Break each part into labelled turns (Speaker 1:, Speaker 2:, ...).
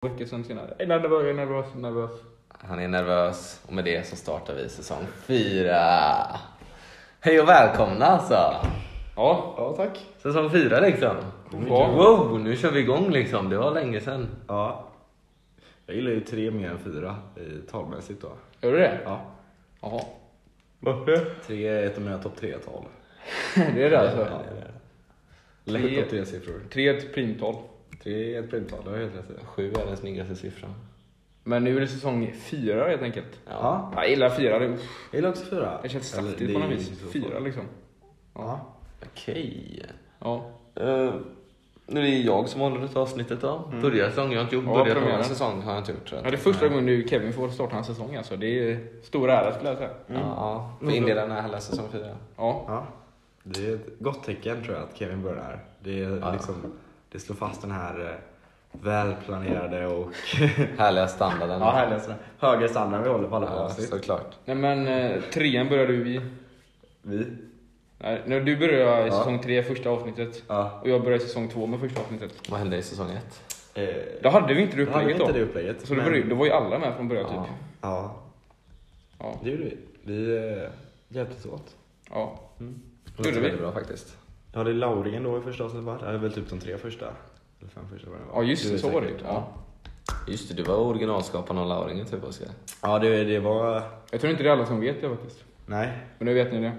Speaker 1: veckor sedan senare. Nej, nervös, jag är nervös, jag är nervös.
Speaker 2: Han är nervös och med det så startar vi säsong fyra. Hej och välkomna alltså!
Speaker 1: Ja,
Speaker 3: Ja, tack.
Speaker 2: Säsong fyra liksom.
Speaker 1: Ja.
Speaker 2: Wow, nu kör vi igång liksom. Det var länge sedan.
Speaker 3: Ja. Jag gillar ju tre mer än fyra eh, talmässigt då.
Speaker 1: gör du det?
Speaker 3: Ja.
Speaker 1: Jaha.
Speaker 2: Varför?
Speaker 3: Tre är ett av mina topp tre-tal.
Speaker 1: Det är det alltså.
Speaker 3: Lätt
Speaker 1: Tre-
Speaker 3: topp tre-siffror.
Speaker 1: Tre är ett primtal.
Speaker 3: Tre är ett primtal, det har jag helt rätt i.
Speaker 2: Sju är den snyggaste siffran.
Speaker 1: Men nu är det säsong fyra helt enkelt.
Speaker 3: Ja.
Speaker 1: Jag gillar fyra, det, uff,
Speaker 3: Jag gillar också fyra.
Speaker 1: det känns
Speaker 3: Eller,
Speaker 1: saftigt
Speaker 3: det
Speaker 1: på
Speaker 3: är
Speaker 1: något
Speaker 3: ju
Speaker 1: vis.
Speaker 3: så
Speaker 1: Fyra
Speaker 3: farligt.
Speaker 1: liksom.
Speaker 3: Ja.
Speaker 2: Okej.
Speaker 1: Ja.
Speaker 2: Eh, nu är det jag som håller ett avsnittet då. Börjar säsong. Jag har inte gjort
Speaker 1: Ja,
Speaker 2: börjat någon
Speaker 1: premiären.
Speaker 2: säsong. Mm. Har jag inte gjort, tror jag.
Speaker 1: ja, det är första gången nu Kevin får starta hans säsong alltså. Det är stor ära skulle jag säga.
Speaker 2: Ja, Ja,
Speaker 1: Mm.
Speaker 2: för inleda den här hela säsong fyra.
Speaker 1: Ja.
Speaker 3: ja. Det är ett gott tecken tror jag att Kevin börjar. Det, är liksom, det slår fast den här eh, välplanerade och
Speaker 2: Härliga standarden.
Speaker 3: ja, härliga, sådär, höga standarden vi håller på alla våra
Speaker 2: Ja,
Speaker 3: avsnitt.
Speaker 2: såklart.
Speaker 1: Nej men eh, trean började du i...
Speaker 3: Vi?
Speaker 1: Nej, när du började i
Speaker 3: Ja.
Speaker 1: säsong tre, första avsnittet.
Speaker 3: Ja.
Speaker 1: Och jag började i säsong två med första avsnittet.
Speaker 2: Vad hände i säsång ett?
Speaker 3: Eh,
Speaker 1: Då hade vi inte det
Speaker 3: då hade vi
Speaker 1: upplägget
Speaker 3: inte
Speaker 1: då.
Speaker 3: det upplägget.
Speaker 1: Så då,
Speaker 3: men-
Speaker 1: började, då var ju alla med från början typ.
Speaker 3: Ja,
Speaker 1: Ja.
Speaker 3: det gjorde vi. Vi eh, hjälptes åt.
Speaker 1: ja.
Speaker 3: Mm.
Speaker 2: Det
Speaker 1: Gjorde
Speaker 2: låter
Speaker 1: vi?
Speaker 2: väldigt bra faktiskt.
Speaker 3: Jag hade Lauringen då i första avsnittet va? Det är väl typ de tre första. Eller fem första var det va?
Speaker 1: Ja just
Speaker 3: Du
Speaker 1: det,
Speaker 3: vet
Speaker 1: så var det ju.
Speaker 3: säkert.
Speaker 1: ja.
Speaker 2: Just det, du var originalskaparen av Lauringen typ Oskar.
Speaker 3: Ja, det, det var...
Speaker 1: Jag tror inte det är alla som vet det faktiskt.
Speaker 3: Nej.
Speaker 1: Men nu vet ni det.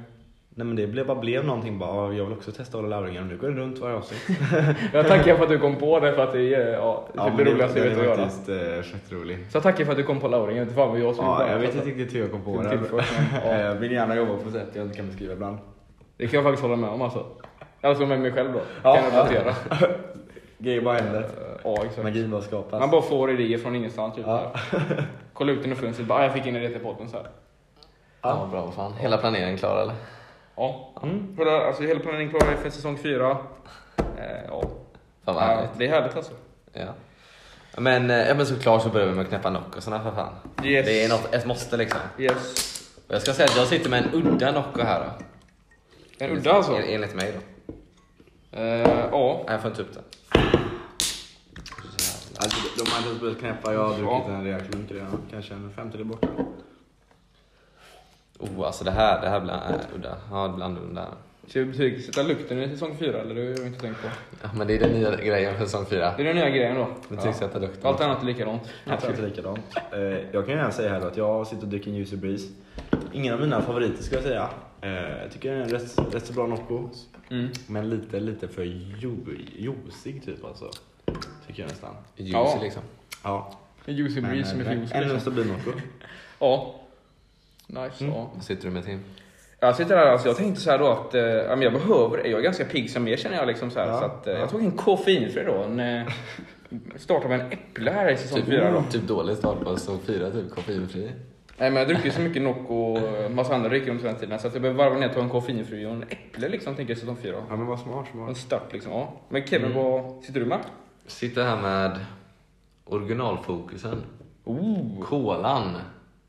Speaker 3: Nej men det blev, bara blev någonting bara, "Ja, jag vill också testa alla Lauringen och nu går det runt varje avsnitt.
Speaker 1: Jag tackar för att du kom på det för att det är ja, typ det roligaste jag vet att
Speaker 3: Det är
Speaker 1: göra.
Speaker 3: faktiskt eh, fett roligt.
Speaker 1: Så jag tackar för att du kom på Lauringen, inte fan vad jag skulle
Speaker 3: Ja,
Speaker 1: bara-
Speaker 3: jag vet inte riktigt hur jag kom på
Speaker 1: Till-
Speaker 3: det.
Speaker 1: tillfört, men, ja.
Speaker 3: Eh, Jag vill gärna jobba på sätt jag inte kan beskriva ibland.
Speaker 1: Det kan jag faktiskt hålla med om alltså. Alltså med mig själv då.
Speaker 3: Ja.
Speaker 1: Kan jag relatera.
Speaker 3: Grejer bara händer.
Speaker 1: Ja exakt.
Speaker 3: Magin bara
Speaker 1: Man
Speaker 3: skapas.
Speaker 1: bara får idéer från ingenstans typ.
Speaker 3: alltså. Ja.
Speaker 1: så här. Kolla ut genom fönstret, bara "Ah, jag fick in en idé till podden så här.
Speaker 2: Ja, vad bra. Vad fan. Hela planeringen klar eller?
Speaker 1: Ja.
Speaker 3: Mm.
Speaker 1: Kolla, alltså hela planeringen klar för säsong fyra. Eh, ja.
Speaker 2: Fan vad
Speaker 1: ja.
Speaker 2: härligt.
Speaker 1: Det är härligt alltså.
Speaker 2: Ja. Men, eh, ja, men såklart så börjar vi med att knäppa Noccosarna för fan.
Speaker 1: Yes.
Speaker 2: Det är något, ett måste liksom.
Speaker 1: Yes.
Speaker 2: Och jag ska säga att jag sitter med en udda Nocco här då.
Speaker 1: En udda alltså?
Speaker 2: En- Enligt mig då.
Speaker 1: Eh, ja.
Speaker 2: Nej, jag får inte upp den.
Speaker 3: Alltså, de har inte ens börjat knäppa, jag har
Speaker 1: Ja.
Speaker 3: druckit en rejäl klunk redan. Kanske en femtedel borta.
Speaker 2: Oh, alltså det här, det här blir
Speaker 1: Oh.
Speaker 2: äh, udda. Ja, det blir annorlunda.
Speaker 1: Ska vi betygsätta lukten i säsong fyra eller? Det har jag inte tänkt på.
Speaker 2: Ja, men det är den nya grejen för säsong fyra.
Speaker 1: Det är den nya grejen då.
Speaker 2: Det tycks att det luktar.
Speaker 1: Allt annat är likadant.
Speaker 3: Jag tror inte likadant. Eh, Jag kan ju gärna säga här då att jag sitter och dricker en Juicy Breeze. Ingen av mina favoriter ska jag säga. Eh, Jag tycker det är en rätt, rätt så bra Nocco.
Speaker 1: Mm.
Speaker 3: Men lite, lite för ju, juicig typ alltså. Tycker jag nästan.
Speaker 2: Ljus
Speaker 1: Ja.
Speaker 2: liksom.
Speaker 3: Ja.
Speaker 1: En juicy
Speaker 3: Men,
Speaker 1: breeze som är
Speaker 3: men,
Speaker 1: juicy.
Speaker 3: En
Speaker 1: liksom.
Speaker 3: stabil Nocco.
Speaker 1: Ja. Nice.
Speaker 3: Mm.
Speaker 1: Ja.
Speaker 2: Vad sitter du med Tim?
Speaker 1: Jag sitter här alltså, jag tänkte så här då att eh, ja, men jag behöver jag är ganska pigg som er känner jag liksom så här.
Speaker 3: Ja,
Speaker 1: så att, eh,
Speaker 3: ja.
Speaker 1: jag tog en koffeinfri då. En, eh, startar med en äpple här i säsong fyra
Speaker 3: Mm.
Speaker 1: då.
Speaker 2: typ dålig start på säsong fyra, typ koffeinfri.
Speaker 1: Nej men jag dricker så mycket Nocco och eh, massa andra drycker under den här tiden så att jag behöver varva ner och ta en koffeinfri och en äpple liksom tänker jag i säsong fyra.
Speaker 3: Ja men vad smart,
Speaker 1: En
Speaker 3: smart.
Speaker 1: start liksom, ja. Men Kevin, vad sitter du med?
Speaker 2: Sitter här med originalfokusen.
Speaker 1: Oh!
Speaker 2: Kolan,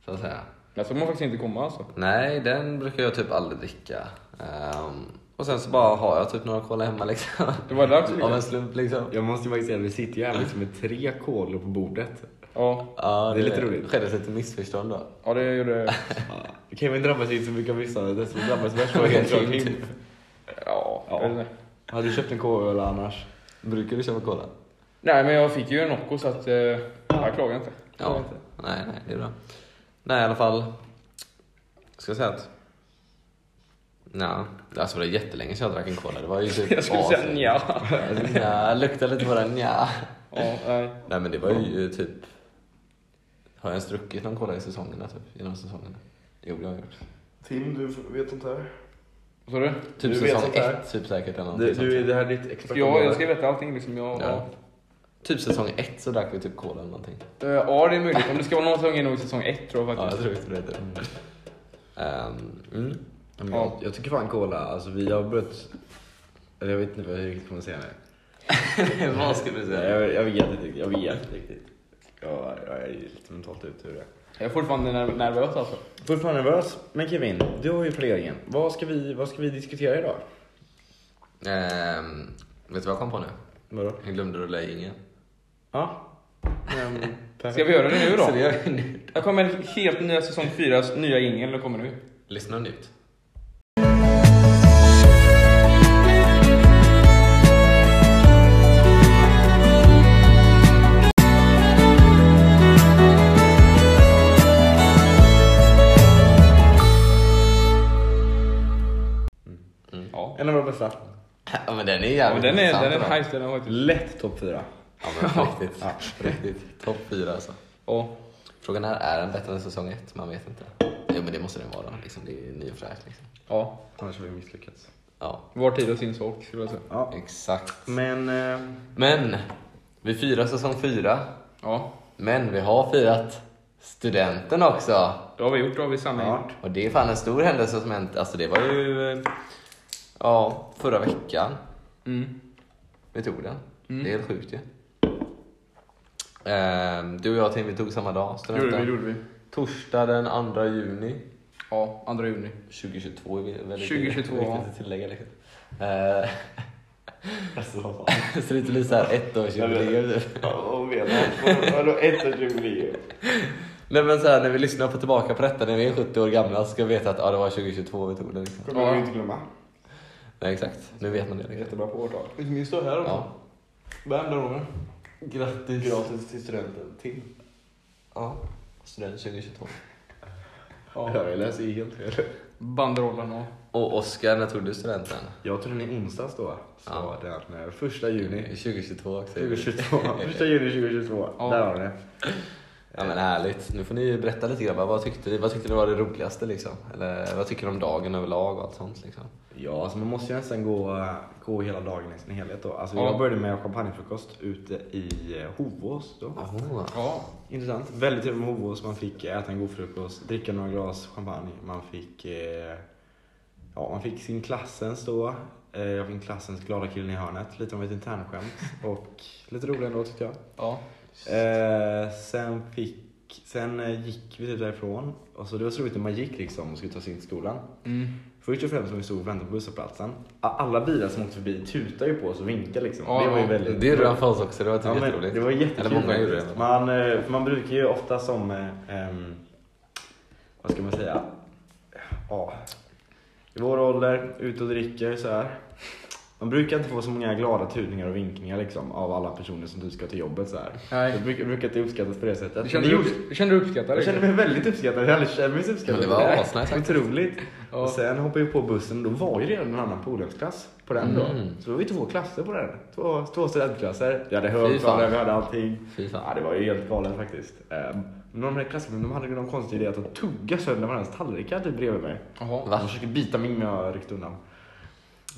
Speaker 2: så att säga.
Speaker 1: Där får man faktiskt inte komma alltså.
Speaker 2: Nej, den brukar jag typ aldrig dricka. Ehm, och sen så bara har jag typ några cola hemma liksom.
Speaker 1: Det var dags
Speaker 2: Av en slump liksom.
Speaker 3: Jag måste ju faktiskt säga att vi sitter ju här liksom med tre kolor på bordet.
Speaker 1: Ja,
Speaker 2: Ja,
Speaker 3: Det är lite roligt.
Speaker 2: Det skedde lite missförstånd då.
Speaker 1: ja det gjorde...
Speaker 3: Ja. Kevin drabbas inte så mycket av vissa, det som drabbas värst var
Speaker 2: Okej,
Speaker 3: helt klart
Speaker 2: Tim,
Speaker 3: Tim.
Speaker 1: Ja,
Speaker 3: Ja.
Speaker 1: jag vet inte.
Speaker 3: Hade du köpt en kola annars?
Speaker 2: Brukar du köpa cola?
Speaker 1: Nej men jag fick ju en Nocco så att... Eh, jag klagar inte. Jag klagar
Speaker 2: Ja.
Speaker 1: inte.
Speaker 2: Nej, nej, det är bra. Nej, i alla fall. Ska jag säga att... Nja, alltså det var jättelänge sedan jag drack en cola. Det var ju typ
Speaker 1: Jag skulle säga
Speaker 2: aslänge.
Speaker 1: nja.
Speaker 2: Nja, luktar lite på den nja.
Speaker 1: Ja, nej.
Speaker 2: Nej men det var ju typ... Har jag ens druckit någon cola i säsongerna typ? Genom säsongerna? Jo, det har jag gjort.
Speaker 3: Tim, du vet sånt här?
Speaker 1: Vad sa du?
Speaker 2: Typ
Speaker 3: Du vet
Speaker 2: säsong
Speaker 3: sånt här.
Speaker 2: ett, typ säkert. Eller
Speaker 3: Du,
Speaker 2: någonting sånt.
Speaker 3: du, det här är ditt expert.
Speaker 1: Ja, jag ska veta allting liksom. Jag, ja.
Speaker 2: Ja. Typ säsong ett så drack vi typ cola eller någonting.
Speaker 1: Eh, ja, det är möjligt. Om det ska vara någon säsong är det nog i säsong ett tror jag
Speaker 2: Ja, jag
Speaker 1: faktiskt.
Speaker 2: tror inte det. heter det. Ehm, mm.
Speaker 3: Men Jag, jag tycker fan cola, alltså vi har börjat... Eller jag vet inte vad jag riktigt kommer säga nu.
Speaker 2: Vad skulle du
Speaker 3: Nej, Jag, jag vet inte riktigt, jag vet inte riktigt. Jag, jag är lite mentalt ute ur det.
Speaker 1: Jag är fortfarande nerv- nervös alltså.
Speaker 3: Fortfarande nervös. Men Kevin, du har ju planeringen. Vad ska vi, vad ska vi diskutera idag?
Speaker 2: Ehm, vet du vad jag kom på nu?
Speaker 3: Vadå?
Speaker 2: Jag glömde rulla i ingen.
Speaker 3: Ja.
Speaker 1: Ska vi göra det nu då?
Speaker 2: Så det gör vi nu.
Speaker 1: Här kommer helt nya säsong 4 nya jingel. Den kommer nu.
Speaker 2: Lyssna nytt.
Speaker 1: Ja.
Speaker 3: En av våra bästa.
Speaker 2: Ja men den
Speaker 1: ja
Speaker 2: är jävligt
Speaker 1: men den är, den
Speaker 2: intressant,
Speaker 1: är
Speaker 2: va?
Speaker 1: nice. Den har varit...
Speaker 3: Lätt topp fyra.
Speaker 2: Ja men på riktigt.
Speaker 3: Ja.
Speaker 2: På riktigt. Topp fyra alltså.
Speaker 1: Ja.
Speaker 2: Frågan är, är den bättre än säsong ett? Man vet inte. Jo men det måste den vara. Liksom, det är ju ny och fräsch liksom.
Speaker 1: ja.
Speaker 3: Annars har vi misslyckats.
Speaker 2: Ja,
Speaker 1: Var tid och sin sak skulle jag säga.
Speaker 3: Ja.
Speaker 2: exakt.
Speaker 3: Men... Eh,
Speaker 2: Men, vi firar säsong fyra.
Speaker 1: Ja.
Speaker 2: Men vi har firat studenten också.
Speaker 1: Det har vi gjort. Det har vi samma
Speaker 3: ja.
Speaker 1: gjort.
Speaker 2: Och det är fan en stor händelse som hänt. Alltså det var ju... eh, Ja, förra veckan.
Speaker 1: Mm.
Speaker 2: Vi tog den.
Speaker 1: Mm.
Speaker 2: Det är helt sjukt ju. Ehm, Du och jag Tim, vi tog samma dag.
Speaker 1: Det gjorde vi.
Speaker 2: Studenten.
Speaker 1: Gjorde vi.
Speaker 2: Torsdag den 2 juni.
Speaker 1: Ja, 2 juni.
Speaker 2: 2022 är vi väldigt
Speaker 1: 2022,
Speaker 2: viktigt
Speaker 1: ja.
Speaker 2: att tillägga. Liksom. Eh,
Speaker 3: Alltså vad fan.
Speaker 2: så det är inte blir såhär ettårsjubileum typ.
Speaker 3: Vad menar du? Ettårsjubileum.
Speaker 2: Nej men såhär när vi lyssnar på tillbaka på detta när vi är 70 år gamla så ska vi veta att ja, det var 2022 vi tog det. Liksom.
Speaker 3: Kommer vi inte glömma.
Speaker 2: Nej exakt, nu vet man det. Liksom.
Speaker 3: Jättebra på årtal. Vi minns du här
Speaker 2: Ja.
Speaker 3: Vem där Roger?
Speaker 2: Grattis.
Speaker 3: Gratis till studenten till.
Speaker 2: Ja. Student 2022.
Speaker 3: Ja. Jag läser ju helt fel.
Speaker 1: Banderollen och...
Speaker 2: Och Oskar, när tog du studenten?
Speaker 3: Jag tog den i onsdags då. Så
Speaker 2: Ja.
Speaker 3: den eh, första juni.
Speaker 2: 2022 också.
Speaker 3: 2022. Första juni 2022.
Speaker 1: Ja.
Speaker 3: Där har ni det.
Speaker 2: Ja men härligt. Nu får ni ju berätta lite grabbar. Vad tyckte ni? Vad tyckte ni var det roligaste liksom? Eller vad tycker ni om dagen överlag och allt sånt liksom?
Speaker 3: Ja, alltså man måste ju nästan gå, eh, gå hela dagen i sin helhet då. Alltså
Speaker 1: Ja.
Speaker 3: jag började med champagnefrukost ute i eh, Hovås då.
Speaker 2: Jaha.
Speaker 1: Ja.
Speaker 3: Intressant. Väldigt trevligt med Hovås. Man fick eh, äta en god frukost, dricka några glas champagne. Man fick, eh, ja, man fick sin klassens då. Eh, jag fick klassens glada killen i hörnet. Lite om ett internskämt och lite roligt ändå tyckte jag.
Speaker 1: Ja.
Speaker 3: Eh, sen fick Sen eh, gick vi typ därifrån. Och så det var så roligt när man gick liksom och skulle ta sig in till skolan.
Speaker 1: Mm.
Speaker 3: Först och främst när vi stod och väntade på busshållplatsen. A- Alla bilar som åkte förbi tutade ju på oss och vinkade liksom.
Speaker 1: Ja,
Speaker 3: det var ju
Speaker 1: ja.
Speaker 3: väldigt
Speaker 2: Det gjorde han för oss också. Det var typ
Speaker 3: Ja, men
Speaker 2: jätteroligt.
Speaker 3: det var jättekul.
Speaker 2: Eller många gjorde
Speaker 3: faktiskt.
Speaker 2: det.
Speaker 3: Man, eh, för man brukar ju ofta som, eh, ehm, vad ska man säga, ja, i vår ålder, ute och dricker så här. Man brukar inte få så många glada tutningar och vinkningar liksom, av alla personer som du ska till jobbet. Så här.
Speaker 1: Nej.
Speaker 3: Jag brukar, brukar inte uppskattas på det sättet.
Speaker 1: Du kände, du kände du uppskattad?
Speaker 3: jag kände mig väldigt uppskattad. Jag hade känt mig så uppskattad.
Speaker 2: Men det var
Speaker 3: Nej,
Speaker 2: asnice faktiskt.
Speaker 3: Otroligt.
Speaker 1: Ja.
Speaker 3: Och sen hoppade vi på bussen och då var ju redan en annan polhemsklass på den då.
Speaker 2: Mm.
Speaker 3: Så då var vi två klasser på den. Två, två studentklasser. Vi hade
Speaker 2: fan.
Speaker 3: högtalare, vi hade allting.
Speaker 2: Fy fan.
Speaker 3: Ja, det var ju helt galet faktiskt. Ehm, Men de här klasserna, de hade ju någon konstig idé att de tugga sönder varandras tallrikar typ bredvid mig.
Speaker 1: Jaha.
Speaker 2: Va?
Speaker 3: De försökte bita mig men jag ryckte undan.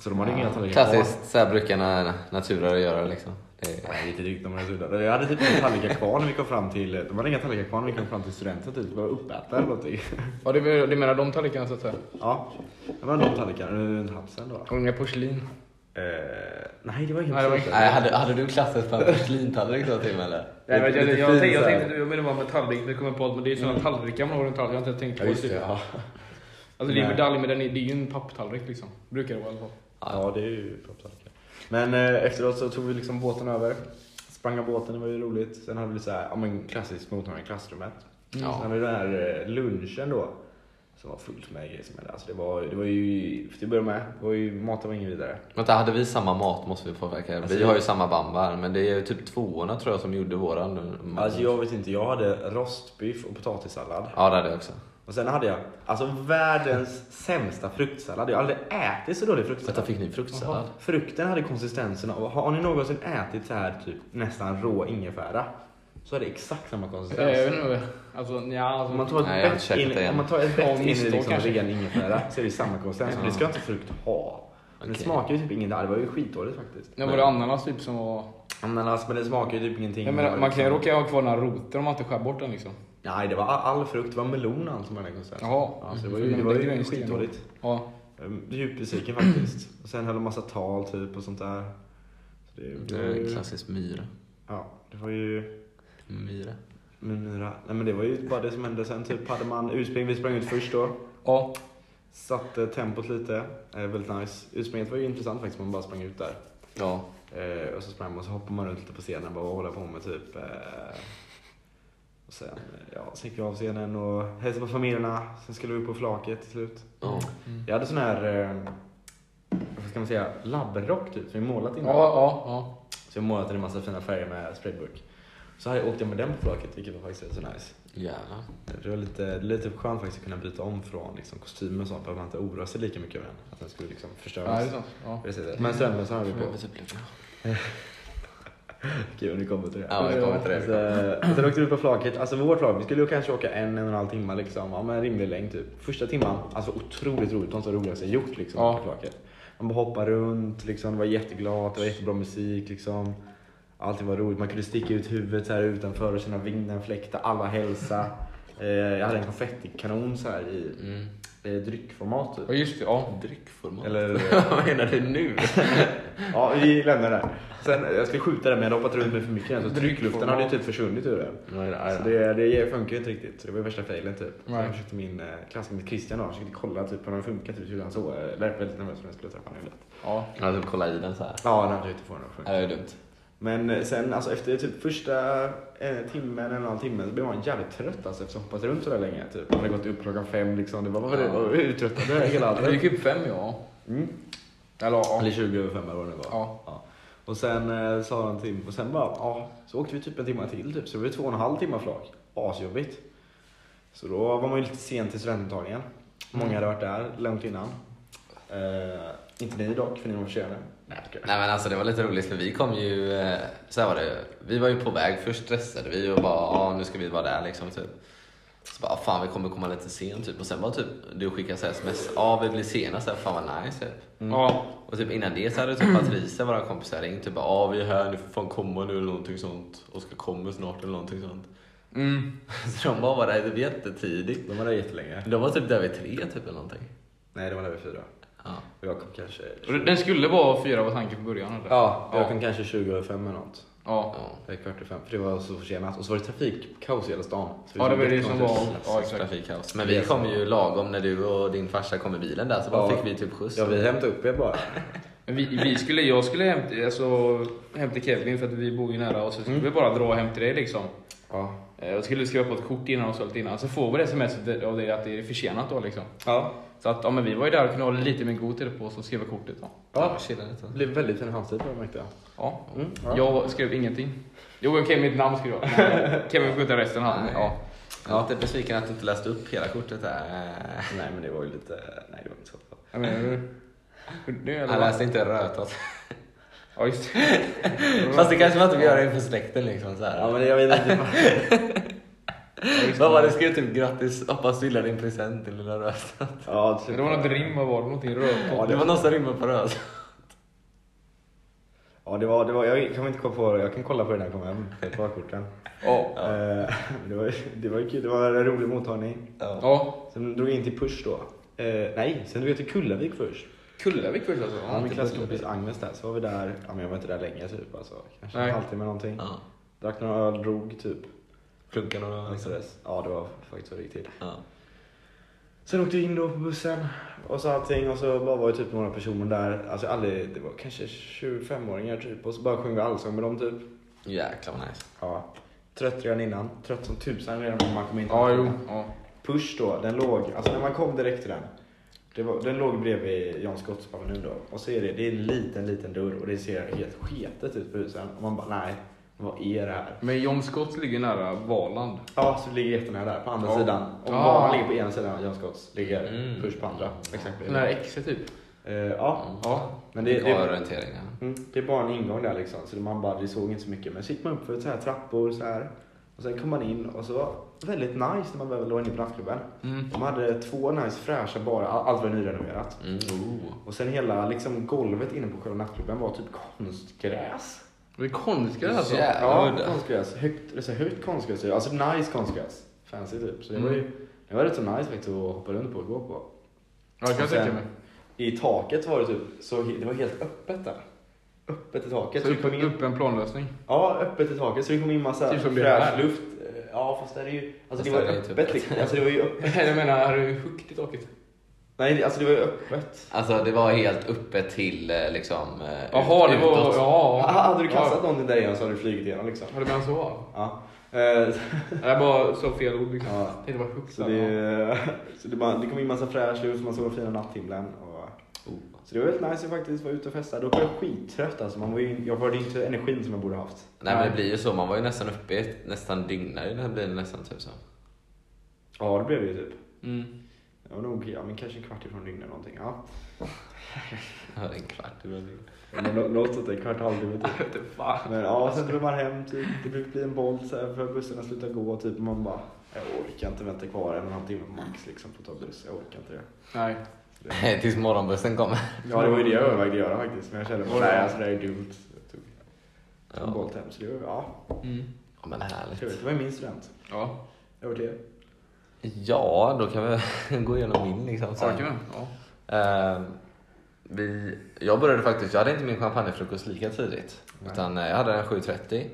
Speaker 3: Så de hade inga tallrikar
Speaker 2: Klassiskt, så här brukar na- naturare göra liksom. Det
Speaker 3: kvar.
Speaker 2: är...
Speaker 3: Nej, lite drygt de hade suddat. Jag hade typ inga tallrikar kvar när vi kom fram till... De hade inga tallrikar kvar när vi kom fram till studenten typ. Vi var uppätna eller någonting.
Speaker 1: Ja, det, var- det menar de tallrikarna så att säga.
Speaker 3: Ja, det var de tallrikarna runt halsen då.
Speaker 1: Och inga porslin.
Speaker 3: Eh, nej, det var inget
Speaker 1: Nej, det var
Speaker 3: sånt.
Speaker 2: Nej, hade, hade du klassiskt på en porslintallrik då Tim eller?
Speaker 1: Nej, men jag, jag,
Speaker 3: Lite
Speaker 1: jag,
Speaker 3: fin
Speaker 1: tänkte- jag
Speaker 3: så här.
Speaker 1: tänkte att du menar bara med tallrik, det kommer på att men det är ju sådana tallrikar man har runt tallriken. Jag har inte tänkt på
Speaker 3: Ja, just det.
Speaker 1: typ.
Speaker 3: Ja.
Speaker 1: Alltså det är ju
Speaker 3: Nej.
Speaker 1: medalj men den är, det är ju en papptallrik liksom. Brukar det vara i alla fall.
Speaker 3: ja, det är ju propptallrikar. Men eh, efteråt så tog vi liksom båten över. Sprang av båten, det var ju roligt. Sen hade vi så här, ja men klassiskt mottagande i klassrummet.
Speaker 2: Ja.
Speaker 3: Sen hade vi den här eh, lunchen då. Som var fullt med grejer som hände. Alltså det var, det var ju, till att börja med, det var ju, maten var ingen vidare.
Speaker 2: Vänta, hade vi samma mat måste vi påverka. vi
Speaker 3: Alltså,
Speaker 2: har ju samma bambar, men det är ju typ tvåorna tror jag som gjorde våran. nu.
Speaker 3: Alltså jag vet inte, jag hade rostbiff och potatissallad.
Speaker 2: Ja, det hade jag också.
Speaker 3: Och sen hade jag alltså världens sämsta fruktsallad. Jag har aldrig ätit så dålig fruktsallad.
Speaker 2: Vänta, fick ni fruktsallad?
Speaker 3: Frukten hade konsistensen av, har ni någonsin ätit så här typ nästan rå ingefära? Så är det exakt samma
Speaker 1: Eh, Jag vet
Speaker 3: konsistens.
Speaker 1: inte. Alltså nja, alltså,
Speaker 3: Om man tar ett
Speaker 2: Nej, jag har
Speaker 3: bett
Speaker 2: käkat
Speaker 3: in,
Speaker 2: det igen.
Speaker 3: om man tar ett
Speaker 1: Ja,
Speaker 3: bett in i
Speaker 1: misstag
Speaker 3: liksom
Speaker 1: kanske.
Speaker 3: ren ingefära så är det samma konsistens. Men det ska inte frukt ha. Men det
Speaker 2: Okej.
Speaker 3: smakar ju typ ingenting. Det var ju skitdåligt faktiskt.
Speaker 1: när var det ananas typ som var...
Speaker 3: Ananas, men det smakar ju typ ingenting.
Speaker 1: Jag
Speaker 3: Det
Speaker 1: menar,
Speaker 3: var
Speaker 1: man kan ju
Speaker 3: liksom-
Speaker 1: råka ha kvar den här roten om man inte skär bort den liksom.
Speaker 3: Nej, det var all all frukt. Det var melon och allt som hade konsistensen.
Speaker 1: Jaha.
Speaker 3: Ja, så det var
Speaker 1: Mm.
Speaker 3: ju, det
Speaker 1: Men
Speaker 3: var
Speaker 1: det är ju
Speaker 3: ju
Speaker 1: en sten.
Speaker 3: skitdåligt.
Speaker 1: Ja.
Speaker 3: Ehm, Djupt besviken faktiskt. Och sen höll de massa tal typ och sånt där. Så det, det, var
Speaker 2: Mm.
Speaker 3: ju,
Speaker 2: Klassisk myra.
Speaker 3: ja, det var ju
Speaker 2: Myra.
Speaker 3: min myra. Nej men det var ju bara det som hände sen. Typ hade man urspring, vi sprang ut först då.
Speaker 1: Ja.
Speaker 3: Satte tempot lite, eh, väldigt nice. Utspringet var ju intressant faktiskt, man bara sprang ut där.
Speaker 2: Ja.
Speaker 3: Eh, och så sprang man och så hoppade man runt lite på scenen, bara vad håller jag på med typ? Eh, Sen eh, ja, sen gick jag av scenen och hälsade på familjerna. Sen skulle vi upp på flaket till slut.
Speaker 2: Ja.
Speaker 3: Jag hade sån här, eh, vad ska man säga, labbrock typ som vi målat
Speaker 1: Ja,
Speaker 3: innan.
Speaker 1: ja, ja.
Speaker 3: Så jag målat i en massa fina färger med sprayburk. Så här åkte jag med den på flaket, vilket var faktiskt rätt så nice.
Speaker 2: Jävlar.
Speaker 3: Det var lite, lite skönt faktiskt att kunna byta om från liksom, kostymer och sånt, behöver man inte oroa sig lika mycket över den. Att den skulle liksom
Speaker 1: ja det är
Speaker 3: förstöras.
Speaker 1: sant. Ja.
Speaker 3: Precis. Men strömlösa har vi på. Gud, nu kommer till det.
Speaker 2: Ja, vi kommer till det.
Speaker 3: Alltså, sen åkte vi ut på flaket. Alltså vårt lag, vi skulle ju kanske åka en, en och en halv timme liksom. Ja, men rimlig längd typ. Första timman, alltså otroligt roligt. De så roligaste jag gjort liksom
Speaker 1: Ja.
Speaker 3: på flaket. Man bara hoppade runt liksom. Det var jätteglatt, det var jättebra musik liksom. Allting var roligt. Man kunde sticka ut huvudet så här utanför och känna vinden fläkta. Alla hälsa. Eh, jag hade en konfettikanon så här i
Speaker 2: Mm.
Speaker 3: eh, dryckformat typ.
Speaker 1: Ja, just det. Ja.
Speaker 2: Dryckformat.
Speaker 3: Eller,
Speaker 2: Vad menar du nu?
Speaker 3: ja, vi lämnar det. här. Sen, jag skulle skjuta den men jag hade hoppat runt med för mycket den, så tryckluften hade ju typ försvunnit ur den.
Speaker 2: Nej,
Speaker 3: Så det, det funkar ju inte riktigt. Det var ju värsta failen typ. Så
Speaker 1: Nej.
Speaker 3: jag försökte min eh, klasskompis Christian då, han försökte kolla typ om den funkar, typ hur han såg. Jag lät väldigt nervös när jag skulle träffa honom. i lätt.
Speaker 1: ja.
Speaker 2: Jag typ kolla i den så här.
Speaker 3: Ja, han försökte få den att
Speaker 2: Det
Speaker 3: funka.
Speaker 2: är dumt.
Speaker 3: Men eh, sen alltså efter typ första eh, timmen eller en halv timme så blev man jävligt trött alltså efter att ha hoppat runt sådär länge. Typ. Man hade gått upp klockan fem liksom. Det var bara
Speaker 2: Ja.
Speaker 3: ja. uttröttande hela
Speaker 1: Det gick
Speaker 3: allt.
Speaker 1: upp fem, ja.
Speaker 3: Mm.
Speaker 1: Eller ja.
Speaker 3: Eller 20 över fem eller vad det nu var.
Speaker 1: Ja.
Speaker 3: Och sen eh, sa han till och sen bara, ja, så åkte vi typ en timme till typ, så det var två och en halv timme flak. Asjobbigt. Så då var man ju lite sen till studentmottagningen. Många hade varit där långt innan. Eh, inte ni dock, för ni var försenade. Nej, jag skojar.
Speaker 2: Nej men alltså det var lite roligt för vi kom ju, eh, så här var det, vi var ju på väg, först stressade vi och bara ja nu ska vi vara där liksom typ. Så bara fan vi kommer komma lite sent typ och sen bara typ du skickade så här sms, ja vi blir sena så här, fan vad nice typ.
Speaker 1: Ja.
Speaker 2: Och typ innan det så hade typ Patricia, våra kompisar ringt typ bara ja vi är här, ni får fan komma nu eller någonting sånt. Och ska komma snart eller någonting sånt.
Speaker 1: Mm.
Speaker 2: Så de bara var där typ jättetidigt.
Speaker 3: De var där jättelänge.
Speaker 2: De var typ där vid tre typ eller någonting.
Speaker 3: Nej, det var där vid fyra.
Speaker 2: Ja.
Speaker 3: Och jag kom kanske...
Speaker 1: Och Den skulle vara fyra var tanken på början eller?
Speaker 3: Ja, jag
Speaker 1: Ja.
Speaker 3: kom kanske 20 över fem eller något.
Speaker 1: Ja.
Speaker 2: ja.
Speaker 3: Det är kvart i fem, för det var så försenat. Och så var det trafikkaos i hela stan. Så
Speaker 1: Ja, det var det
Speaker 3: jättekonstigt.
Speaker 1: som var-
Speaker 2: Ja,
Speaker 1: Ja, exakt.
Speaker 2: Trafikkaos. Men vi kom ju lagom när du och din farsa kom i bilen där så bara
Speaker 3: Ja.
Speaker 2: fick vi typ skjuts.
Speaker 3: Ja, vi hämtade upp er bara.
Speaker 1: Men Vi, vi skulle, jag skulle hämta, alltså, hämta Kevin för att vi bor ju nära och så skulle
Speaker 3: Mm.
Speaker 1: vi bara dra hem till dig liksom.
Speaker 3: Ja.
Speaker 1: Eh, Jag skulle skriva på ett kort innan och så lite innan. Så får vi det sms av dig att det är försenat då liksom.
Speaker 3: ja.
Speaker 1: Så att ja, men vi var ju där och kunde hålla lite mer god tid på oss och skriva kortet då.
Speaker 3: Ja.
Speaker 2: chilla lite.
Speaker 3: Det blev väldigt fin handstil på dem märkte jag.
Speaker 1: Ja.
Speaker 3: Mm,
Speaker 1: Jag skrev ingenting. Jo, okej, mitt namn skrev jag. Men Kevin får ta resten han.
Speaker 2: Nej.
Speaker 1: Ja.
Speaker 2: Jag är lite besviken att du inte läste upp hela kortet där.
Speaker 3: Nej men det var ju lite, nej det var inte så.
Speaker 1: Jag menar du? Nu eller?
Speaker 2: Han läste inte rötat.
Speaker 1: Ja, just
Speaker 2: Fast det kanske man inte vill göra inför släkten liksom så här.
Speaker 3: Ja men jag vet inte.
Speaker 2: Vad var det? Skrev typ grattis, hoppas du gillar din present till lilla rötat.
Speaker 3: ja, typ.
Speaker 1: Det var något rim, vad var det? Någonting rökt?
Speaker 3: Ja,
Speaker 2: det var någon som rimmade på rötat.
Speaker 3: Ja det var, det var, jag kan inte komma på det, jag kan kolla på det när jag kommer hem. På korten.
Speaker 1: Ja.
Speaker 3: Eh, det, var, ju- det var ju kul, det var en rolig mottagning.
Speaker 2: Ja.
Speaker 1: Ja.
Speaker 3: Sen drog jag in till Push då. Eh, nej, sen drog jag till Kullavik först.
Speaker 1: Kullavik först alltså?
Speaker 3: Ja, min
Speaker 1: till
Speaker 3: klasskompis Agnes där, så var vi där, ja men jag var inte där länge typ alltså. Kanske
Speaker 1: Nej.
Speaker 3: en halvtimme någonting.
Speaker 2: ja.
Speaker 3: Drack några öl, drog typ.
Speaker 2: Klunkade några...
Speaker 3: Alltså, Ja det var faktiskt så det gick till.
Speaker 2: Ja.
Speaker 3: Sen åkte jag in då på bussen och så allting och så bara var det typ några personer där. Alltså jag aldrig, det var kanske 25-åringar typ och så bara sjöng vi allsång med dem typ.
Speaker 2: Jäklar vad nice.
Speaker 3: Ja. Trött redan innan, trött som tusan redan när man kom in.
Speaker 1: Ja, jo. Ja.
Speaker 3: Push då, den låg, alltså när man kom direkt till den. Det var, den låg bredvid Jan Scotts nu då. Och så är det, det är en liten, liten dörr och det ser helt sketet ut på husen. Och man bara nej, vad är det här?
Speaker 1: Men John Scott ligger nära Valand.
Speaker 3: Ja, så det ligger jättenära där på andra
Speaker 1: Ja.
Speaker 3: sidan. Och
Speaker 1: Ah.
Speaker 3: bara ligger på ena sidan, Jan Scotts ligger
Speaker 2: Mm.
Speaker 3: Push på andra. Exakt.
Speaker 1: Den här exet typ.
Speaker 3: Eh, ja.
Speaker 1: Ja.
Speaker 3: Men det,
Speaker 2: Bra
Speaker 3: det,
Speaker 2: orientering. Ja.
Speaker 3: mm, det är bara en ingång där liksom, så man bara, vi såg inte så mycket. Men så gick man upp för så här trappor så här. Och sen kom man in och så var det väldigt nice när man väl låg inne på nattklubben.
Speaker 1: Mm.
Speaker 3: De hade två nice fräscha barer, all- allt var nyrenoverat.
Speaker 2: Mm. Oh.
Speaker 3: Och sen hela liksom, golvet inne på själva nattklubben var typ konstgräs.
Speaker 1: Det är konstgräs alltså.
Speaker 2: Jävlar.
Speaker 3: Ja,
Speaker 2: udda.
Speaker 3: konstgräs. Högt, alltså, högt konstgräs. Alltså nice konstgräs. Fancy typ. Så det var ju det var rätt så nice faktiskt att hoppa runt på och gå på.
Speaker 1: Ja, det kan jag
Speaker 3: Och sen-
Speaker 1: tänka mig.
Speaker 3: I taket var det typ, så he- det var helt öppet där. Öppet i taket.
Speaker 1: Så
Speaker 3: Så det kom
Speaker 1: upp,
Speaker 3: in
Speaker 1: upp en planlösning.
Speaker 3: Ja, öppet i taket så det kom in massa
Speaker 1: Typ som det
Speaker 3: fräsch
Speaker 1: här.
Speaker 3: luft. Eh, Ja, fast det är ju... Alltså
Speaker 2: Fast
Speaker 3: det var
Speaker 2: det är ju
Speaker 3: öppet
Speaker 2: typ
Speaker 3: liksom. Alltså det var ju öppet.
Speaker 1: Jag menar, är det högt i taket?
Speaker 3: Nej, det- alltså det var ju öppet.
Speaker 2: Alltså det var helt uppe till eh, liksom eh,
Speaker 1: Jaha, det var...
Speaker 2: utåt.
Speaker 1: Ja.
Speaker 3: Ah, hade du kastat någonting där igen så hade du flugit igenom liksom.
Speaker 1: Ja. Har du menat så?
Speaker 3: Ja. Eh,
Speaker 1: Jag bara sa fel ord liksom.
Speaker 3: ja,
Speaker 1: Jag tänkte bara huxa.
Speaker 3: så det, så det, bara, det kom in massa fräscht ljus, man såg den fina natthimlen. Och,
Speaker 2: Oh.
Speaker 3: så det var väldigt nice att faktiskt vara ute och festa. Då var jag skittrött alltså. Man var ju, jag hade inte energin som jag borde haft.
Speaker 2: Nej men det blir ju så, man var ju nästan uppe i ett, nästan dygnade i den här bilen nästan typ så.
Speaker 3: Ja, det blev det ju typ.
Speaker 1: Mm.
Speaker 3: Jag var nog ja, men kanske en kvart ifrån dygnet eller någonting. Ja.
Speaker 2: Jag hade en kvart i bilen.
Speaker 3: Men nå- Något sånt där, kvart, halvtimme typ.
Speaker 1: Jag vet inte fan.
Speaker 3: Men ja, sen drog man hem typ. Det blev- blir en boll så här för bussarna slutar gå typ. Och man bara, jag orkar inte vänta kvar en och en halv timme max liksom på att ta buss. Jag orkar inte det.
Speaker 1: Nej.
Speaker 2: Tills morgonbussen kommer.
Speaker 3: Ja, det var ju det jag övervägde göra faktiskt. Men jag kände bara, nej alltså det här är dumt. Så jag tog tog en
Speaker 2: Ja.
Speaker 3: boll hem. Så det var, ja,
Speaker 1: Mm.
Speaker 2: ja men härligt.
Speaker 3: trevligt. Det var ju min student.
Speaker 1: Ja,
Speaker 3: Över till er.
Speaker 2: Ja, då kan vi gå igenom min liksom
Speaker 1: ja, det
Speaker 2: sen.
Speaker 1: kan man. Ja.
Speaker 2: Eh, vi, jag började faktiskt, jag hade inte min champagnefrukost lika tidigt.
Speaker 3: Nej.
Speaker 2: Utan eh, jag hade den 7.30.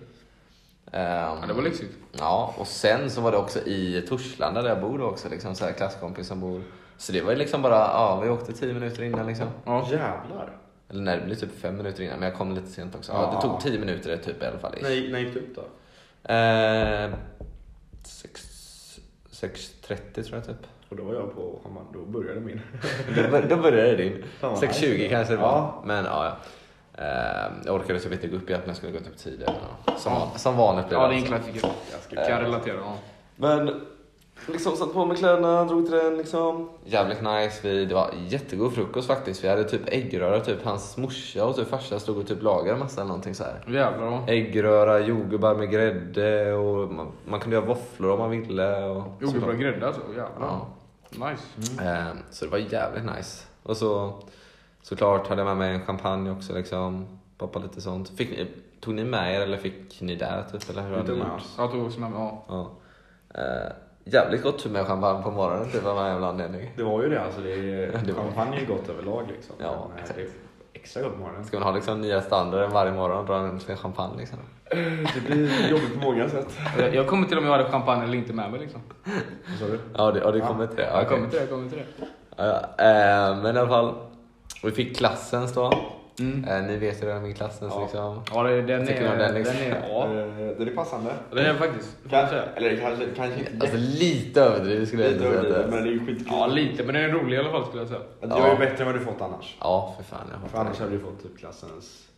Speaker 2: Ehm,
Speaker 1: ja, det var lyxigt.
Speaker 2: Ja, och sen så var det också i Torslanda där jag bor då också, liksom så här klasskompis som bor. Så det var ju liksom bara, ja vi åkte 10 minuter innan liksom.
Speaker 1: Ja.
Speaker 3: Jävlar.
Speaker 2: Eller nej, det blev typ 5 minuter innan, men jag kom lite sent också. Ja,
Speaker 3: Ja.
Speaker 2: det tog 10 minuter typ i alla fall.
Speaker 3: När, gick- när gick du upp då?
Speaker 2: Eh, sex- 6.30 tror jag typ.
Speaker 3: Och då var jag på Hammar, då började min.
Speaker 2: Då bör- Då började din.
Speaker 3: Fan vad
Speaker 2: 6.20
Speaker 3: nice.
Speaker 2: kanske det var.
Speaker 3: Ja.
Speaker 2: Men ja, ja. Eh, jag orkade typ inte gå upp igen, men jag skulle gå upp typ tidigare. Ja. Som, van- som vanligt blev
Speaker 1: Ja, det är en
Speaker 2: alltså.
Speaker 1: klassiker.
Speaker 3: Jag
Speaker 1: Kan relatera. Ja.
Speaker 2: Men liksom satte på mig kläderna, drog till den liksom. Jävligt nice. Vi, det var jättegod frukost faktiskt. Vi hade typ äggröra, typ hans morsa och typ farsa stod och typ lagade massa eller någonting så här.
Speaker 1: Jävlar va.
Speaker 2: Äggröra, jordgubbar med grädde och man, man kunde göra våfflor om man ville. Och
Speaker 1: Jordgubbar och grädde alltså. Jävlar.
Speaker 2: Ja.
Speaker 1: Nice.
Speaker 2: Eh, Så det var jävligt nice. Och så såklart hade jag med mig en champagne också liksom. Pappa lite sånt. Fick, ni- tog ni med er eller fick ni där typ? Eller hur hade
Speaker 3: tog
Speaker 2: ni
Speaker 3: med
Speaker 2: gjort?
Speaker 3: oss.
Speaker 1: Jag tog också med mig. Ja.
Speaker 2: Ja. Eh, jävligt gott med champagne på morgonen typ av någon jävla anledning.
Speaker 3: Det var ju det alltså. Det
Speaker 2: Det
Speaker 3: är,
Speaker 2: var-
Speaker 3: champagne är ju gott överlag liksom.
Speaker 2: Ja,
Speaker 3: Men, eh,
Speaker 2: exakt.
Speaker 3: det är extra gott på morgonen.
Speaker 2: Ska man ha liksom nya standarder varje morgon och dra en liten champagne liksom?
Speaker 3: Det blir jobbigt på många sätt.
Speaker 1: Jag, jag kommer till om jag hade champagne eller inte med mig liksom.
Speaker 3: Vad sa du?
Speaker 2: Ja, det, ja, det kommer till det. Ja,
Speaker 1: Jag
Speaker 2: okej.
Speaker 1: kommer till det, jag kommer till det.
Speaker 2: Ja, ja. Eh, men i alla fall, vi fick klassens då.
Speaker 1: Mm.
Speaker 2: Eh, ni vet ju redan min klassens
Speaker 3: Ja.
Speaker 2: liksom.
Speaker 1: Ja, det, den,
Speaker 2: Tycker
Speaker 1: är,
Speaker 2: du om
Speaker 1: den,
Speaker 2: den,
Speaker 1: är,
Speaker 2: liksom?
Speaker 1: ja.
Speaker 3: Eh, Den är passande.
Speaker 1: Den är faktiskt. får jag
Speaker 3: Kanske,
Speaker 1: säga.
Speaker 3: eller kanske, kanske inte
Speaker 2: Alltså lite överdrivet skulle jag
Speaker 3: jättelite
Speaker 2: inte säga att det
Speaker 3: överdrivet, men
Speaker 2: är.
Speaker 3: det är ju skitkul.
Speaker 1: Ja, lite. Men den är rolig i alla fall skulle jag säga.
Speaker 3: Att Jag är
Speaker 2: Ja.
Speaker 3: bättre än vad du fått annars.
Speaker 2: Ja, för fan. Jag
Speaker 3: För
Speaker 2: hatar,
Speaker 3: annars
Speaker 2: den.
Speaker 3: hade du fått typ klassens,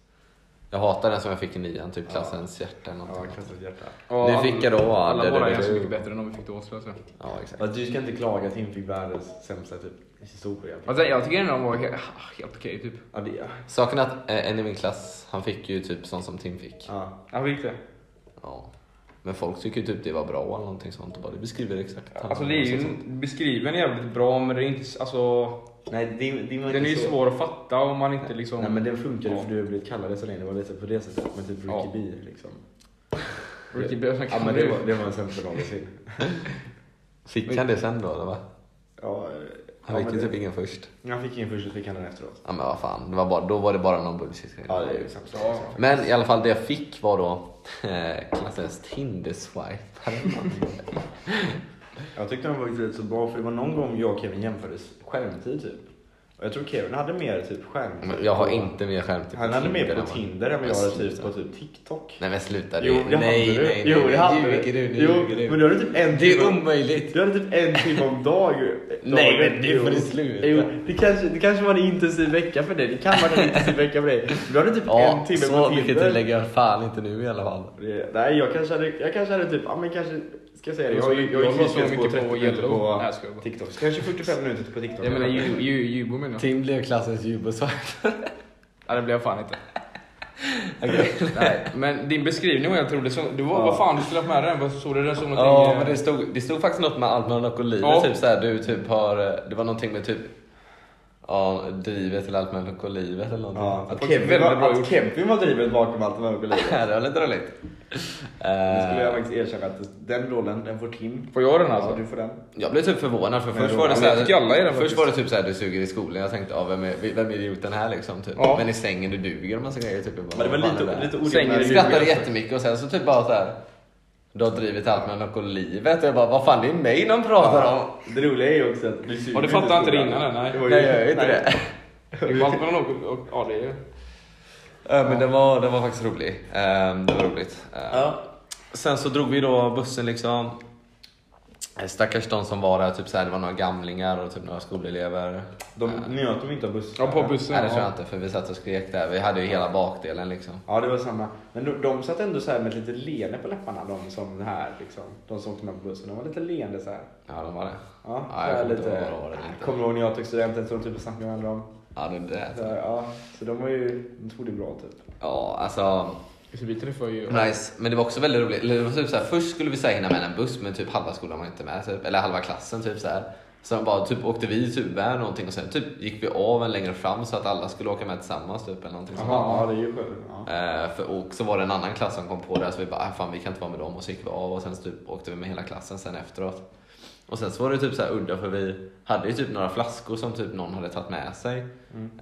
Speaker 2: jag hatar den som jag fick i nian, typ
Speaker 3: Ja.
Speaker 2: klassens hjärta eller
Speaker 3: ja,
Speaker 2: någonting.
Speaker 3: klassens hjärta.
Speaker 1: Ja,
Speaker 2: Ni fick jag då, ja.
Speaker 1: Alla
Speaker 2: Det- det-
Speaker 1: våra
Speaker 2: det-
Speaker 1: är ganska
Speaker 2: det-
Speaker 1: mycket bättre än de vi fick då skulle jag säga.
Speaker 2: Ja, exakt.
Speaker 3: Fast du ska inte klaga att Tim fick världens sämsta typ, historia.
Speaker 1: Alltså, jag tycker ändå de var helt, helt okej typ.
Speaker 3: Ja, det är
Speaker 2: Saken är att eh, en i min klass, han fick ju typ sånt som Tim fick.
Speaker 3: ja.
Speaker 1: Han fick det.
Speaker 2: Ja. Men folk tycker ju typ det var bra eller någonting sånt och bara det beskriver exakt.
Speaker 1: Alltså det är ju beskriven jävligt bra men det är inte, alltså,
Speaker 3: Nej, det, det var
Speaker 1: den är
Speaker 3: inte
Speaker 1: ju
Speaker 3: så.
Speaker 1: svår att fatta om man inte liksom...
Speaker 3: Nej men den funkade
Speaker 1: Ja.
Speaker 3: för du har blivit kallad det så länge, det var lite på det sättet. Men typ Ricky
Speaker 1: Ja.
Speaker 3: B liksom.
Speaker 1: Ricky Björn kan
Speaker 3: Ja men det var, det var den sämsta någonsin.
Speaker 2: Fick han det sen då eller va?
Speaker 3: Ja, eh,
Speaker 2: Han
Speaker 3: ja,
Speaker 2: fick
Speaker 3: men
Speaker 2: ju typ
Speaker 3: det-
Speaker 2: ingen först.
Speaker 3: Han fick ingen först, så fick han den efteråt.
Speaker 2: Ja men vad fan, det var bara, då var det bara någon bullshit grej.
Speaker 3: Ja det är ju sämsta.
Speaker 1: Ja.
Speaker 2: Men i alla fall det jag fick var då eh, klassens Tinder-swipe.
Speaker 3: Jag tyckte den var faktiskt rätt så bra för det var någon gång jag och Kevin jämfördes skärmtid typ. Och jag tror Kevin hade mer typ skärmtid.
Speaker 2: Men jag har inte mer skärmtid på
Speaker 3: Han hade mer
Speaker 2: än
Speaker 3: på
Speaker 2: vad-
Speaker 3: Tinder än vad jag
Speaker 2: Men
Speaker 3: hade typ
Speaker 2: sluta.
Speaker 3: på typ TikTok.
Speaker 2: Nej men sluta du.
Speaker 3: Jo det
Speaker 2: nej, nej,
Speaker 3: hade du.
Speaker 2: nej,
Speaker 3: jo det
Speaker 2: nej,
Speaker 3: hade
Speaker 2: nu
Speaker 3: du.
Speaker 2: ljuger du. Nu
Speaker 3: jo,
Speaker 2: ljuger du.
Speaker 3: Men du hade typ en
Speaker 2: Det är
Speaker 3: timme-
Speaker 2: omöjligt.
Speaker 3: Du hade typ en timme om dag. dagen.
Speaker 2: Nej, men nu
Speaker 3: Jo.
Speaker 2: får du sluta.
Speaker 3: Jo, det, kanske, det kanske var en intensiv vecka för dig. Det kan vara en intensiv vecka för dig. Du hade typ
Speaker 2: Ja,
Speaker 3: en timme
Speaker 2: så
Speaker 3: på
Speaker 2: mycket tillägg
Speaker 3: Tinder.
Speaker 2: lägger jag fan inte nu i alla fall.
Speaker 3: Det- Nej, jag kanske hade, jag kanske hade typ, ja men kanske, ska jag säga det?
Speaker 1: Jag
Speaker 3: gick-
Speaker 1: jag
Speaker 3: gick
Speaker 1: var så
Speaker 3: hittills
Speaker 1: mycket på
Speaker 3: 30 minuter
Speaker 1: Yellow.
Speaker 3: på
Speaker 1: Nej, jag skojar bara.
Speaker 3: TikTok. Så Kanske 45 minuter på TikTok.
Speaker 1: Jag menar Ju- Ju- Jubo menar jag.
Speaker 2: Tim blev klassens jubelswipe.
Speaker 1: Ja det blev jag fan inte.
Speaker 2: Okej.
Speaker 1: Nej, men din beskrivning var helt rolig. Så- Det var, vad fan du skulle haft med dig den? Vad såg du den som någonting?
Speaker 2: Ja,
Speaker 1: eh,
Speaker 2: men det stod, det stod faktiskt något med almanacka och livet.
Speaker 1: Ja.
Speaker 2: Typ såhär, du typ har, eh, det var någonting med typ Ja, drivet till almanacka och livet eller någonting.
Speaker 3: Ja, att
Speaker 1: Faktiskt
Speaker 3: Kevin,
Speaker 1: väldigt
Speaker 3: var,
Speaker 1: bra gjort. Eh.
Speaker 3: att Kevin var drivet bakom allt vad jag ville.
Speaker 2: det var lite roligt.
Speaker 3: Nu skulle jag
Speaker 2: Eh,
Speaker 3: faktiskt erkänna att den rollen, den får Tim.
Speaker 1: Får jag den alltså?
Speaker 3: Ja, du får den.
Speaker 2: jag blev typ förvånad för
Speaker 3: Men
Speaker 2: först
Speaker 3: då-
Speaker 2: var det
Speaker 1: men
Speaker 2: såhär,
Speaker 1: jag tycker alla är det
Speaker 2: först
Speaker 1: faktiskt.
Speaker 2: var det typ såhär du suger i skolan. Jag tänkte, ja vem är, vem är idioten här liksom? Typ.
Speaker 1: Ja.
Speaker 2: Men i sängen du duger och massa grejer. Typ. Jag bara,
Speaker 3: Men det var
Speaker 2: vad fan är
Speaker 3: lite,
Speaker 2: här?
Speaker 3: lite
Speaker 1: Sängen
Speaker 2: Jag
Speaker 1: i
Speaker 3: orimligt.
Speaker 1: huvudet.
Speaker 2: skrattade jättemycket och sen så typ bara såhär, du har drivit almanacka och livet. Och jag bara, vad fan det är mig de pratar om.
Speaker 3: Det roliga är ju också att du suger
Speaker 1: Ja, du fattar inte det
Speaker 3: skolan.
Speaker 1: innan än, nej.
Speaker 3: var ju-
Speaker 2: Nej, jag gör inte
Speaker 3: nej.
Speaker 2: det.
Speaker 1: Det var allt mellan och, och, ja, det är ju.
Speaker 2: Eh, Men den var, den var faktiskt rolig. Eh, Det var roligt. Eh, Sen så drog vi då bussen liksom. Eh, Stackars de som var där, typ så här, det var några gamlingar och typ några skolelever.
Speaker 3: De
Speaker 2: Eh,
Speaker 3: njöt de inte av bussen?
Speaker 1: Ja, på bussen.
Speaker 2: Nej det tror jag
Speaker 1: Ja.
Speaker 2: inte för vi satt och skrek där. Vi hade ju hela bakdelen liksom.
Speaker 3: Ja, det var samma. Men de, de satt ändå så här med lite leende på läpparna, de som det här liksom. De som åkte med på bussen. De var lite leende så här.
Speaker 2: Ja de var det.
Speaker 3: Ja,
Speaker 2: Ja, jag
Speaker 3: så här
Speaker 2: kommer inte
Speaker 3: lite.
Speaker 2: ihåg vad det var det inte.
Speaker 3: Kommer du ihåg när jag tog studenten så de typ snackade med varandra om?
Speaker 2: Ja det
Speaker 3: Så,
Speaker 2: där.
Speaker 3: här, ja, så de var ju, de tog det bra typ.
Speaker 2: Ja alltså.
Speaker 1: Så vi träffar ju...
Speaker 2: Nice. Men det var också väldigt roligt. Eller det var typ så här, först skulle vi säga hinna med en buss men typ halva skolan var inte med. Typ. Eller halva klassen typ så här. Sen bara typ åkte vi typ med någonting och sen typ gick vi av en längre fram så att alla skulle åka med tillsammans typ eller någonting sånt.
Speaker 3: Jaha, ja det är ju skönt. Ja.
Speaker 2: Eh, för, och så var det en annan klass som kom på det så vi bara, "Ah, fan vi kan inte vara med dem och så gick vi av och sen typ, åkte vi med hela klassen sen efteråt. Och sen så var det typ så här udda för vi hade ju typ några flaskor som typ någon hade tagit med sig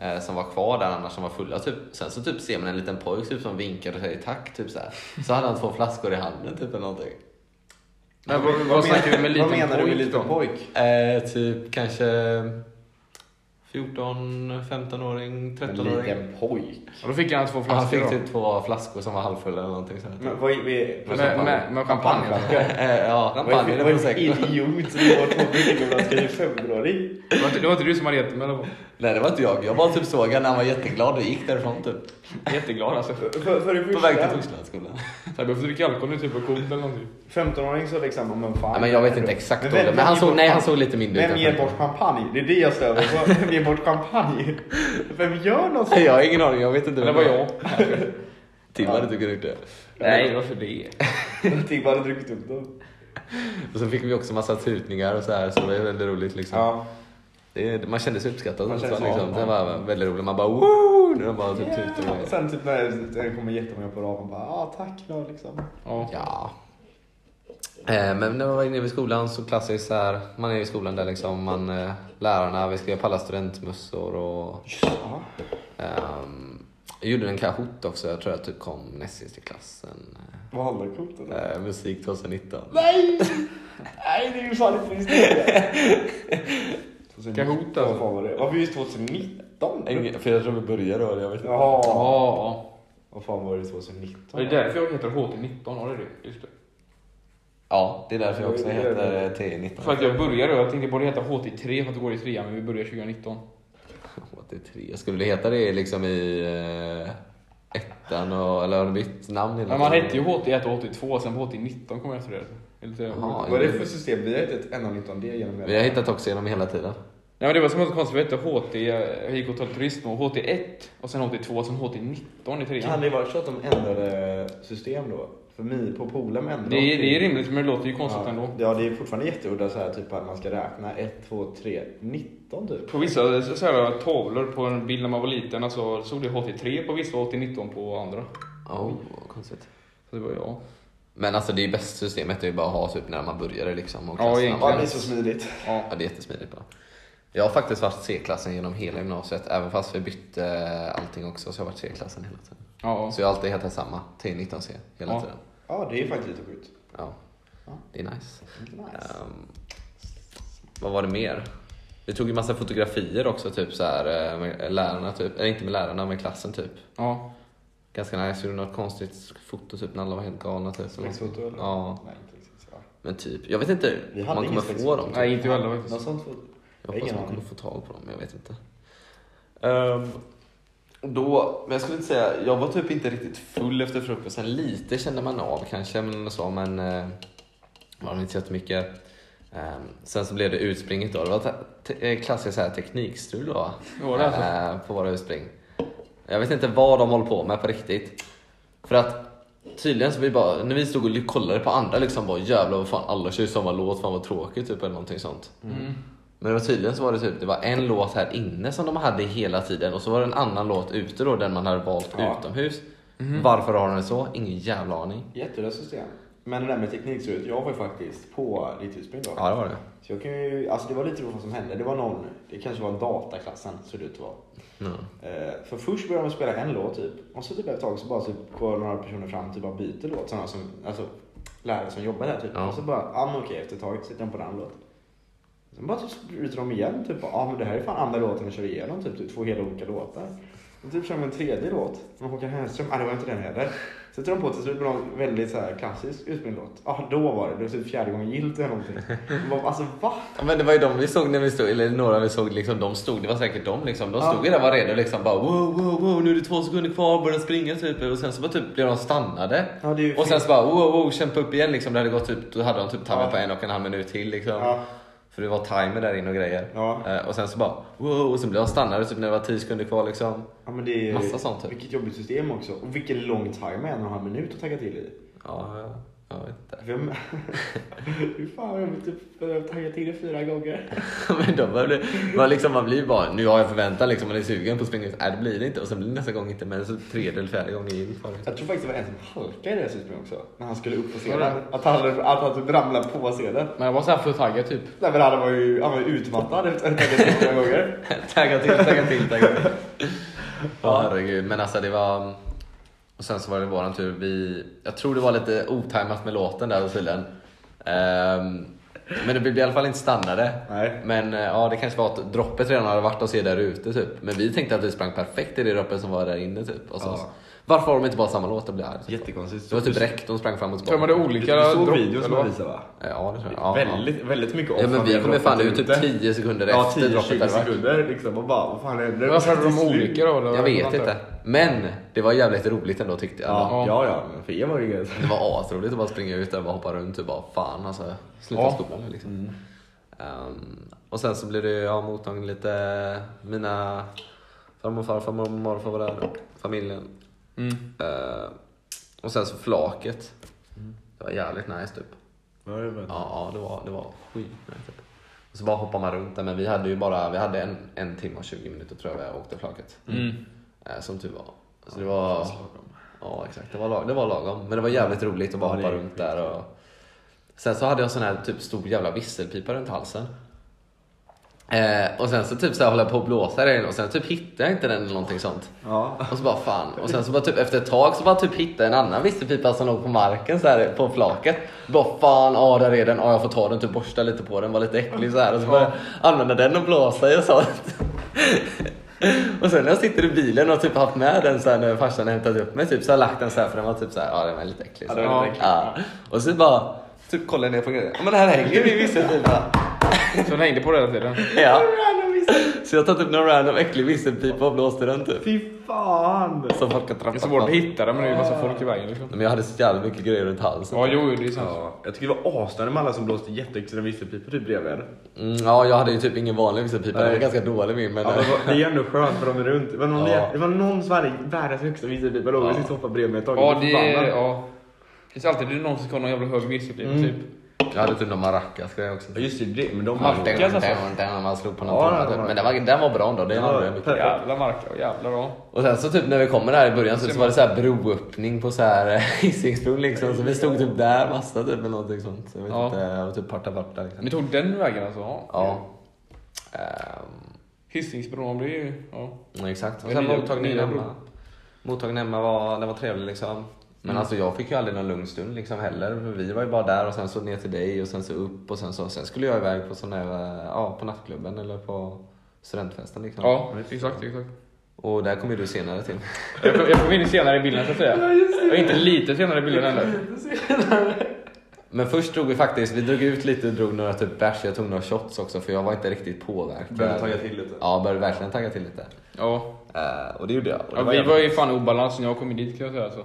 Speaker 2: eh, som var kvar där annars som var fulla typ. Sen så typ ser man en liten pojk typ som vinkade och säger tack typ så här. Så hade han två flaskor i handen typ eller någonting.
Speaker 1: Men vad, vad snackar vi med liten
Speaker 3: Vad menar du med liten
Speaker 1: pojk?
Speaker 3: pojk?
Speaker 2: Eh, typ kanske 14, 15-åring, 13-åring.
Speaker 3: pojk?
Speaker 1: då fick han två
Speaker 2: Han
Speaker 1: flaskor
Speaker 2: fick
Speaker 1: då.
Speaker 2: typ två flaskor som var halvfulla eller någonting sånt.
Speaker 3: Men vad är, vad är,
Speaker 1: Med, med, med champagne?
Speaker 2: Eh, ja,
Speaker 3: Vad
Speaker 2: champagne
Speaker 3: är
Speaker 2: eller
Speaker 3: vad är
Speaker 2: prosecco.
Speaker 3: idiot som har två bröllopsflaskor i februari?
Speaker 1: Det var inte- det var inte du som hade gett dem i alla fall.
Speaker 2: Nej det var inte jag, jag bara typ såg honom när han var jätteglad och gick därifrån typ.
Speaker 1: Jätteglad alltså.
Speaker 3: För, för det
Speaker 2: På väg till
Speaker 3: första,
Speaker 2: Torslandsskolan.
Speaker 1: Så jag behövde dricka alkohol nu typ på Coop eller någonting.
Speaker 3: 15-åring så liksom, men fan.
Speaker 2: Nej men jag vet inte exakt
Speaker 3: Men
Speaker 2: men,
Speaker 3: vem-
Speaker 2: men
Speaker 3: vem
Speaker 2: han
Speaker 3: ger
Speaker 2: såg,
Speaker 3: bort
Speaker 2: nej han
Speaker 3: champagne?
Speaker 2: såg lite mindre ut.
Speaker 3: Vem
Speaker 2: än
Speaker 3: ger
Speaker 2: femton.
Speaker 3: bort champagne? Det är det jag stör mig på. Vem ger bort champagne? Vem gör något sånt?
Speaker 2: Nej, jag har ingen aning, jag vet inte.
Speaker 1: Eller
Speaker 2: vem
Speaker 1: var
Speaker 2: det
Speaker 1: jag?
Speaker 2: Tim hade tyckt gjort det.
Speaker 1: Nej, varför det?
Speaker 3: Tibba Typ, hade druckit upp dem.
Speaker 2: Och så fick vi också massa tutningar och så här så det var väldigt roligt liksom.
Speaker 3: Ja.
Speaker 2: Det, man kände sig uppskattad.
Speaker 3: Man
Speaker 2: så,
Speaker 3: kände sig
Speaker 2: liksom.
Speaker 3: van.
Speaker 2: Det var väldigt roligt, man bara woo! När de bara typ
Speaker 3: Yeah.
Speaker 2: tutar och grejer.
Speaker 3: Sen typ när den kommer jättemånga på raden bara ah, tack då liksom.
Speaker 1: Ja.
Speaker 2: Ja. Eh, Men när man var inne vid skolan så klassiskt så här, man är i skolan där liksom, man, eh, lärarna, vi skrev på alla studentmössor och
Speaker 3: Ja.
Speaker 2: Ehm, jag gjorde en kahoot också, jag tror jag typ kom näst sist i klassen.
Speaker 3: Vad handlar coolt om?
Speaker 2: Eh, musik 2019.
Speaker 3: Nej! Nej det är ju fan inte riktigt.
Speaker 1: Kahoot, alltså.
Speaker 3: Vad fan var det? Varför just 2019?
Speaker 2: Eng- För jag tror vi började då, jag vet inte.
Speaker 3: Jaha.
Speaker 1: Ja.
Speaker 3: Vad fan var det
Speaker 1: Och det
Speaker 3: 2019?
Speaker 1: är därför jag heter HT19, var det det? Just det.
Speaker 2: Ja, det är därför jag också
Speaker 3: Ja, det är det.
Speaker 2: heter eh,
Speaker 1: För
Speaker 2: T19.
Speaker 1: att jag börjar då, jag tänkte borde heta HT3 för att det går i trean, men vi börjar 2019.
Speaker 2: HT3. Skulle det heta det liksom i eh, ettan och, eller har du bytt namn hela
Speaker 1: Men man
Speaker 2: tiden?
Speaker 1: hette ju HT1 och HT2, sen på HT19 kom jag efter det. Det är Lite
Speaker 2: Jaha.
Speaker 1: roligt.
Speaker 3: Vad är det för system? Vi har inte ett enda nytt om det genom
Speaker 2: Vi har hittat också genom hela tiden.
Speaker 1: Nej men det var som något konstigt, jag hette HT, jag gick åt håll turism och HT1 och sen HT2 och sen HT19 i
Speaker 3: Kan
Speaker 1: trean.
Speaker 3: det vara så att de ändrade system då? För mig på Polhem ändrade
Speaker 1: Det är, det är rimligt men det låter ju konstigt
Speaker 3: ja.
Speaker 1: ändå.
Speaker 3: Ja, det är fortfarande jätteudda så här typ att man ska räkna 1, 2, 3, 19 typ.
Speaker 1: På vissa så här, tavlor på en bild när man var liten alltså, såg det HT3 på vissa och HT19 på andra.
Speaker 2: Oh, vad konstigt.
Speaker 1: Så det var jag.
Speaker 2: Men alltså det är ju bästa systemet är ju bara att ha typ när man började liksom. Och
Speaker 1: Ja,
Speaker 2: klassnamn.
Speaker 1: egentligen.
Speaker 3: Ja, det är så smidigt.
Speaker 1: Ja.
Speaker 2: Ja, det är jättesmidigt bara. Jag har faktiskt varit C-klassen genom hela gymnasiet, även fast vi bytte eh, allting också, så jag har varit C-klassen hela tiden.
Speaker 1: ja.
Speaker 2: Så jag har alltid hetat samma, T19C, hela
Speaker 1: Ja.
Speaker 2: tiden.
Speaker 3: Ja, det är faktiskt lite sjukt.
Speaker 2: Ja.
Speaker 3: Ja.
Speaker 2: Det är nice.
Speaker 3: Nice.
Speaker 2: Ehm, vad var det mer? Vi tog ju massa fotografier också, typ så här, eh, med lärarna, typ. eller inte med lärarna, med klassen typ.
Speaker 1: ja.
Speaker 2: Ganska nice, gjorde något konstigt foto typ när alla var helt galna typ.
Speaker 3: Släktsfoto eller?
Speaker 2: Ja,
Speaker 3: Nej, inte riktigt. Ja.
Speaker 2: men typ. Jag vet inte
Speaker 3: Vi
Speaker 2: om
Speaker 3: hade
Speaker 2: man
Speaker 3: ingen
Speaker 2: kommer
Speaker 3: släktsfoto.
Speaker 2: få dem. typ.
Speaker 1: Nej, inte jag heller faktiskt.
Speaker 3: Något sånt foto?
Speaker 2: Jag
Speaker 3: Jag har
Speaker 2: hoppas
Speaker 3: ingen
Speaker 2: man kommer
Speaker 3: aning.
Speaker 2: få tag på dem, jag vet inte. Ehm, då, men jag skulle inte säga, jag var typ inte riktigt full efter frukosten. Lite kände man av kanske, men så, men eh, var det inte jättemycket. Ehm, sen så blev det utspringet då. Det var te- te- eh, klassiskt så här teknikstrul då.
Speaker 1: Det var det alltså.
Speaker 2: eh, på våra utspring. Jag vet inte vad de håller på med på riktigt. För att tydligen så vi bara, när vi stod och kollade på andra liksom bara jävlar vad fan alla kör ju samma låt, fan vad tråkigt typ eller någonting sånt.
Speaker 1: Mm.
Speaker 2: Men det var tydligen så var det typ, det var en låt här inne som de hade hela tiden och så var det en annan låt ute då, den man hade valt
Speaker 3: Ja.
Speaker 2: utomhus. Varför har de det så? Ingen jävla aning.
Speaker 3: Jättebra system. Men det där med teknikstrut, jag var ju faktiskt på ditt utspring då.
Speaker 2: Ja, det var det.
Speaker 3: Så jag kan ju, alltså det var lite roligt vad som hände. Det var någon, det kanske var dataklassen såg det ut att vara.
Speaker 2: Ja.
Speaker 3: Eh, För först började de spela en låt typ. Och så typ efter ett tag så bara typ går några personer fram typ bara byter låt. Sådana som, alltså lärare som jobbar där typ.
Speaker 2: Ja.
Speaker 3: Och så bara, ja ah, men okej efter ett tag sitter de på den andra låten. Sen bara typ byter de igen typ. Ja ah, men det här är fan andra låten vi kör igenom typ. typ två helt olika låtar. Och typ kör de en tredje låt. Men Håkan Hellström, ah det var inte den heller. Sätter de på till slut på någon väldigt så här klassisk utbildningslåt. Ja, ah, då var det. Det var typ fjärde gången gillt eller någonting. Man bara, alltså va?
Speaker 2: Ja, men det var ju de vi såg när vi stod, eller några vi såg, liksom, de stod, det var säkert de liksom. De stod ju där och var redo liksom bara wow, wow, wow, nu är det två sekunder kvar, börja springa typ. Och sen så bara typ blev de stannade.
Speaker 3: Ja, det är ju
Speaker 2: och sen
Speaker 3: fel.
Speaker 2: så bara wow, wow, kämpa upp igen liksom. Det hade gått typ, då hade de typ timer på en och en halv minut till liksom.
Speaker 3: Ja.
Speaker 2: För det var timer där inne och grejer.
Speaker 3: Ja.
Speaker 2: Eh, och sen så bara wow, och sen blev de stannade typ när det var tio sekunder kvar liksom.
Speaker 3: Ja, men det är,
Speaker 2: Massa sånt, typ.
Speaker 3: Vilket jobbigt system också. Och vilken lång timer, en och en halv minut att tagga till i.
Speaker 2: Ja, ja, jag vet inte.
Speaker 3: Vem... Hur fan har de typ behövt tagga till det fyra gånger?
Speaker 2: men de var, man, liksom, man blir bara, nu har jag förväntan liksom, man är sugen på att springa ut. Nej, det blir det inte. Och sen blir det nästa gång inte, men så tredje eller fjärde gången gick det.
Speaker 3: Jag tror faktiskt det var en som halkade i deras utbildning också. När han skulle upp på scenen. Att han, att han typ ramlade på scenen.
Speaker 1: Men jag var såhär för taggad typ.
Speaker 3: Nej men han var ju, han var ju utmattad efter att ha taggat till fyra gånger.
Speaker 2: Tagga till, tagga till, tagga till. Ja, herregud. Men alltså det var... Och sen så var det våran tur. Vi... Jag tror det var lite otajmat med låten där tydligen. Ehm, men det blev i alla fall inte stannade.
Speaker 3: Nej.
Speaker 2: Men eh, ja, det kanske var att droppet redan hade varit och se där ute typ. Men vi tänkte att vi sprang perfekt i det droppet som var där inne typ. Och så,
Speaker 3: Ja.
Speaker 2: Varför har de inte bara samma låt? Jag blir arg. typ.
Speaker 3: Jättekonstigt.
Speaker 2: Det var typ räck, de sprang fram och
Speaker 1: För de
Speaker 2: tillbaka.
Speaker 1: hade
Speaker 3: Du, du
Speaker 1: olika
Speaker 3: såg
Speaker 1: dropp,
Speaker 3: videon som
Speaker 1: eller
Speaker 3: de
Speaker 1: vad?
Speaker 3: visade va?
Speaker 2: Eh, Ja, det tror jag. Ja, ja.
Speaker 3: väldigt, väldigt mycket
Speaker 2: Ja,
Speaker 3: off
Speaker 2: men vi kom ju fan ut typ 10 sekunder
Speaker 3: Ja,
Speaker 2: efter
Speaker 3: 10
Speaker 2: droppet.
Speaker 3: 20
Speaker 2: hade varit.
Speaker 3: sekunder liksom och bara vad fan händer?
Speaker 1: Varför hade
Speaker 3: Till
Speaker 1: de
Speaker 3: slut.
Speaker 1: olika då? eller?
Speaker 2: Jag vet inte. Men det var jävligt roligt ändå tyckte jag.
Speaker 3: Ja, ja, ja, men för er var det ju gött.
Speaker 2: Det var asroligt att bara springa ut där och bara hoppa runt och bara fan alltså. Sluta
Speaker 1: Ja.
Speaker 2: skolan nu liksom. Ehm, och sen så blev det ja, mottagning lite. Mina farmor och farfar, mormor och morfar var där. Familjen.
Speaker 1: Mm.
Speaker 2: Ehm, och sen så flaket. Det var jävligt nice typ. Mm. Ja, ja det var, det var skitnice typ. Och så bara hoppade man runt där men vi hade ju bara vi hade en, en timme och 20 minuter tror jag vi åkte flaket.
Speaker 1: Mm.
Speaker 2: Eh, som tur var. Så det var... Ja, exakt. Det var, lag, det var lagom. Men det var jävligt roligt att bara
Speaker 3: Ja, det
Speaker 2: hoppa
Speaker 3: är
Speaker 2: runt där. Och... Sen så hade jag sån här typ stor jävla visselpipa runt halsen. Eh, och sen så typ så här höll jag på att blåsa den och sen typ hittade jag inte den eller någonting sånt.
Speaker 3: Ja.
Speaker 2: Och så bara fan. Och sen så bara typ efter ett tag så bara typ hittade jag en annan visselpipa som låg på marken så här på flaket. Bara fan, ja där är den, ja jag får ta den, typ borsta lite på den, var lite äcklig så här. Och så bara använda den och blåsa i och sånt. Och sen när jag sitter i bilen och typ haft med den så här när farsan hämtade upp mig typ så har jag lagt den så här för den var typ så här, ja den var lite äcklig. Så.
Speaker 3: Ja, den var lite
Speaker 2: Ja. Och så bara typ kollar jag ner på grejen, ja men här hänger min visselpipa.
Speaker 1: Så den hängde på det hela tiden.
Speaker 2: Ja.
Speaker 3: Random visst.
Speaker 2: Så jag har tagit upp någon random äcklig visselpipa och blåst i den typ.
Speaker 3: Fy fan.
Speaker 2: Som folk har
Speaker 1: Det är
Speaker 2: trampat
Speaker 1: svårt
Speaker 2: på.
Speaker 1: att hitta den men det är ju massa folk i vägen liksom.
Speaker 2: Men jag hade så jävla mycket grejer runt halsen.
Speaker 1: Ja, jo, det är sant.
Speaker 3: Ja, jag tycker det var asnödigt med alla som blåste jättehögt med visselpipor typ bredvid en.
Speaker 2: Mm, ja, jag hade ju typ ingen vanlig visselpipa. Den var
Speaker 3: Nej.
Speaker 2: ganska dålig min. Men,
Speaker 3: Ja, men det var- det är ju ändå skönt för de är runt. Det var någon,
Speaker 2: Ja.
Speaker 3: det var någon som hade världens högsta visselpipa låg och
Speaker 2: Ja.
Speaker 3: sitt soffa bredvid mig ett tag.
Speaker 1: Ja,
Speaker 3: Jag
Speaker 1: det
Speaker 3: blev
Speaker 1: är...
Speaker 3: förbannad.
Speaker 1: Ja. Det finns alltid någon som ska ha någon jävla hög visselpipa
Speaker 2: Mm.
Speaker 1: typ.
Speaker 2: Jag hade typ någon maracasgrej också.
Speaker 3: Ja, just det, det. Men de
Speaker 1: Ja,
Speaker 3: var
Speaker 1: det- Maracas alltså?
Speaker 2: Den man slog på någon
Speaker 3: Ja,
Speaker 2: trumma
Speaker 3: den var-
Speaker 2: typ. Men den var, den var bra ändå. Det
Speaker 3: Ja,
Speaker 2: hade jag mycket.
Speaker 3: perfekt.
Speaker 1: Jävla marka och jävlar ja.
Speaker 2: Och sen så typ när vi kommer där i början så, så var det så här broöppning på så här Hisingsbron liksom. Så vi stod typ där massa typ eller någonting sånt. Så jag vet
Speaker 1: Ja.
Speaker 2: inte. Jag var typ parta parta liksom.
Speaker 1: Ni tog den vägen alltså? Ja.
Speaker 2: Ja. Ehm,
Speaker 1: Hisingsbron, det är ju... Ja.
Speaker 2: Ja, exakt. Och
Speaker 1: Men
Speaker 2: sen
Speaker 1: nya-
Speaker 2: mottagningen
Speaker 1: nya
Speaker 2: hemma.
Speaker 1: bro.
Speaker 2: Mottagningen hemma var, den var trevlig liksom. Men
Speaker 3: Mm.
Speaker 2: alltså jag fick ju aldrig någon lugn stund liksom heller. För vi var ju bara där och sen så ner till dig och sen så upp och sen så sen skulle jag iväg på sån där, eh, ja på nattklubben eller på studentfesten liksom.
Speaker 1: Ja, exakt, exakt.
Speaker 2: Och där kom ju du senare till.
Speaker 1: Jag kom, jag kom in senare i bilden så att säga. Jag är inte lite senare i bilden heller.
Speaker 2: Men först drog vi faktiskt, vi drog ut lite och drog några typ bärs. Jag tog några shots också för jag var inte riktigt påverkad.
Speaker 3: Började tagga till lite.
Speaker 2: Ja, började verkligen tagga till lite.
Speaker 1: Ja.
Speaker 2: Eh, och det gjorde jag. Och det
Speaker 1: ja vi
Speaker 2: jävligt-
Speaker 1: var ju fan i obalans när jag kom in dit kan jag säga. Så.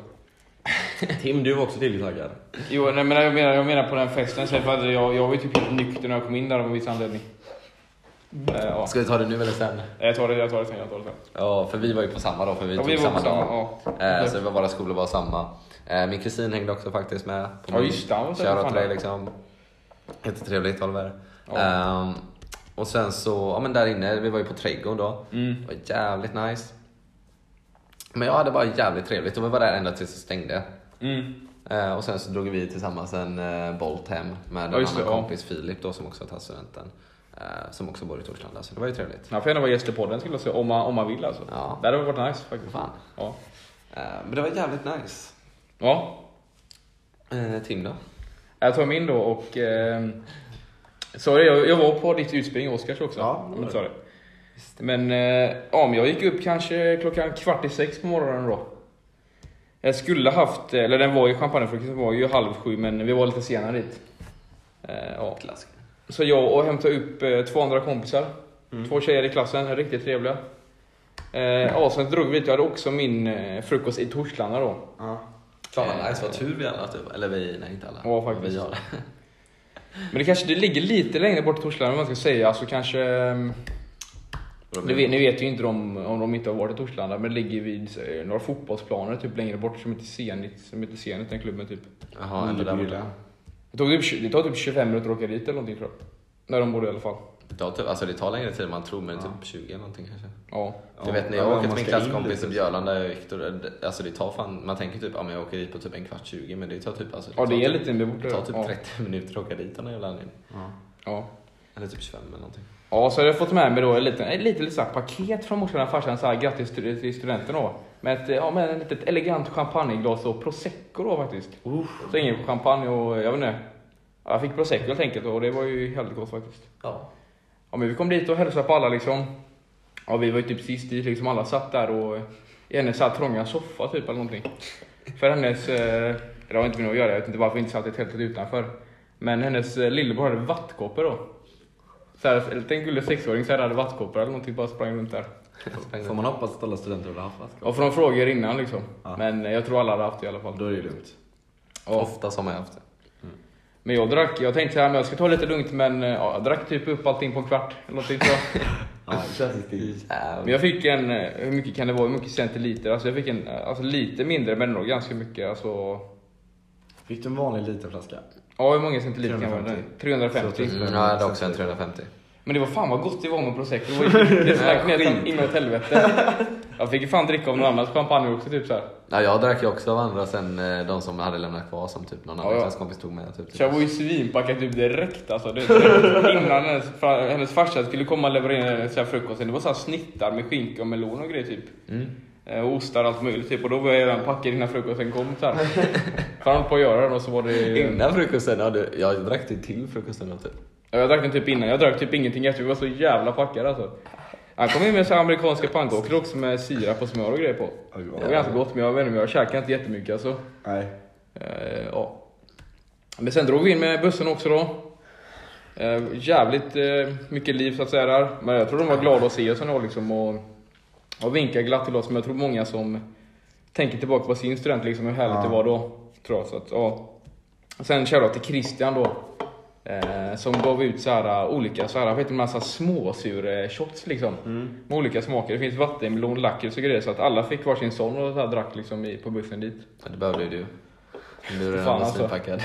Speaker 3: Tim, du var också tilltaggad.
Speaker 1: Jo, nej, men jag menar, jag menar på den festen. Så för att jag, jag var ju typ helt nykter när jag kom in där av en viss anledning. Eh, ja. Eh,
Speaker 2: Ska vi ta det nu eller sen?
Speaker 1: Jag tar det, jag tar det sen. Jag tar det sen.
Speaker 2: Ja, för vi var ju på samma dag för vi
Speaker 1: Ja,
Speaker 2: tog
Speaker 1: vi var
Speaker 2: samma
Speaker 1: på samma,
Speaker 2: dag.
Speaker 1: ja. Mm.
Speaker 2: Eh, så det var våra skolor var samma. Eh, min kusin hängde också faktiskt med. På
Speaker 1: Ja,
Speaker 2: min-
Speaker 1: just det, han var så
Speaker 2: Shoutout
Speaker 1: fan
Speaker 2: till dig
Speaker 1: där.
Speaker 2: liksom. Jättetrevligt Oliver.
Speaker 1: Ja.
Speaker 2: Ehm, och sen så, ja men där inne, vi var ju på trädgården
Speaker 1: Mm.
Speaker 2: då. Det var jävligt nice. Men jag hade bara jävligt trevligt och vi var där ända tills det stängde.
Speaker 1: Mm.
Speaker 2: Eh, och sen så drog vi tillsammans en eh, Bolt hem med en
Speaker 1: Ja, just
Speaker 2: annan
Speaker 1: det, ja.
Speaker 2: kompis, Filip då, som också har tagit studenten. Eh, som också bor i Torslanda, så det var ju trevligt.
Speaker 1: Han får gärna vara gäst i podden skulle jag säga, om man, om man vill alltså.
Speaker 2: Ja.
Speaker 1: Det hade varit nice faktiskt.
Speaker 2: Fan.
Speaker 1: Ja.
Speaker 2: Eh, men det var jävligt nice.
Speaker 1: ja.
Speaker 2: Eh, Tim då?
Speaker 1: Jag tar min då och... Eh, sorry, jag, jag var på ditt utspring i Oscars också.
Speaker 3: Ja,
Speaker 1: om jag inte sa det. Men eh, ja, men jag gick upp kanske klockan kvart i sex på morgonen då. Jag skulle haft, eller den var ju champagnefrukosten var ju halv sju men vi var lite sena dit. Eh, ja.
Speaker 2: Klassiker.
Speaker 1: Så jag och hämtade upp eh, två andra kompisar.
Speaker 3: Mm.
Speaker 1: Två tjejer i klassen, riktigt trevliga. Eh, ja, sen drog vi dit. Jag hade också min eh, frukost i Torslanda då.
Speaker 3: Ja.
Speaker 2: Fan
Speaker 1: Eh,
Speaker 2: vad nice, vad tur vi alla typ. Eller vi, nej inte alla.
Speaker 1: Ja, faktiskt.
Speaker 2: Vi gör det.
Speaker 1: Men det kanske det ligger lite längre bort i Torslanda om man ska säga. Alltså kanske... ehm, Ni vet, ni vet ju inte om, om de inte har varit i Torslanda, men det ligger vid eh, några fotbollsplaner typ längre bort som inte Zenit, som inte Zenit den klubben typ.
Speaker 2: Jaha, eller där borta.
Speaker 1: Det tog typ, tj- det tar typ 25 minuter att åka dit eller någonting tror jag. När de bodde i alla fall.
Speaker 2: Det tar, typ, alltså det tar längre tid än man tror, men
Speaker 3: Ja.
Speaker 2: typ 20 eller någonting kanske.
Speaker 1: Ja.
Speaker 2: Du vet när
Speaker 3: Ja, liksom.
Speaker 2: jag åker
Speaker 3: om
Speaker 2: till
Speaker 3: man
Speaker 2: min
Speaker 3: ska in
Speaker 2: klasskompis i
Speaker 3: lite.
Speaker 2: Björland där jag och Viktor, det- alltså det tar fan, man tänker typ att jag åker dit på typ en kvart 20 men det tar typ alltså,
Speaker 1: Ja,
Speaker 2: tar
Speaker 1: det är
Speaker 2: typ-
Speaker 1: lite mer borta.
Speaker 2: det tar typ
Speaker 1: ja.
Speaker 2: 30 minuter att åka dit av någon jävla anledning.
Speaker 3: Ja.
Speaker 1: Ja.
Speaker 2: Eller typ 25 eller någonting.
Speaker 1: ja, så har jag fått med mig då en liten, en liten, liten så här paket från morsan och farsan. Så här, grattis till, till studenten då. Med ett, ja, med ett litet elegant champagneglas och prosecco då faktiskt. Så ingen champagne och jag vet inte. Ja, jag fick prosecco helt enkelt och det var ju helt gott faktiskt.
Speaker 2: Ja.
Speaker 1: Ja, men vi kom dit och hälsade på alla liksom. Ja, vi var ju typ sist dit liksom. Alla satt där och i hennes så här trånga soffa typ eller någonting. För hennes, eh, det har inte med något att göra, jag vet inte varför vi inte satt i tältet utanför. Men hennes eh, lillebror hade vattkoppor då. Så här, en liten gullig sexåring så här hade vattkoppor eller någonting bara sprang runt där.
Speaker 3: Får man hoppas att alla studenter vill ha flaskor?
Speaker 1: Och från frågor innan liksom.
Speaker 3: Ja.
Speaker 1: Men eh, jag tror alla hade haft det i alla fall.
Speaker 3: Då är det lugnt.
Speaker 1: Ja.
Speaker 2: Ofta som jag haft det.
Speaker 1: Men jag drack, jag tänkte så här, men jag ska ta det lite lugnt men eh, ja, jag drack typ upp allting på en kvart. Eller någonting, tror jag.
Speaker 3: Ja,
Speaker 2: Äh,
Speaker 1: Men jag fick en, eh, hur mycket kan det vara, hur mycket centiliter? Alltså jag fick en, eh, alltså lite mindre men ändå ganska mycket. Alltså,
Speaker 3: Fick du en vanlig liten flaska?
Speaker 1: ja hur många centiliter kan det vara?
Speaker 3: 350.
Speaker 1: 350.
Speaker 3: Så-
Speaker 2: Mm, jag hade också en 350.
Speaker 1: Men det var fan vad gott det var med prosecco. Det var ju- Det stack ner inåt helvete. Jag fick ju fan dricka av någon annans champagne också typ såhär.
Speaker 2: Ja, jag drack ju också av andra sen eh, de som hade lämnat kvar som typ någon annan
Speaker 1: Ja, ja.
Speaker 2: klasskompis tog med. Typ,
Speaker 1: Så jag var ju svinpackad typ direkt alltså. Det, det, innan hennes, fra- hennes farsa skulle komma och leverera så här frukosten. Det var såhär snittar med skinka och melon och grejer typ.
Speaker 2: Mm.
Speaker 1: Eh, Och ostar och allt möjligt typ. Och då var jag redan packad innan frukosten kom såhär. För han höll på att göra den och så var det...
Speaker 2: Innan frukosten, ja, du, jag drack det till frukosten. Typ.
Speaker 1: Ja, Jag drack den typ innan, jag drack typ ingenting efter, vi var så jävla packade alltså. Han kom in med så här amerikanska pannkakor också med sirap och smör och grejer på.
Speaker 3: Oj,
Speaker 1: Det
Speaker 3: vad-
Speaker 1: var ganska gott men jag vet inte, men jag käkade inte jättemycket alltså.
Speaker 3: Nej.
Speaker 1: Eh, ja. Men sen drog vi in med bussen också då. Eh, jävligt eh, mycket liv så att säga där. Men jag tror de var glada att se oss ändå liksom och, och vinkade glatt till oss. Men jag tror många som tänker tillbaka på sin student liksom hur härligt
Speaker 3: Ja.
Speaker 1: det var då. Tror jag, så att, ja. Sen shoutout till Christian då. Eh, som gav ut så här, eh, olika så här, vet du, massa småsur eh, shots liksom.
Speaker 3: Mm.
Speaker 1: Med olika smaker. Det finns vattenmelon, lakrits och grejer. Så att alla fick varsin sån och så här, drack liksom i, på bussen dit.
Speaker 2: Ja, det behövde ju du. Du
Speaker 1: Fan,
Speaker 2: är redan
Speaker 1: alltså.
Speaker 2: svinpackad.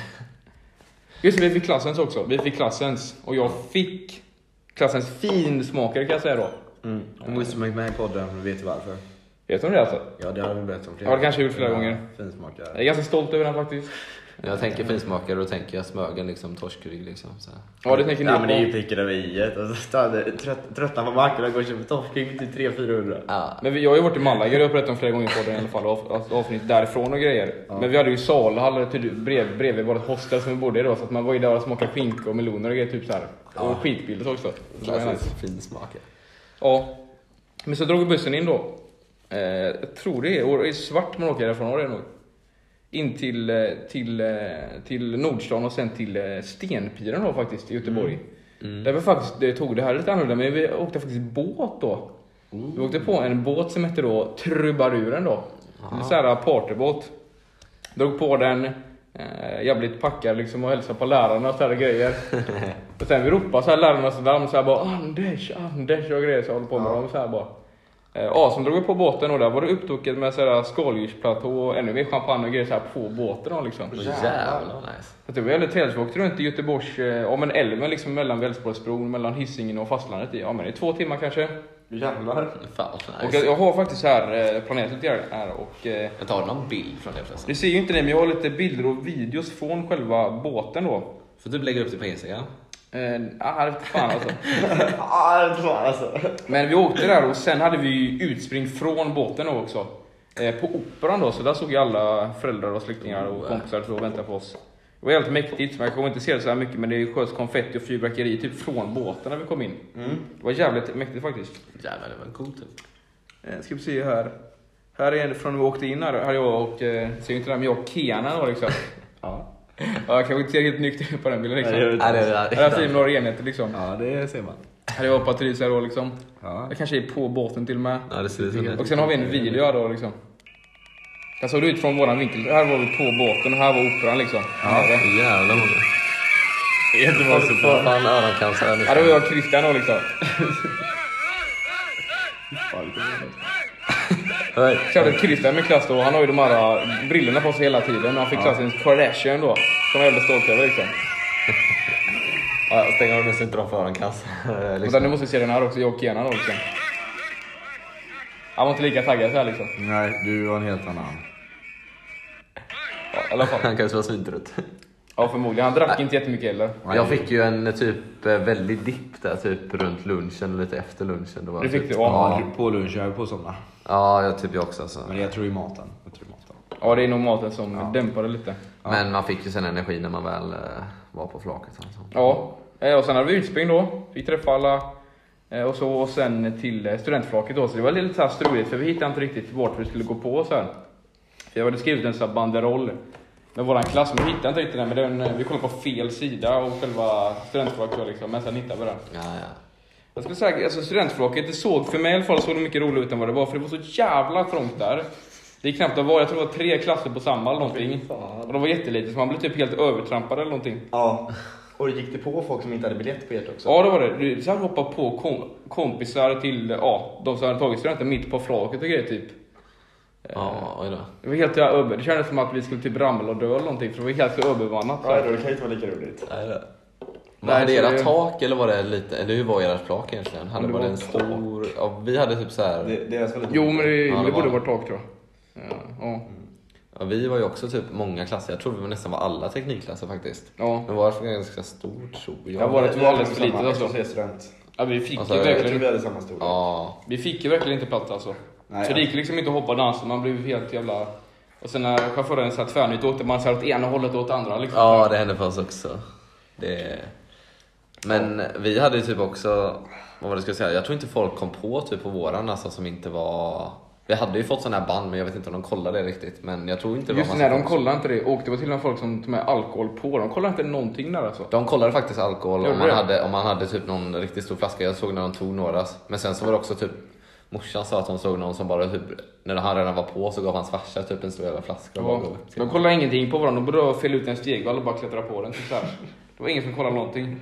Speaker 1: Just det, vi fick klassens också. Vi fick klassens. Och jag fick klassens finsmakare kan jag säga då.
Speaker 3: Mm. Om Wizard McMahon podden, vet du varför?
Speaker 1: Vet du om det alltså?
Speaker 3: Ja, det har vi berättat om flera
Speaker 1: Ja, det kanske jag gjort flera
Speaker 3: Ja,
Speaker 1: gånger. Jag är
Speaker 3: Finsmakare.
Speaker 1: ganska stolt över den faktiskt.
Speaker 2: När jag tänker finsmakare då tänker jag smögen, liksom, torskrygg. Liksom, så här.
Speaker 1: Ja, det tänker ni
Speaker 3: Ja men det är
Speaker 1: på.
Speaker 3: ju pricken över i alltså, stad- trött, Tröttna på marknaden går och köper torskrygg till 300-400.
Speaker 2: Ja,
Speaker 1: Men vi, jag har ju varit i Malaga, det har jag berättat om flera gånger på den i alla fall, av, alltså avsnitt därifrån och grejer. Men vi hade ju saluhall typ brev, bredvid vårt hostel som vi bodde i då, så att man var ju där och smakade skinka och meloner och grejer typ så här. Och skitbilder också. Så det var nice.
Speaker 2: klassisk finsmakare.
Speaker 1: Ja. Men så drog vi bussen in då. Eh, jag tror det är, och det är svart man åker därifrån, har det nog. In till, eh, till, eh, till Nordstan och sen till eh, Stenpiren då faktiskt i Göteborg. Där vi faktiskt det tog det här lite annorlunda, men vi åkte faktiskt båt då. Vi åkte på en båt som hette då Trubaduren då. En sån här partybåt. Drog på den, eh, jävligt packad liksom och hälsade på lärarna och sådana grejer. och sen vi ropade så här lärarnas namn så här bara Anders, Anders och grejer så jag håller på med dem så här bara. Eh, Ja, sen drog vi på båten och där var det uppdukat med så här skaldjursplatå och ännu mer champagne och grejer så här på båten då, liksom.
Speaker 2: Åh, Jävlar vad nice.
Speaker 1: Så det var väldigt trevligt. Vi åkte runt i Göteborgs, eh, ja men älven liksom mellan Välsborgsbron, mellan Hisingen och fastlandet i, ja men i två timmar kanske.
Speaker 3: Jävlar.
Speaker 2: Fan vad
Speaker 1: Och jag,
Speaker 2: nice.
Speaker 1: jag har faktiskt här eh, planerat lite grann här och eh,
Speaker 2: Jag tar någon bild från det förresten.
Speaker 1: ni ser ju inte det men jag har lite bilder och videos från själva båten då.
Speaker 2: Får du lägga upp det på Instagram?
Speaker 1: Eh, ah, det vete fan alltså.
Speaker 3: Ah, det är klart, alltså.
Speaker 1: Men vi åkte där och sen hade vi ju utspring från båten då också. Eh, på Operan då, så där såg ju alla föräldrar och släktingar och kompisar och så och väntade på oss. Det var helt mäktigt, men jag kommer inte se det så här mycket men det sköts konfetti och fyrverkeri typ från båten när vi kom in.
Speaker 3: Mm.
Speaker 1: Det var jävligt mäktigt faktiskt.
Speaker 2: Jävlar det var coolt typ.
Speaker 1: Eh, ska vi se här. Här är en från när vi åkte in här, här jag och, eh, ser ju inte det här, men jag och Kenan var liksom.
Speaker 3: Ja.
Speaker 1: Ja, jag kanske inte ser helt nykter ut på den bilden liksom.
Speaker 3: Nej, det gör
Speaker 1: Här
Speaker 3: du
Speaker 2: Nej, det är
Speaker 1: har jag fint några enheter liksom.
Speaker 3: Ja, det ser man.
Speaker 1: Här är jag och Patricia då liksom.
Speaker 3: Ja.
Speaker 1: Jag kanske är på båten till och med.
Speaker 2: Ja, det ser ut som det.
Speaker 1: Och sen har vi en video då liksom. Där såg det ut från våran vinkel. Här var vi på båten och här var operan liksom. Ja, det.
Speaker 2: Jävlar många. Folk får fan öroncancer
Speaker 1: Här
Speaker 2: nu.
Speaker 1: har vi och Christian då liksom.
Speaker 2: Hej.
Speaker 1: Körde Christian med klass då, han har ju de här äh, brillorna på sig hela tiden. Han fick klassens Kardashian då. Som jag är väldigt stolt över liksom.
Speaker 2: Ja, Stäng av dem så inte de får öroncancer.
Speaker 1: Vänta, nu
Speaker 2: Liksom.
Speaker 1: måste jag se den här också. Jag och Kenan då liksom. Han var inte lika taggad så här liksom.
Speaker 3: Nej, du har en helt annan.
Speaker 1: Ja, I alla fall.
Speaker 2: Han kanske var svintrött.
Speaker 1: Ja, förmodligen. Han drack inte jättemycket heller.
Speaker 2: Jag fick ju en typ eh, väldigt dipp där typ runt lunchen eller lite efter lunchen. Det var
Speaker 1: Det fick
Speaker 2: typ-
Speaker 1: du?
Speaker 3: Ja,
Speaker 1: Ja.
Speaker 3: på lunch, jag är på sådana.
Speaker 2: Ja, jag, typ jag också alltså.
Speaker 3: Men jag tror i maten. Jag tror i maten.
Speaker 1: ja, det är nog maten som dämpade lite.
Speaker 2: Men man fick ju sen energi när man väl eh, var på flaket. Alltså.
Speaker 1: Ja, eh, och sen hade vi utspring då. Fick träffa alla. eh, Och, så, och sen till eh, studentflaket då. Så det var lite så här struligt för vi hittade inte riktigt vart vi skulle gå på så här. För jag hade skrivit en sån här banderoll med våran klass, men vi hittade inte riktigt den. Men den, eh, vi kollade på fel sida och själva studentflaket då liksom, men sen hittade vi den.
Speaker 2: Ja, ja.
Speaker 1: Jag skulle säga, alltså studentflaket, det såg, för mig i alla fall, såg det mycket roligare ut än vad det var. För det var så jävla trångt där. Det är knappt att vara, jag tror det var tre klasser på samma eller någonting. Och de var jättelite, så man blev typ helt övertrampad eller någonting.
Speaker 4: Ja. Och gick det på folk som inte hade biljett på ert också?
Speaker 1: Ja det var det. Du så här hoppade på kom, kompisar till, ja, de som hade tagit studenten mitt på flaket och grejer typ.
Speaker 2: ja oj då.
Speaker 1: Det var helt jävla över. Det kändes som att vi skulle typ ramla och dö eller någonting för det var helt övermannat. så
Speaker 4: Ja,
Speaker 1: här.
Speaker 4: då, det kan ju inte vara lika roligt.
Speaker 2: Nej, det.
Speaker 1: Nej,
Speaker 2: Var det
Speaker 1: så
Speaker 2: era
Speaker 1: det-
Speaker 2: tak eller var det lite, eller hur var era flak egentligen? Hade
Speaker 1: det
Speaker 2: var det
Speaker 1: var
Speaker 2: en
Speaker 1: tak.
Speaker 2: stor, ja, vi hade typ så här,
Speaker 4: Det, deras var lite
Speaker 1: Jo men det,
Speaker 2: Ja, det
Speaker 1: det borde
Speaker 2: var-
Speaker 1: varit tak tror jag. Ja, ja.
Speaker 2: ja, vi var ju också typ många klasser, jag tror vi var nästan var alla teknikklasser faktiskt.
Speaker 1: ja.
Speaker 2: Men varför ganska stor tror jag.
Speaker 1: Ja, vårat var alldeles för litet alltså.
Speaker 4: alltså. Student.
Speaker 1: ja vi, fick
Speaker 2: Alltså,
Speaker 1: ju
Speaker 4: Jag tror vi
Speaker 1: verkligen,
Speaker 4: hade samma storlek.
Speaker 2: Ja,
Speaker 1: vi fick ju verkligen inte plats alltså.
Speaker 4: Nej,
Speaker 1: så det gick liksom inte att hoppa och dansa, man blev helt jävla... Och sen när chauffören sa tvärnit då åkte man så här åt ena hållet och åt andra liksom.
Speaker 2: ja det hände för oss också. Det... Men vi hade ju typ också, vad var det jag skulle säga, jag tror inte folk kom på typ på våran alltså som inte var vi hade ju fått sådana här band men jag vet inte om de kollade det riktigt. Men jag tror inte det var
Speaker 1: Just
Speaker 2: massa
Speaker 1: när de
Speaker 2: folk som-
Speaker 1: kollade inte det, och det var till och med folk som tog med alkohol på, de kollade inte någonting där alltså.
Speaker 2: De kollade faktiskt alkohol om
Speaker 1: Gjorde
Speaker 2: man,
Speaker 1: det?
Speaker 2: hade, om man hade typ någon riktigt stor flaska. Jag såg när de tog några. Men sen så var det också typ Morsan sa att hon såg någon som bara typ, när han redan var på så gav hans farsa typ en stor jävla flaska. och bara gav upp till
Speaker 1: De
Speaker 2: honom.
Speaker 1: kollade ingenting på varandra, de började fälla ut en stegvall och bara klättra på den. Typ så här. Det var ingen som kollade någonting.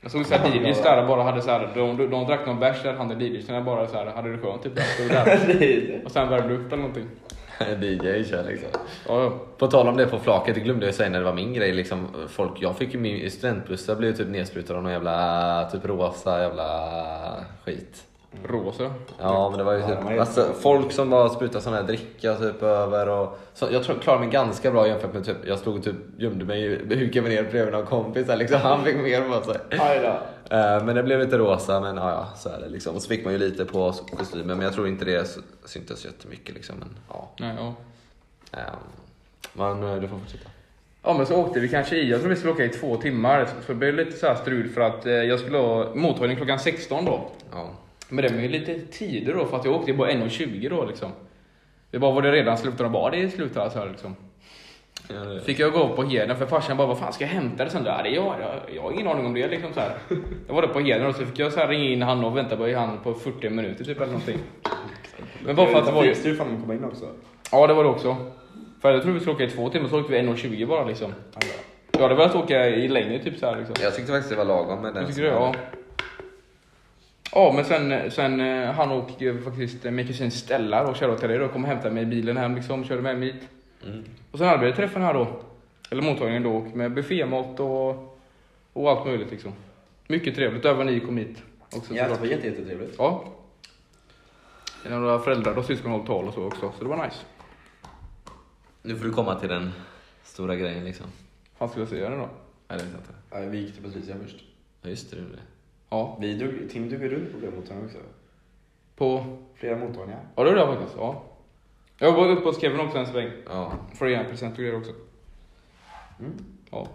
Speaker 1: Jag såg såhär Divish där och bara hade såhär, de, de, de drack någon bärs där, han och Divish bara såhär, hade det skönt typ. Där. Stod där. Och sen värmde upp eller någonting.
Speaker 2: DJ kör liksom.
Speaker 1: Ja, ja.
Speaker 2: På tal om det på flaket, det glömde jag säga när det var min grej. Liksom, folk, jag fick ju min i studentbussar blev ju typ nedsprutad av någon jävla typ rosa jävla skit.
Speaker 1: Rosa.
Speaker 2: Ja men det var ju
Speaker 4: de var
Speaker 2: typ,
Speaker 4: ju-
Speaker 2: alltså, folk som bara sprutade sån här dricka typ över och så, Jag tror jag klarade mig ganska bra jämfört med typ, jag stod och typ gömde mig, hukade mig ner bredvid någon kompis här, liksom, han fick mer på sig.
Speaker 4: Aj då.
Speaker 2: Eh, Men det blev lite rosa men ja, ja så är det liksom. Och så fick man ju lite på kostymen men jag tror inte det s- syntes jättemycket liksom. Men, ja.
Speaker 1: Nej, ja.
Speaker 2: Ehm, men eh, du får fortsätta.
Speaker 1: Ja men så åkte vi kanske i, jag tror vi skulle åka i två timmar. Så det blev lite så här strul för att eh, jag skulle ha mottagning klockan 16 då.
Speaker 2: Ja.
Speaker 1: Men det var ju lite tider då för att jag åkte ju bara 1.20 då liksom. Det bara var det redan slut och de bara, "Ja, det är slut alltså här liksom. Fick jag gå upp på Heden för farsan bara, vad fan ska jag hämta det sen? då?" "Ja, det är jag, jag, jag har ingen aning om det liksom så här. Jag var där på Heden och så fick jag så här ringa in han och vänta på han på 40 minuter typ eller någonting. Men bara för att det var...
Speaker 4: Visste du fan man kom in också?
Speaker 1: Ja det var det också. För jag tror vi skulle åka i två timmar så åkte vi 1.20 bara liksom.
Speaker 4: Aj då.
Speaker 1: Jag hade velat åka i längre typ så här liksom.
Speaker 2: Jag tyckte faktiskt det var lagom med den.
Speaker 1: Jag tycker det, ja. Ja, men sen, sen eh, han och eh, faktiskt eh, min kusin Stella och körde till dig då, kom och hämtade mig i bilen hem liksom, körde med mig hit.
Speaker 2: Mm.
Speaker 1: Och sen hade vi träffen här då, eller mottagningen då, och med buffémat och, och allt möjligt liksom. Mycket trevligt, även ni kom hit också
Speaker 4: Ja, det
Speaker 1: såklart.
Speaker 4: var jätte- jättetrevligt.
Speaker 1: Ja. När Några föräldrar och syskon höll tal och så också, så det var nice.
Speaker 2: Nu får du komma till den stora grejen liksom.
Speaker 1: Han skulle säga det då.
Speaker 2: Nej, det vet jag inte.
Speaker 4: Ja, vi gick till Patricia först.
Speaker 2: Ja, just det, du gjorde det.
Speaker 1: Ja,
Speaker 4: Vi drog, Tim drog ju runt på flera mottagningar också.
Speaker 1: på...
Speaker 4: Flera mottagningar.
Speaker 1: Ja, det var det faktiskt. Ja. Jag var uppe hos Kevin också en sväng.
Speaker 2: Ja.
Speaker 1: Får gärna present och grejer också.
Speaker 4: Mm.
Speaker 1: Ja.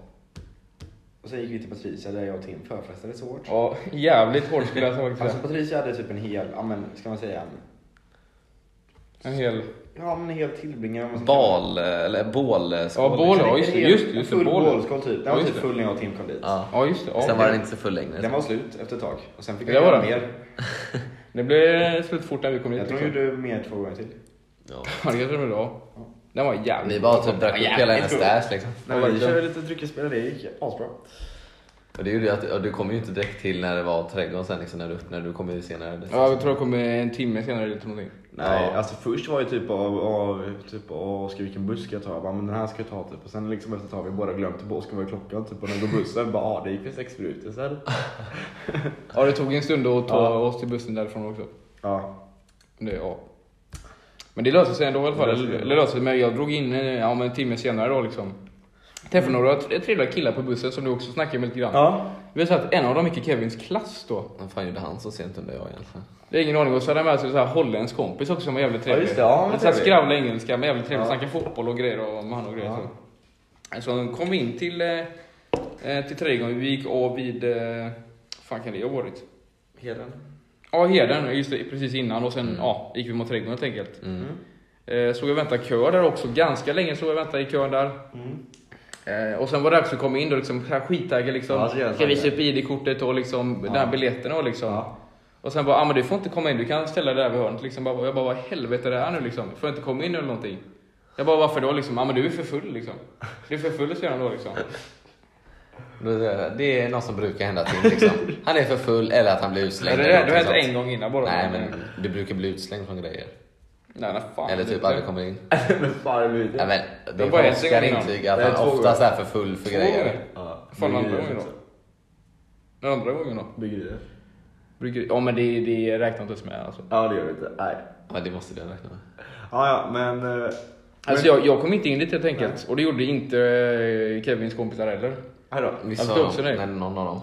Speaker 4: Och sen gick vi till Patricia där jag och Tim förfestades så hårt.
Speaker 1: Ja,
Speaker 3: Alltså,
Speaker 1: jävligt hårt skulle jag säga faktiskt.
Speaker 4: Alltså Patricia hade typ en hel, ja men ska man säga en
Speaker 1: En hel...
Speaker 4: Ja, men helt tillbringar om man ska-
Speaker 2: Bal, eller bålskål. liksom.
Speaker 1: Ja, bål, ja, just det.
Speaker 4: En hel-
Speaker 1: Just, det, just det,
Speaker 4: full
Speaker 1: bål.
Speaker 4: bålskål typ. Den
Speaker 1: Ja,
Speaker 4: var
Speaker 1: just
Speaker 4: typ
Speaker 1: det.
Speaker 4: full när jag och Tim kom dit.
Speaker 2: Ja.
Speaker 1: Ja, just det. Ja.
Speaker 2: Sen var den inte så full längre.
Speaker 4: Den var slut efter ett tag. Och sen fick
Speaker 1: Det
Speaker 4: jag
Speaker 1: var
Speaker 4: göra
Speaker 1: den.
Speaker 4: mer.
Speaker 1: Det blev slut fort när vi kom dit.
Speaker 4: Jag tror jag gjorde mer två gånger till.
Speaker 2: Ja.
Speaker 1: Ja, det kanske det blev då. Den var jävligt
Speaker 2: Ni bara
Speaker 1: bra.
Speaker 2: typ drack upp
Speaker 1: Den var
Speaker 2: hela
Speaker 1: jävligt
Speaker 2: hennes
Speaker 1: god.
Speaker 2: stash liksom.
Speaker 3: Nej,
Speaker 1: Ja,
Speaker 3: men vi
Speaker 1: verkligen.
Speaker 3: körde lite dryckesspel och det gick asbra.
Speaker 2: Och det gjorde ju att ja, du kom ju inte direkt till när det var trädgården sen liksom, när du, när du kom ju senare.
Speaker 1: Ja, jag tror jag kom en timme senare eller någonting.
Speaker 3: Nej,
Speaker 2: Ja.
Speaker 3: alltså först var ju typ av, av typ, åh, ska vilken buss ska jag ta? Jag bara, men den här ska jag ta typ. Och sen liksom efter ett tag har vi båda glömt på, ska vara klockan typ. Och när går bussen, bara, ah, det gick för sex minuter sen.
Speaker 1: Ja, det tog en stund att ta
Speaker 3: Ja.
Speaker 1: oss till bussen därifrån också.
Speaker 3: Ja,
Speaker 1: Det, ja. Men det löste sig ändå i alla fall.
Speaker 3: Det löste sig.
Speaker 1: Eller det löste sig, men jag drog in eh, ja, men en timme senare då liksom. Träffade några tre- trevliga killar på bussen som du också snackade med lite grann.
Speaker 3: ja.
Speaker 1: Det var så att en av dem gick i Kevins klass då.
Speaker 2: Vad fan gjorde han så sent under jag egentligen?
Speaker 1: Det är ingen aning. Och så hade han med sig så här holländsk kompis också som var jävligt
Speaker 3: Ja,
Speaker 1: trevlig.
Speaker 3: just det. Ja, men
Speaker 1: så här
Speaker 3: trevlig.
Speaker 1: skravla engelska, men jävligt trevlig.
Speaker 3: Ja.
Speaker 1: Snackade fotboll och grejer och man och grejer.
Speaker 3: Ja.
Speaker 1: Så. så han kom in till, eh, eh, till trädgården. Vi gick av vid, eh, fan kan det ha varit?
Speaker 3: Heden.
Speaker 1: Ja, Heden. Just det, precis innan. Och sen
Speaker 2: Mm.
Speaker 1: ja, gick vi mot trädgården helt enkelt.
Speaker 2: Mm.
Speaker 1: Eh, såg jag vänta kö där också, ganska länge såg jag vänta i kön där.
Speaker 3: Mm.
Speaker 1: Eh, och sen var det dags att komma in då, liksom, så här skittaggad
Speaker 3: Ja,
Speaker 1: liksom.
Speaker 3: så jävla
Speaker 1: ska visa
Speaker 3: taggad.
Speaker 1: upp ID-kortet och liksom,
Speaker 3: Ja.
Speaker 1: den här biljetten och liksom.
Speaker 3: Ja.
Speaker 1: Och sen bara, ah, men du får inte komma in, du kan ställa dig där vid hörnet. Liksom, bara, jag bara, vad i helvete är det här nu liksom? Får jag inte komma in eller någonting? Jag bara, varför då liksom? Ja ah, men du är för full liksom. Du är för full säger han då liksom.
Speaker 2: Då är det- Det är något som brukar hända till liksom. Han är för full eller att han blir
Speaker 1: Det, det,
Speaker 2: utslängd.
Speaker 1: det,
Speaker 2: eller
Speaker 1: har hänt
Speaker 2: någonting
Speaker 1: en gång innan bara.
Speaker 2: sånt. Nej men du brukar bli utslängd från grejer.
Speaker 1: Nej, nej, fan.
Speaker 2: eller typ
Speaker 1: Det- Äh.
Speaker 2: aldrig kommer in.
Speaker 3: men fan, det blir
Speaker 2: Nej men det
Speaker 1: var
Speaker 2: är
Speaker 1: en
Speaker 2: Oskar
Speaker 1: gång innan.
Speaker 2: intyg att
Speaker 3: Det är
Speaker 2: han
Speaker 3: två
Speaker 2: oftast är för full för
Speaker 1: Två
Speaker 2: grejer.
Speaker 1: gånger.
Speaker 3: Ja.
Speaker 1: Fan, andra
Speaker 3: Bryggerier
Speaker 1: gången då.
Speaker 3: också.
Speaker 1: Den andra gången då?
Speaker 3: Bryggerier.
Speaker 1: Brukar- Ja men det, det räknar inte ens med alltså.
Speaker 3: Ja, det gör vi inte. Nej.
Speaker 2: Ja det måste du räkna med.
Speaker 3: Ja, ja, men... eh,
Speaker 1: Alltså
Speaker 3: men-
Speaker 1: jag, jag kom inte in dit helt enkelt. Och det gjorde inte eh, Kevins kompisar heller.
Speaker 3: Här då.
Speaker 2: Vissa
Speaker 1: Jag
Speaker 2: av
Speaker 1: tror också
Speaker 2: dem,
Speaker 1: det.
Speaker 2: nej, någon av dem.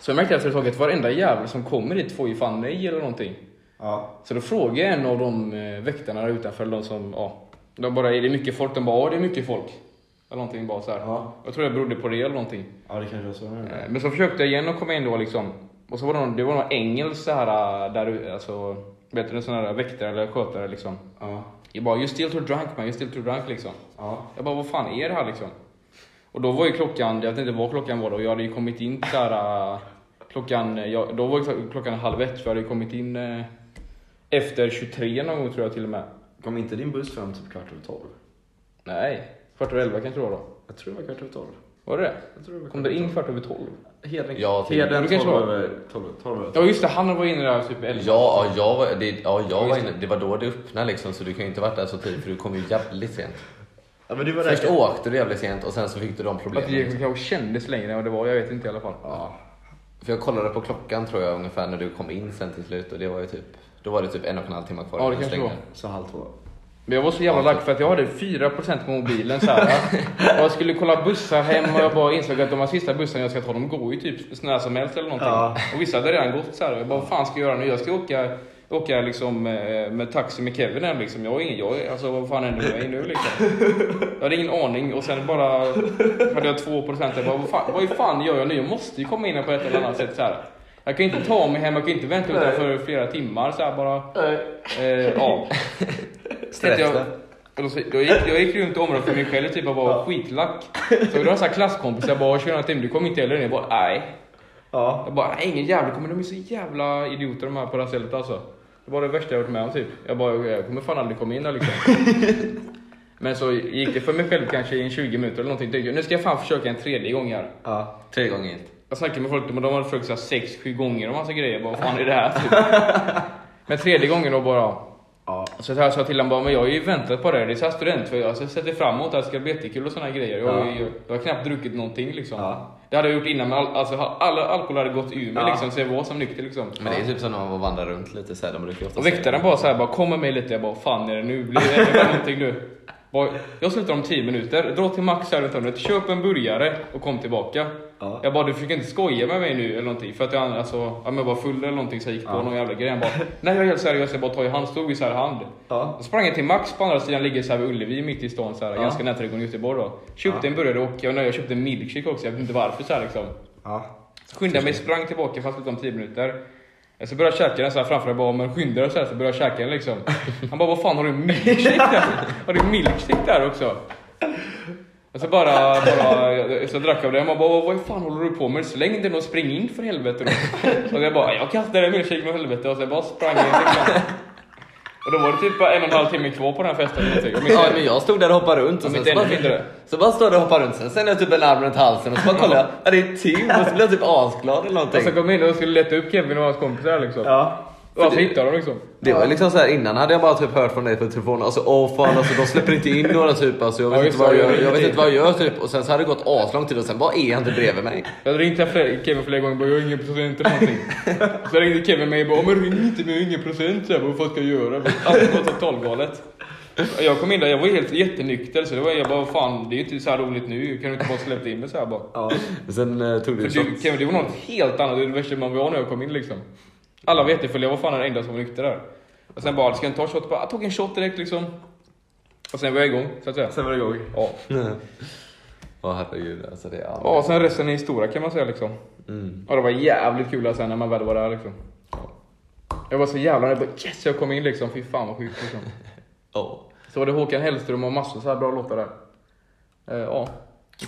Speaker 1: Så jag märkte efter ett tag att varenda jävel som kommer dit får ju fan nej eller någonting.
Speaker 3: Ja.
Speaker 1: Så då frågade jag en av de eh, väktarna där utanför, de som, ja. De bara, är det mycket folk? De bara, ja det är mycket folk. Eller någonting bara så här.
Speaker 3: Ja.
Speaker 1: Jag tror det berodde på det eller någonting.
Speaker 3: Ja, det kanske var så. nu.
Speaker 1: Eh, Men så försökte jag igen att komma in då liksom. Och så var det någon, det var någon engelsk så här, där, alltså, vet du, en sån här väktare eller skötare liksom.
Speaker 3: Ja.
Speaker 1: Jag bara, you still too drunk man, you still too drunk liksom.
Speaker 3: Ja.
Speaker 1: Jag bara, vad fan är det här liksom? Och då var ju klockan, jag vet inte vad klockan var då, jag hade ju kommit in såhär... äh, Klockan, eh, jag, då var ju klockan halv ett, för jag hade ju kommit in eh, efter 23 någon gång tror jag till och med.
Speaker 3: Kom inte din buss fram typ kvart över tolv?
Speaker 1: Nej, kvart över elva kanske det var då.
Speaker 3: Jag tror det var kvart över tolv.
Speaker 1: Var det det
Speaker 3: Jag tror det var
Speaker 1: Kom
Speaker 3: kvart
Speaker 1: det
Speaker 3: över
Speaker 1: in kvart över tolv?
Speaker 3: Heden,
Speaker 2: Ja, typ.
Speaker 1: Det
Speaker 3: Heden
Speaker 1: kanske
Speaker 3: 12
Speaker 1: var.
Speaker 3: över 12. 12 över
Speaker 1: Ja just det, han var inne där typ elva.
Speaker 2: Ja, ja, jag, var- det, ja, jag var
Speaker 1: Just det.
Speaker 2: inne, det var då det öppnade liksom så du kan ju inte varit där så tidigt för du kom ju jävligt sent.
Speaker 3: Ja, men du var
Speaker 2: Först
Speaker 3: där.
Speaker 2: åkte du jävligt sent och sen så fick du de
Speaker 1: Att
Speaker 2: problemen.
Speaker 1: det kanske kändes längre än vad det var, jag vet inte i alla fall.
Speaker 3: Ja.
Speaker 2: För jag kollade på klockan tror jag ungefär när du kom in sen till slut och det var ju typ, då var det typ en och en halv timme kvar
Speaker 1: Ja, det
Speaker 2: innan
Speaker 1: kanske
Speaker 2: stängde.
Speaker 1: var.
Speaker 3: Så halv två.
Speaker 1: Men jag var så jävla lack för att jag hade 4% på mobilen så här. Och jag skulle kolla bussar hem och jag bara insåg att de här sista bussarna jag ska ta, de går ju typ när som helst eller någonting.
Speaker 3: Ja.
Speaker 1: Och vissa hade redan gått så här. Jag bara, vad fan ska jag göra nu? Jag ska åka, åka liksom, eh, med taxi med Kevin hem liksom. Jag har ingen, jag, alltså vad fan händer med mig nu liksom? Jag hade ingen aning och sen bara hade jag 2%. Jag bara, vad fan, vad fan gör jag nu? Jag måste ju komma in här på ett eller annat sätt så här. Jag kan inte ta mig hem, jag kan inte vänta utanför flera timmar så här bara. Eh, ja. Så att jag, då, så- då gick, jag gick runt i området för mig själv typ och var skitlack. Så då var så här klasskompisar jag bara “Tjena Tim, du kom inte heller ner?” Jag bara “Nej”.
Speaker 3: Ja.
Speaker 1: Jag bara "Nej, “Ingen jävla kommer, de är så jävla idioter de här på det här stället alltså”. Det var det värsta jag varit med om typ. Jag bara “Jag kommer fan aldrig komma in här liksom”. Men så gick det för mig själv kanske i en 20 minuter eller någonting. Tänkte jag, Nu ska jag fan försöka en tredje gång här.
Speaker 3: Ja.
Speaker 2: Tre gånger gilt.
Speaker 1: Jag snackade med folk, men de hade försökt 6-7 gånger och massa grejer. Jag bara, vad fan är det här? Typ. Men tredje gången då bara.
Speaker 3: Ja.
Speaker 1: Så jag sa till honom bara, men jag har ju väntat på det. här. Det är så här student, för jag har sett det fram emot att det ska bli jättekul och såna här grejer. Jag, har ju, jag har knappt druckit någonting liksom.
Speaker 3: Ja.
Speaker 1: Det hade jag gjort innan, men all, alltså, all alkohol hade gått ur mig
Speaker 3: Ja.
Speaker 1: liksom, så jag var som nykter liksom.
Speaker 2: Men det är typ som när man vandrar runt lite så här, de brukar ju ofta
Speaker 1: Och
Speaker 2: säga-
Speaker 1: väktaren bara så här, bara kom med mig lite. Jag bara, fan är det nu? Blir det blir någonting nu? Bara, Jag slutar om 10 minuter, dra till Max här runt hörnet, köp en burgare och kom tillbaka.
Speaker 3: Ja.
Speaker 1: Jag bara, du försöker inte skoja med mig nu eller någonting. För att jag, alltså, ja, men jag var full eller någonting så jag gick på någon jävla grej. Han bara, nej jag är helt seriös, jag bara tar i hand. Stod i så här hand.
Speaker 3: Ja.
Speaker 1: Då sprang jag till Max på andra sidan, ligger så här vid Ullevi mitt i stan, så här, ganska nära trädgården i Göteborg då. Köpte en burgare och jag, nej, jag köpte en milkshake också, jag vet inte varför så här liksom.
Speaker 3: Ja.
Speaker 1: Så skyndade jag mig, sprang tillbaka fast utom 10 minuter. Jag så börjar jag käka den så här framför dig bara, men skynda dig så här så börjar jag käka den liksom. Han bara, vad fan har du milkshake där? Har du milkshake där också? Och så bara, bara så drack jag av den och bara, vad fan håller du på med? Släng den och spring in för helvete då. Och jag bara, jag kastar den milkshake med helvete och sen bara sprang in liksom. Och då var det typ bara en och en halv timme kvar på den här festen. Jag minns
Speaker 2: Ja,
Speaker 1: det.
Speaker 2: men jag stod där och hoppade runt.
Speaker 1: Ja,
Speaker 2: Och
Speaker 1: men
Speaker 2: sen så,
Speaker 1: den
Speaker 2: bara,
Speaker 1: är mindre.
Speaker 2: så bara står jag och hoppar runt. Sen sen är jag typ en arm runt halsen och så bara kollar jag. Ja, det är Tim. Och så blir jag typ asglad eller
Speaker 1: Och
Speaker 2: någonting.
Speaker 1: så kom jag in och skulle leta upp Kevin och hans kompisar liksom.
Speaker 3: Ja.
Speaker 1: Och alltså hittade dem liksom.
Speaker 2: Det var ju liksom så här innan hade jag bara typ hört från dig på telefonen. Alltså åh fan alltså de släpper inte in några typ. Alltså, jag vet,
Speaker 1: Ja, just
Speaker 2: inte, vad
Speaker 1: det,
Speaker 2: jag,
Speaker 1: jag
Speaker 2: gör, jag vet
Speaker 1: ringde
Speaker 2: inte vad jag gör typ. Och sen så hade det gått aslång tid och sen bara är han inte bredvid mig.
Speaker 1: Jag ringde flera, Kevin flera gånger och bara jag har ingen procent eller någonting. Så ringde Kevin mig och bara "Ja, men ring inte men jag har ingen procent. Så jag bara vad fan ska jag göra? Allt var totalgalet. Jag kom in där, jag var helt jättenykter så det var, jag bara fan det är inte så här roligt nu. Kan du inte bara släppa in mig så här bara?
Speaker 3: ja.
Speaker 2: Sen eh, tog
Speaker 1: För
Speaker 2: du
Speaker 1: du,
Speaker 2: shots.
Speaker 1: Kevin det var något helt annat, det var det värsta man var när jag kom in liksom. Alla var jättefulla, jag var fan den enda som var nykter där. Och sen bara, ska jag inte ta en shot? Jag bara, jag tog en shot direkt liksom. Och sen var jag igång, så att säga.
Speaker 3: Sen var det igång.
Speaker 1: Ja.
Speaker 2: Åh herregud alltså det är
Speaker 1: Ja, och sen resten är historia kan man säga liksom.
Speaker 2: Mm.
Speaker 1: Ja, det var jävligt kul alltså, när man väl var där liksom. Jag var så jävla nöjd. Jag bara, Yes, jag kom in liksom. Fy fan vad sjukt liksom.
Speaker 2: Åh.
Speaker 1: Så var det Håkan Hellström och massor så här bra låtar där. Eh, Ja,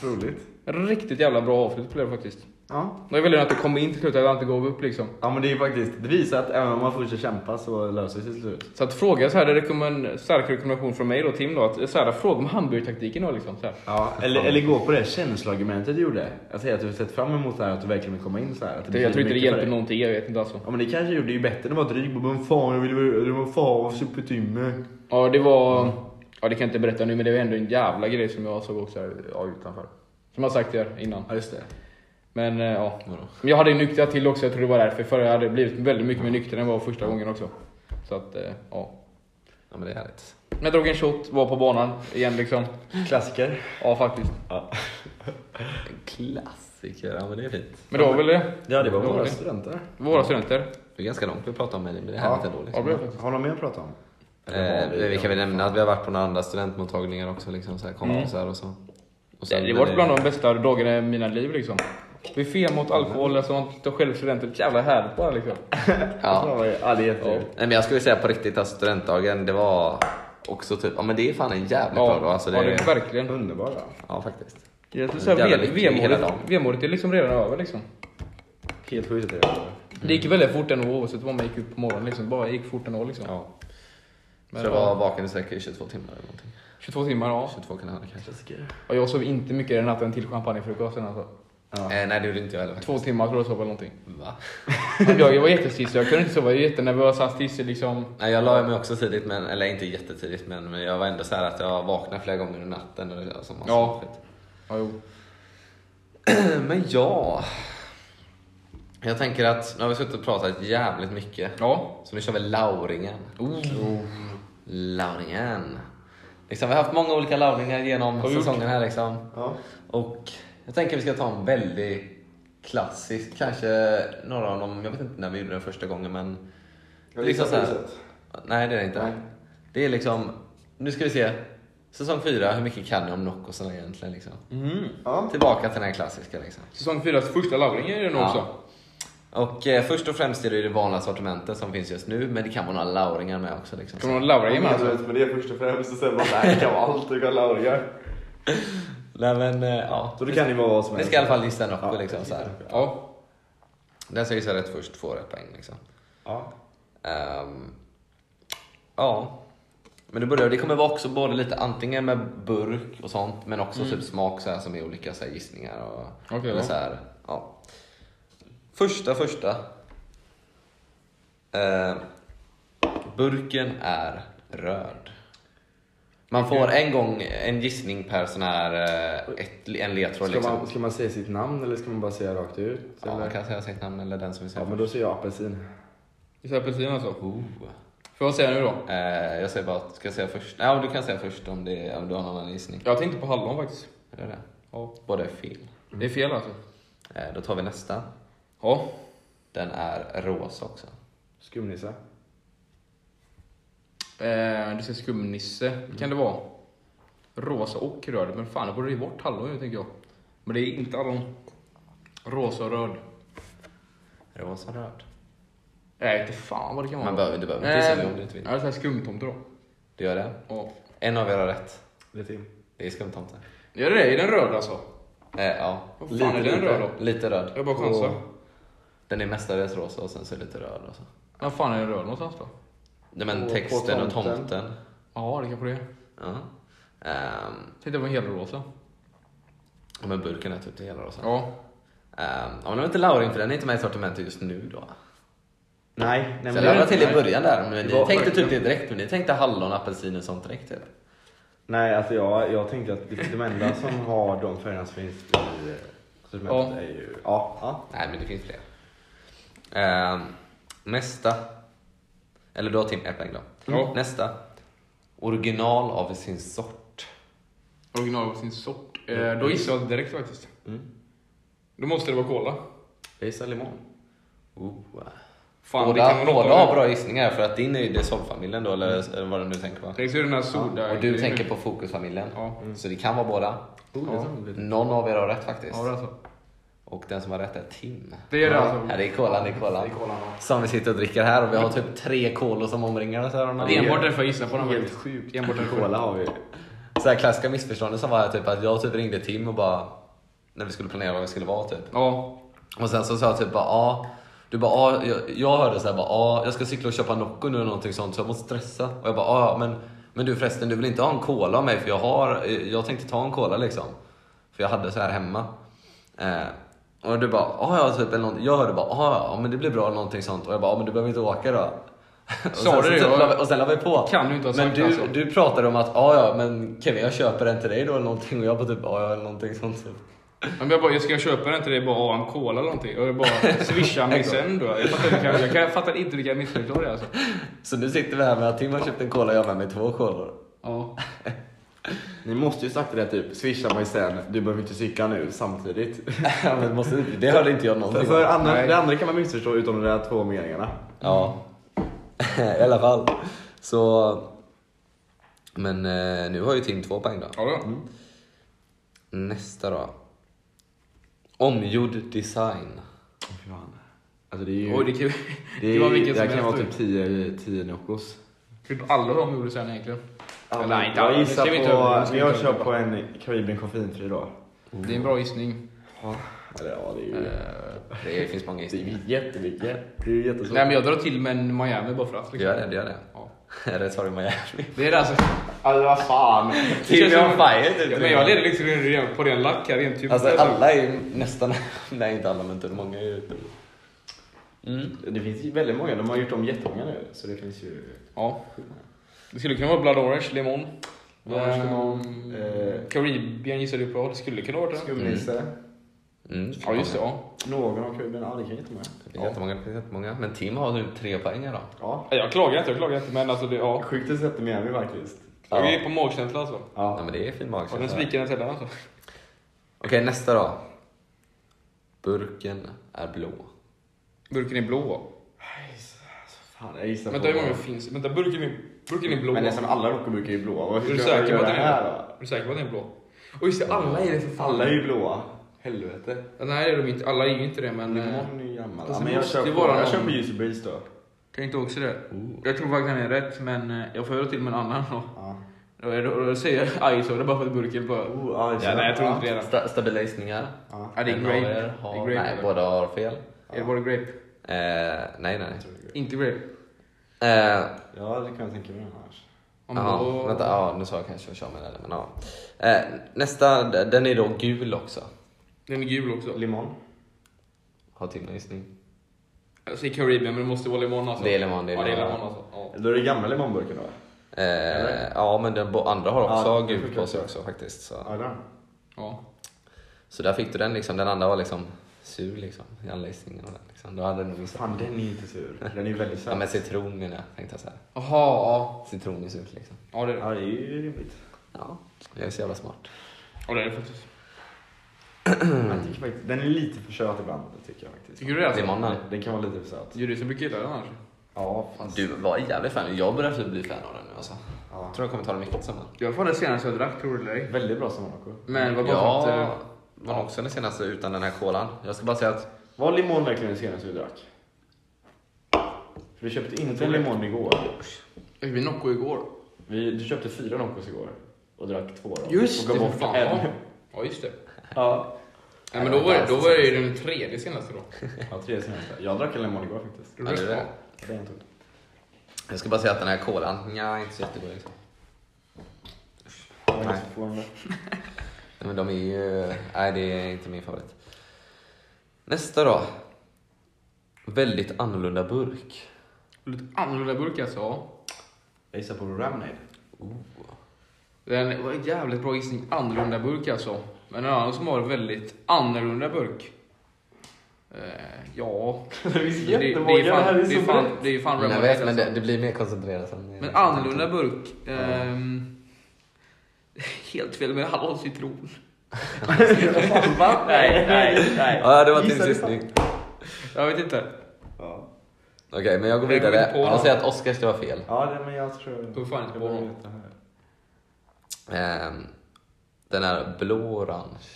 Speaker 3: Roligt.
Speaker 1: riktigt jävla bra avslut blev det faktiskt.
Speaker 3: Ja.
Speaker 1: Det var väldigt att det kom in till slut, att jag inte gav upp liksom.
Speaker 3: ja men det är ju faktiskt, det visar att även om man fortsätter kämpa så löser det sig till slut.
Speaker 1: Så att fråga så här, det är en stark rekommendation från mig då, Tim då, att så här, fråga om hamburgertaktiken då liksom. Så här.
Speaker 3: Ja, eller, eller gå på det känsloargumentet du gjorde. Att säga att du har sett fram emot det här, att du verkligen vill komma in så här. Att
Speaker 1: Det, jag tror inte
Speaker 3: betyder
Speaker 1: det
Speaker 3: mycket för
Speaker 1: hjälper
Speaker 3: dig.
Speaker 1: någonting, jag vet inte alltså.
Speaker 3: Ja men det kanske gjorde det ju bättre än att vara dryg. Bara, Men fan jag vill det var fan supertimme.
Speaker 1: Ja, det var... Ja, det kan jag inte berätta nu, men det var ändå en jävla grej som jag såg också här ja, utanför. Som jag sagt till er innan.
Speaker 3: Ja just det.
Speaker 1: Men eh, ja. Men jag hade ju nyktrat till också, jag tror det var därför. För jag hade blivit väldigt mycket mer nykter än vad jag var första gången också. Så att, eh, ja.
Speaker 2: Ja men det är härligt.
Speaker 1: Men jag drog en shot, var på banan igen liksom.
Speaker 3: Klassiker.
Speaker 1: Ja, faktiskt.
Speaker 2: Klassiker, ja men det är fint.
Speaker 1: Men det var väl det.
Speaker 3: Ja det var
Speaker 1: Det var
Speaker 3: våra
Speaker 1: det.
Speaker 3: studenter.
Speaker 1: Våra studenter.
Speaker 2: Det är ganska långt vi pratar om men det är
Speaker 3: Ja.
Speaker 2: härligt ändå.
Speaker 1: Ja,
Speaker 2: Liksom.
Speaker 1: det var det.
Speaker 3: Har de mer att prata om?
Speaker 2: Eh, men vi kan väl nämna att vi har varit på några andra studentmottagningar också. Liksom, så här, kompisar och så. Och sen-
Speaker 1: Mm. det var bland de bästa dagarna i mina liv liksom. Buffé mot alkohol, alltså man tar själv studenter. Jävla härligt bara liksom.
Speaker 2: Ja.
Speaker 3: Ja, ja det är jättekul.
Speaker 2: Nej, men jag skulle säga på riktigt att studentdagen det var också typ, ja men det är fan en jävligt bra dag.
Speaker 1: Ja,
Speaker 2: Alltså,
Speaker 1: det
Speaker 2: det,
Speaker 1: ja det är verkligen.
Speaker 3: Underbart. ja.
Speaker 2: ja faktiskt.
Speaker 1: Jag skulle säga,
Speaker 2: Jävla
Speaker 1: ve-
Speaker 2: lycklig hela dagen. Mm.
Speaker 1: vemodet- Vemodet är liksom redan över liksom.
Speaker 3: Helt sjukt att det är.
Speaker 1: Det gick väldigt fort ändå oavsett vad man gick upp på morgonen liksom. Bara gick fort ändå liksom.
Speaker 2: Ja.
Speaker 1: Men
Speaker 2: så jag
Speaker 1: ja.
Speaker 2: var vaken i säkert i 22 timmar eller någonting.
Speaker 1: 22 timmar, ja.
Speaker 2: 22 kan det ha kanske.
Speaker 1: Och jag sov inte mycket den natten till champagnefrukosten alltså.
Speaker 3: Ja.
Speaker 2: Eh, nej det gjorde inte jag heller faktiskt.
Speaker 1: Två timmar tror jag sov eller någonting.
Speaker 2: Va?
Speaker 1: Men Jag, jag var jättestissig, jag kunde inte sova, jag var jättenervös, han stissig liksom.
Speaker 2: Nej jag la mig också tidigt, men, eller inte jättetidigt men, men jag var ändå så här att jag vaknade flera gånger i natten. Och, alltså, massa
Speaker 1: Ja.
Speaker 2: skit.
Speaker 1: Ja, jo.
Speaker 2: Men ja. Jag tänker att nu har vi suttit och pratat jävligt mycket.
Speaker 1: Ja.
Speaker 2: Så nu kör vi lauringen.
Speaker 1: Oh.
Speaker 2: Lauringen. Liksom, vi har haft många olika lauringar genom
Speaker 1: Har vi gjort?
Speaker 2: säsongen här liksom.
Speaker 3: Ja.
Speaker 2: Och jag tänker vi ska ta en väldigt klassisk, kanske några av dem, jag vet inte när vi gjorde den första gången men...
Speaker 3: Ja, det är
Speaker 2: Liksom så här-
Speaker 3: priset.
Speaker 2: Nej det är det inte.
Speaker 3: Nej.
Speaker 2: Det är liksom, nu ska vi se. Säsong fyra, hur mycket kan ni om Noccosarna egentligen? Liksom?
Speaker 1: Mm.
Speaker 3: Ja.
Speaker 2: Tillbaka till den här klassiska liksom.
Speaker 1: Säsong 4 första lauring är det nog
Speaker 2: Ja.
Speaker 1: också.
Speaker 2: Och eh, först och främst är det ju det vanliga sortimentet som finns just nu, men det kan vara några lauringar med också. Liksom.
Speaker 1: Kommer du någon lauring med alltså?
Speaker 3: Men det är först och främst och sen bara nej, kan vara allt du kan laga.
Speaker 2: Nej men, eh, ja.
Speaker 3: Så det kan ju vara vad som
Speaker 2: Ni
Speaker 3: helst.
Speaker 2: ska i alla fall gissa Nocco
Speaker 3: Ja.
Speaker 2: liksom så här.
Speaker 1: Ja.
Speaker 2: Den som gissar rätt först får rätt poäng liksom.
Speaker 3: Ja.
Speaker 2: Ehm, ja. Men det börjar, det kommer vara också både lite antingen med burk och sånt, men också
Speaker 3: Mm.
Speaker 2: typ smak så här, som är olika så här, gissningar och
Speaker 1: Okej,
Speaker 2: eller
Speaker 1: ja.
Speaker 2: så här, ja. Första, första. Ehm, burken är röd. Man får en gång en gissning per sån här eh, ett, en ledtråd
Speaker 3: Ska
Speaker 2: liksom.
Speaker 3: man, ska man säga sitt namn eller ska man bara säga rakt ut?
Speaker 2: ja, man
Speaker 3: eller?
Speaker 2: kan säga sitt namn eller den som vill säga
Speaker 3: ja men då säger jag apelsin.
Speaker 1: Gissa apelsin alltså.
Speaker 2: Oh.
Speaker 1: Får jag säga nu då?
Speaker 2: Eh, jag säger bara, ska jag säga först? Ja, du kan säga först om, det, om du har någon annan gissning.
Speaker 1: Jag tänkte på hallon faktiskt.
Speaker 2: Är det det?
Speaker 1: Ja.
Speaker 2: Båda är fel.
Speaker 1: Det är fel alltså.
Speaker 2: Eh, då tar vi nästa.
Speaker 1: Ja.
Speaker 2: Den är rosa också.
Speaker 3: Skumnisse.
Speaker 1: Eh, du säger skumnisse. Kan det vara? Rosa och röd. Men fan, det borde ju bort hallon nu tänker jag. Men det är inte hallon. Rosa och röd.
Speaker 2: Rosa röd.
Speaker 1: Nej, inte fan vad det kan vara.
Speaker 2: Man behöver, du behöver inte
Speaker 1: Nej,
Speaker 2: gissa
Speaker 1: men-
Speaker 2: nu om du inte vill.
Speaker 1: Ja, det är så här skumtomte då.
Speaker 2: Du gör det?
Speaker 1: Ja.
Speaker 2: En av er har rätt.
Speaker 3: Lite in.
Speaker 2: Det är skumtomten.
Speaker 1: Gör det det? Är den röd alltså?
Speaker 2: Eh, ja.
Speaker 1: Vad fan är den
Speaker 2: lite,
Speaker 1: röd då?
Speaker 2: Lite röd.
Speaker 1: Jag bara chansar.
Speaker 2: Och Den är mestadels rosa och sen så är det lite röd och så.
Speaker 1: När fan är den röd någonstans då?
Speaker 2: Nej men
Speaker 3: Och på
Speaker 2: texten och
Speaker 3: tomten.
Speaker 2: tomten.
Speaker 1: Ja, det kanske det är.
Speaker 2: Ja. Ehm,
Speaker 1: Titta på en helrosa.
Speaker 2: ja, men burken är typ det hela rosa.
Speaker 1: Ja.
Speaker 2: Ehm, ja men det var inte Lauring för den är inte med i sortimentet just nu då.
Speaker 3: Nej, nej
Speaker 2: Så
Speaker 3: men
Speaker 2: jag lämnade
Speaker 3: det,
Speaker 2: till i
Speaker 1: nej.
Speaker 2: början där. Men
Speaker 3: Det
Speaker 2: ni
Speaker 3: var
Speaker 2: tänkte typ
Speaker 1: verkligen-
Speaker 2: det direkt. Men ni tänkte hallon, apelsin och sånt direkt. typ. Eller?
Speaker 3: nej, alltså jag, jag tänkte att det- de enda som har de färgerna som finns i eh, sortimentet
Speaker 1: Ja.
Speaker 3: är ju... Ja, ja.
Speaker 2: Nej men det finns fler. Ehm, nästa. Eller då har Tim ett poäng då.
Speaker 1: Ja.
Speaker 2: Nästa. Original av sin sort.
Speaker 1: Original av sin sort. Eh, då gissar jag direkt faktiskt.
Speaker 2: Mm.
Speaker 1: Då måste det vara cola.
Speaker 2: Jag gissar limon. Oh.
Speaker 1: Fan, det
Speaker 2: båda
Speaker 1: kan vara något
Speaker 2: båda
Speaker 1: av
Speaker 2: har
Speaker 1: det.
Speaker 2: bra gissningar för att din är ju Desolve-familjen då eller eller vad du nu tänker på.
Speaker 1: Tänk så är Mm. det den här soda...
Speaker 2: Och du tänker på Fokusfamiljen. Mm.
Speaker 1: Ja.
Speaker 2: Så det kan vara båda.
Speaker 3: Oh, det är sant, lite.
Speaker 2: Någon av er har rätt faktiskt.
Speaker 1: Ja, det är alltså.
Speaker 2: Och den som har rätt är Tim.
Speaker 1: Det är det
Speaker 2: Ja,
Speaker 1: alltså.
Speaker 2: det är kolan, det är kolan. Som vi sitter och dricker här och vi har typ tre kolor som omringar oss. här.
Speaker 1: Det är enbart därför jag gissar på den.
Speaker 3: Helt
Speaker 1: faktiskt.
Speaker 3: sjukt.
Speaker 1: Enbart därför.
Speaker 3: Cola har vi.
Speaker 2: Så här klassiska missförståndet som var här, typ att jag typ ringde Tim och bara när vi skulle planera vad vi skulle vara typ.
Speaker 1: Ja.
Speaker 2: Och sen så sa jag typ bara ja. Du bara ja, jag, jag hörde så här bara ja, jag ska cykla och köpa Nocco nu eller någonting sånt så jag måste stressa. Och jag bara ja, men, men du förresten du vill inte ha en cola av mig för jag har, jag tänkte ta en cola liksom. För jag hade så här hemma. Eh, och du bara ja, ja typ eller någonting. Jag hörde bara ja, ja, men det blir bra eller någonting sånt. Och jag bara ja, men du behöver inte åka då. Och
Speaker 1: Sa du
Speaker 2: sen så
Speaker 1: det?
Speaker 2: typ
Speaker 1: Jag
Speaker 2: la vi- Och sen la vi på.
Speaker 1: kan ju inte ha
Speaker 2: Men
Speaker 1: sagt
Speaker 2: du,
Speaker 1: alltså.
Speaker 2: du pratade om att ja, ja, men Kevin jag köper den till dig då eller någonting. Och jag bara typ ja, ja eller någonting sånt. Typ.
Speaker 1: Men jag bara, jag ska köpa den till dig bara av en cola eller någonting. Och jag bara swishar mig sen då. Jag fattar, inte- jag, kan, jag fattar inte vilka missförstånd det är alltså.
Speaker 2: Så nu sitter vi här med att Tim har köpt en cola och jag har med mig två kolor.
Speaker 1: Ja.
Speaker 3: Ni måste ju sagt det där typ, swisha mig sen, du behöver inte cykla nu samtidigt.
Speaker 2: Ja, men måste, det hörde inte jag
Speaker 3: För,
Speaker 2: någonting
Speaker 3: för
Speaker 2: om.
Speaker 3: andra,
Speaker 1: Nej.
Speaker 3: det andra kan man missförstå utom de där två meningarna.
Speaker 2: Ja. I alla fall. Så... Men eh, nu har ju Tim två poäng då.
Speaker 1: Ja, då.
Speaker 2: Nästa då. Omgjord design.
Speaker 3: Fan. Alltså det är ju...
Speaker 1: Oj, det kan ju...
Speaker 3: det
Speaker 1: det var vilken
Speaker 3: det
Speaker 1: som
Speaker 3: kan
Speaker 1: helst,
Speaker 3: vara
Speaker 1: du.
Speaker 3: typ 10, 10 Noccos.
Speaker 1: Typ alla de gjorde sen egentligen.
Speaker 3: Ja,
Speaker 1: Eller,
Speaker 3: men
Speaker 1: nej, inte alla.
Speaker 3: jag
Speaker 1: Nu
Speaker 3: gissar
Speaker 1: ska vi inte överdriva, nu
Speaker 3: på...
Speaker 1: ska vi
Speaker 3: Vi har
Speaker 1: inte
Speaker 3: kört på en Karibien koffeinfri då.
Speaker 1: Det är en bra gissning.
Speaker 3: Ja, eller ja, det är ju...
Speaker 1: Eh.
Speaker 2: Det finns många
Speaker 3: Det är
Speaker 2: gissningar.
Speaker 3: ju jättemycket. Det är ju jättesvårt.
Speaker 1: Nej men jag drar till med en Miami bara för att.
Speaker 2: Du gör det, du gör det.
Speaker 1: Ja.
Speaker 2: Rätt svar är Miami.
Speaker 1: Det är det alltså.
Speaker 3: Alltså vad fan.
Speaker 2: Tim
Speaker 1: känns
Speaker 2: är on
Speaker 1: som-
Speaker 2: fire. typ.
Speaker 1: Ja, men jag leder liksom redan på den lack här rent typ.
Speaker 2: Alltså alla är ju nästan... Nej, inte alla men inte många är ju... Mm.
Speaker 3: Det finns ju väldigt många. De har gjort om jättemånga nu. Så det finns ju...
Speaker 1: Ja. Det skulle kunna vara Blood Orange, Limon. Ehm,
Speaker 3: Blood Orange, Limon, eh,
Speaker 1: Eh, Caribbean gissade du på. Det skulle kunna vara det.
Speaker 3: Skumnisse.
Speaker 2: Mm.
Speaker 1: Ja just det, ja.
Speaker 3: Någon av Karibien. Ja, det kan jättemånga.
Speaker 2: Det är jättemånga, det är jättemånga. Men Tim har nu tre poäng här då.
Speaker 3: Ja.
Speaker 1: Nej, Jag klagar inte, jag klagar inte. Men alltså det, ja.
Speaker 3: Sjukt att sätta Miami faktiskt.
Speaker 2: Ja.
Speaker 1: Vi är på magkänsla alltså.
Speaker 2: Ja,
Speaker 3: Ja.
Speaker 2: men det är fin
Speaker 1: Och den
Speaker 2: magkänsla.
Speaker 1: sviker den sällan alltså.
Speaker 2: Okej, nästa då. Burken är blå.
Speaker 1: Burken är blå.
Speaker 3: Alltså, Fan, jag gissar
Speaker 1: Vänta
Speaker 3: på...
Speaker 1: hur många finns Vänta, burken är, burken är blå.
Speaker 3: Men nästan alla Rockoburkar är ju blåa.
Speaker 1: Är
Speaker 3: Hur
Speaker 1: du
Speaker 3: ska jag
Speaker 1: säker på
Speaker 3: göra
Speaker 1: att den
Speaker 3: det
Speaker 1: är
Speaker 3: här
Speaker 1: blå?
Speaker 3: då?
Speaker 1: Är du säker på att den är blå? Och just det, alla är det för fan.
Speaker 3: Alla är ju blåa. Helvete.
Speaker 1: Nej det är de inte, alla är ju inte det men... eh,
Speaker 3: Limon är ju gammal.
Speaker 1: Alltså,
Speaker 3: ja, men
Speaker 1: det
Speaker 3: jag
Speaker 1: måste
Speaker 3: kör
Speaker 1: ju
Speaker 3: på,
Speaker 1: vara
Speaker 3: jag
Speaker 1: någon-
Speaker 3: kör på Juicy Breeze då.
Speaker 1: Tänkte också det.
Speaker 3: Oh.
Speaker 1: Jag tror faktiskt han är rätt, men eh, jag får höra till med en annan då.
Speaker 3: Ja.
Speaker 1: Då, är- då, då säger jag Ice det bara för att burken bara...
Speaker 3: Oh, ja, just
Speaker 1: ja, nej, jag tror inte
Speaker 3: Ja.
Speaker 1: det. Är,
Speaker 2: Sta- stabila gissningar.
Speaker 3: Ja.
Speaker 1: ja, det är
Speaker 2: En
Speaker 1: grape.
Speaker 2: av er
Speaker 1: Det är
Speaker 2: Har...
Speaker 1: grape.
Speaker 2: Nej,
Speaker 1: eller?
Speaker 2: båda har fel.
Speaker 1: Är det bara grape?
Speaker 2: Eh, nej, nej.
Speaker 1: Inte grape.
Speaker 2: Eh,
Speaker 3: Ja, det kan jag tänka mig annars.
Speaker 1: Om
Speaker 2: ja,
Speaker 1: då-
Speaker 2: vänta, ja, nu sa jag kanske jag kör med den. Men, ja. eh, nästa, d- den är då gul också.
Speaker 1: Den är gul också.
Speaker 3: Limon.
Speaker 2: Har Tim någon gissning?
Speaker 1: Jag säger Caribbean, men det måste vara limon alltså.
Speaker 2: Det är limon, det är
Speaker 1: Ja, det är
Speaker 2: limon.
Speaker 1: limon alltså. Ja.
Speaker 3: Då är det gamla limonburken då?
Speaker 2: Eh, ja, men den bo- andra har också
Speaker 3: Ja, det
Speaker 2: gult
Speaker 3: funkar
Speaker 2: på sig
Speaker 3: också.
Speaker 2: också faktiskt. Så.
Speaker 3: Ja, den.
Speaker 1: ja.
Speaker 2: så där fick du den liksom. Den andra var liksom sur liksom, i alla gissningarna. Liksom. Då hade du nog gissat.
Speaker 3: Fan, den är inte sur. Den är ju väldigt
Speaker 2: Ja,
Speaker 3: söt.
Speaker 2: men citron menar jag, tänkte jag så här.
Speaker 1: Jaha, ja.
Speaker 2: Citron är surt liksom.
Speaker 1: Ja det är det.
Speaker 3: Ja, det är ju rimligt.
Speaker 2: Ja, jag är så jävla smart.
Speaker 1: Ja, det är det faktiskt.
Speaker 3: Jag tycker faktiskt, den är lite för söt ibland, tycker jag faktiskt.
Speaker 1: Mm. Tycker du det alltså?
Speaker 2: Limonen.
Speaker 3: Den kan vara lite för söt.
Speaker 1: Juristen brukar gilla den annars.
Speaker 3: Ja, fast...
Speaker 2: Du var jävligt fan. Jag börjar typ bli fan av den nu alltså.
Speaker 3: Ja.
Speaker 2: Jag tror jag kommer ta den mycket sommar.
Speaker 1: Jag var den senaste jag drack, tror du det eller ej.
Speaker 3: Väldigt bra som Monaco.
Speaker 1: Men vad var
Speaker 2: Jag
Speaker 1: för att... eh,
Speaker 2: var också den senaste utan den här kolan. Jag ska bara säga att
Speaker 3: Var limon verkligen det senaste vi drack? För du köpte inte en limon igår.
Speaker 1: Fick vi Nocco igår?
Speaker 3: Vi, du köpte fyra Noccos igår och drack två. Då.
Speaker 1: Just
Speaker 3: och
Speaker 1: det,
Speaker 3: gav
Speaker 1: för
Speaker 3: bort
Speaker 1: fan.
Speaker 3: en.
Speaker 1: Ja. Ja, just det.
Speaker 3: Ja.
Speaker 1: Nej, men då var, det- då var det ju den tredje senaste då.
Speaker 3: ja, tre senaste. Jag drack en limon igår faktiskt.
Speaker 2: Ja, det är det.
Speaker 3: Det är jag inte.
Speaker 2: Jag ska bara säga att den här kolan, nja, inte så jättegod. Liksom.
Speaker 3: Jag är
Speaker 2: Nej.
Speaker 3: inte så förvånad.
Speaker 2: Nej, Men de är ju... Nej, det är inte min favorit. Nästa då. Väldigt annorlunda burk.
Speaker 1: Lite annorlunda burk alltså. ja.
Speaker 3: Jag gissar på Ramnade.
Speaker 1: Den var en jävligt bra gissning. Annorlunda burk alltså. Men en annan som var väldigt annorlunda burk. Eh, ja.
Speaker 3: Det finns
Speaker 1: Det, det,
Speaker 3: jättemånga. Det,
Speaker 1: är fan,
Speaker 3: här är
Speaker 1: det,
Speaker 3: så
Speaker 1: är fan,
Speaker 3: brett.
Speaker 1: det är fan
Speaker 2: Jag
Speaker 1: Ramon
Speaker 2: vet,
Speaker 1: Rex,
Speaker 2: men
Speaker 1: alltså.
Speaker 2: det, det blir mer koncentrerat. än-
Speaker 1: Men annorlunda burk. ehm, helt fel, men hallon citron. Va? Nej, nej, nej.
Speaker 2: Ja, det var din
Speaker 3: Gissade
Speaker 2: gissning.
Speaker 1: Jag vet inte.
Speaker 3: Ja.
Speaker 2: Okej, men
Speaker 1: Jag
Speaker 2: jag går
Speaker 1: går
Speaker 2: vidare.
Speaker 1: inte på.
Speaker 2: Jag säger att Oscars det var fel.
Speaker 3: ja, det, men jag tror...
Speaker 1: Då fan inte
Speaker 3: jag
Speaker 1: på
Speaker 3: borde
Speaker 1: någon.
Speaker 3: veta här.
Speaker 2: Ehm, Den här blå-orange.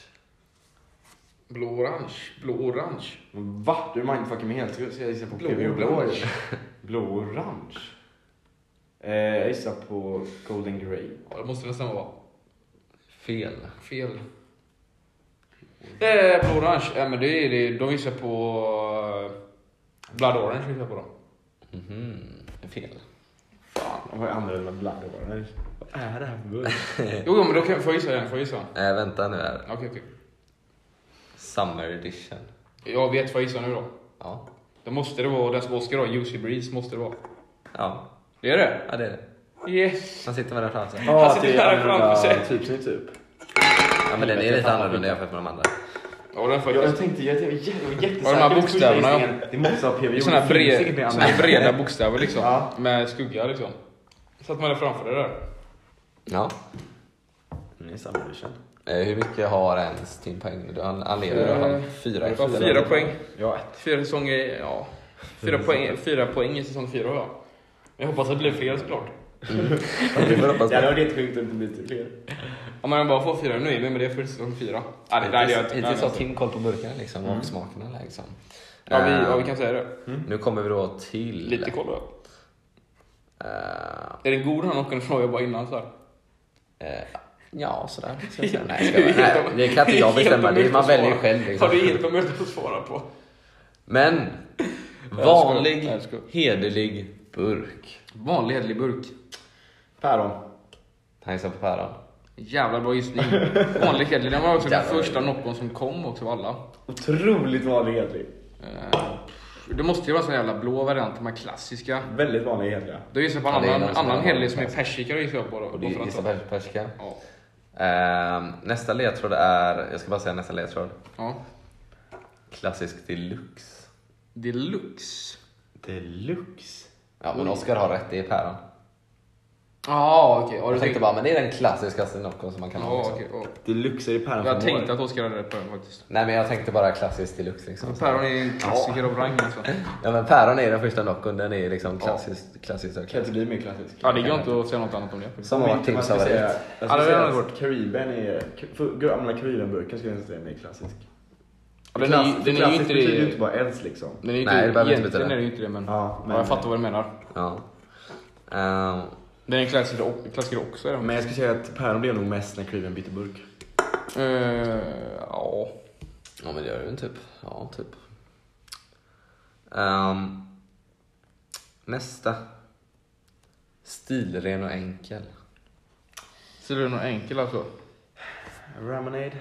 Speaker 1: Blå-orange. Blå-orange.
Speaker 3: Men Va? Du är mindfucking mig helt. Ska jag gissa på
Speaker 1: Blå-
Speaker 3: Kiwi
Speaker 1: blå-
Speaker 3: Orange? Blå-orange? Eh, jag gissar på Golden Grey.
Speaker 1: Ja, det måste nästan vara
Speaker 2: Fel.
Speaker 1: fel. Eh, Blå-orange. Ja, men det är det. De gissar på... eh, Blood orange gissar jag på dem.
Speaker 2: Mhm, fel.
Speaker 3: Fan, de har ju annorlunda Blood Orange. Vad är det här för burk?
Speaker 2: Eh.
Speaker 1: Jo, jo, men då kan jag få gissa igen. Får jag gissa?
Speaker 2: Nej, Eh, vänta nu här.
Speaker 1: Okej, okej.
Speaker 2: Summer edition.
Speaker 1: Jag vet vad jag gissar nu då.
Speaker 2: Ja.
Speaker 1: Då måste det vara den som Oskar har. Juicy Breeze måste det vara.
Speaker 2: Ja,
Speaker 1: Det är det?
Speaker 2: ja det är det.
Speaker 1: Yes!
Speaker 2: Han sitter med den framför sig.
Speaker 1: Han sitter
Speaker 3: Alltså, det är
Speaker 1: här framför sig.
Speaker 3: annorlunda typsnitt typ.
Speaker 2: Ja, men den är lite annorlunda jämfört med de andra.
Speaker 1: Ja, den får
Speaker 3: Jag,
Speaker 1: jag
Speaker 3: jag tänkte, jag tänkte, jag var jättesäker.
Speaker 1: Ja, de här
Speaker 3: på första
Speaker 1: bokstäverna, ja.
Speaker 3: gissningen. Det måste vara PVO.
Speaker 1: Såna
Speaker 3: Det
Speaker 1: här,
Speaker 3: finns
Speaker 1: bre-
Speaker 3: inget mer
Speaker 1: såna här
Speaker 3: annorlunda.
Speaker 1: breda bokstäver liksom.
Speaker 3: Ja.
Speaker 1: Med skugga liksom. Satt man där framför det där.
Speaker 2: Ja.
Speaker 3: Ni är samma edition.
Speaker 2: Eh, Hur mycket har ens Tim poäng? Du- Han, han lever i alla
Speaker 1: Eh,
Speaker 2: fall fyra.
Speaker 1: det var fyra poäng.
Speaker 3: Ja, ett.
Speaker 1: Fyra säsonger, ja. Fyra poäng, fyra poäng i säsong fyra har jag. Men jag hoppas att det blir fler såklart.
Speaker 2: Vi får hoppas
Speaker 3: Det hade
Speaker 2: på.
Speaker 3: varit jättesjukt om det blivit fler.
Speaker 1: Om man bara får fyra nu är vi med det för säsong fyra. Ja, det där är jag
Speaker 2: Hittills-
Speaker 1: inte. Mm.
Speaker 2: Hittills har Tim koll på burkarna liksom, och smakerna. Liksom.
Speaker 1: Ja, vi,
Speaker 2: Eh,
Speaker 1: ja, vi kan säga det.
Speaker 2: Nu kommer vi då till...
Speaker 1: Lite koll då.
Speaker 2: Eh,
Speaker 1: Är det god han åker ifrån? Jag bara innan så här.
Speaker 2: eh, ja, sådär. ska jag säga. Nej, ska jag, nej, det kan inte jag
Speaker 1: Helt
Speaker 2: bestämma. Det är,
Speaker 1: omöjligt
Speaker 2: man
Speaker 1: att
Speaker 2: väljer
Speaker 1: svara.
Speaker 2: själv.
Speaker 1: Ja, det är
Speaker 2: Liksom.
Speaker 1: helt omöjligt att svara på.
Speaker 2: Men
Speaker 1: Jag
Speaker 2: vanlig,
Speaker 1: älskar- jag
Speaker 2: hederlig burk.
Speaker 1: Vanlig hederlig burk.
Speaker 3: Päron.
Speaker 2: Han gissar på päron.
Speaker 1: Jävla bra gissning. Vanlig hederlig. Den var också den
Speaker 2: Jävla
Speaker 1: första Noccon som kom också av alla.
Speaker 3: Otroligt vanlig hedlig.
Speaker 1: Eh, Det måste ju vara en sån jävla blå variant, de här klassiska.
Speaker 3: Väldigt vanlig hedlig.
Speaker 1: Då gissar jag på
Speaker 2: Ja,
Speaker 1: en
Speaker 2: det är
Speaker 1: annan,
Speaker 2: någon som
Speaker 1: annan
Speaker 2: är
Speaker 1: helg som är
Speaker 2: klassisk.
Speaker 1: persika. då gissar jag på då.
Speaker 2: Och du
Speaker 1: bara för att-
Speaker 2: gissar på persika.
Speaker 1: Ja.
Speaker 2: Ehm, nästa ledtråd är, jag ska bara säga nästa ledtråd.
Speaker 1: ja.
Speaker 2: Klassisk deluxe.
Speaker 1: Deluxe.
Speaker 3: Deluxe.
Speaker 2: Ja men Oskar har rätt, det är päron.
Speaker 1: Jaha, okej. Ja, du
Speaker 2: Jag tänkte bara, men det är den klassiskaste Nocco som man kan ha.
Speaker 1: Ja,
Speaker 2: Liksom.
Speaker 1: okej. ja.
Speaker 3: Deluxe är det päron
Speaker 1: Jag
Speaker 3: från vår.
Speaker 1: tänkte att Oskar hade rätt på den faktiskt.
Speaker 2: Nej men jag tänkte bara klassisk deluxe liksom.
Speaker 1: Päron är en klassiker av rang alltså.
Speaker 2: Ja men päron är den första Noccon, den är liksom klassisk, klassisk och
Speaker 3: Kan
Speaker 2: klassisk.
Speaker 3: inte bli mer klassisk.
Speaker 1: Ja, det går inte att säga något annat om det.
Speaker 2: Som har varit Tims favorit.
Speaker 3: Jag
Speaker 1: Ja, det
Speaker 3: skulle
Speaker 1: hade
Speaker 3: säga
Speaker 1: varit
Speaker 3: att Caribbean är... för Gamla Caribbean-burken skulle jag säga är mer klassisk.
Speaker 1: Ja, den är ju-
Speaker 3: Klass-
Speaker 1: den är ju
Speaker 3: klassisk
Speaker 1: inte
Speaker 3: betyder
Speaker 1: det-
Speaker 3: ju inte bara ens liksom.
Speaker 1: Den är ju typ
Speaker 2: Nej, det behöver inte
Speaker 1: egentligen
Speaker 2: betyda.
Speaker 1: är det ju inte det, men,
Speaker 3: Ja,
Speaker 1: ja,
Speaker 3: men-
Speaker 1: jag fattar vad du menar.
Speaker 2: Ja. Ehm,
Speaker 1: Den är en klassiker, och- klassiker också. Är den.
Speaker 3: Men jag skulle säga att päron blev nog mest när Caribbean bytte burk.
Speaker 1: Eh, ja.
Speaker 2: ja men det gör den typ. Ja, typ. Ehm, nästa. Stilren och enkel.
Speaker 1: Så det är nog enkel alltså.
Speaker 3: Ramonade.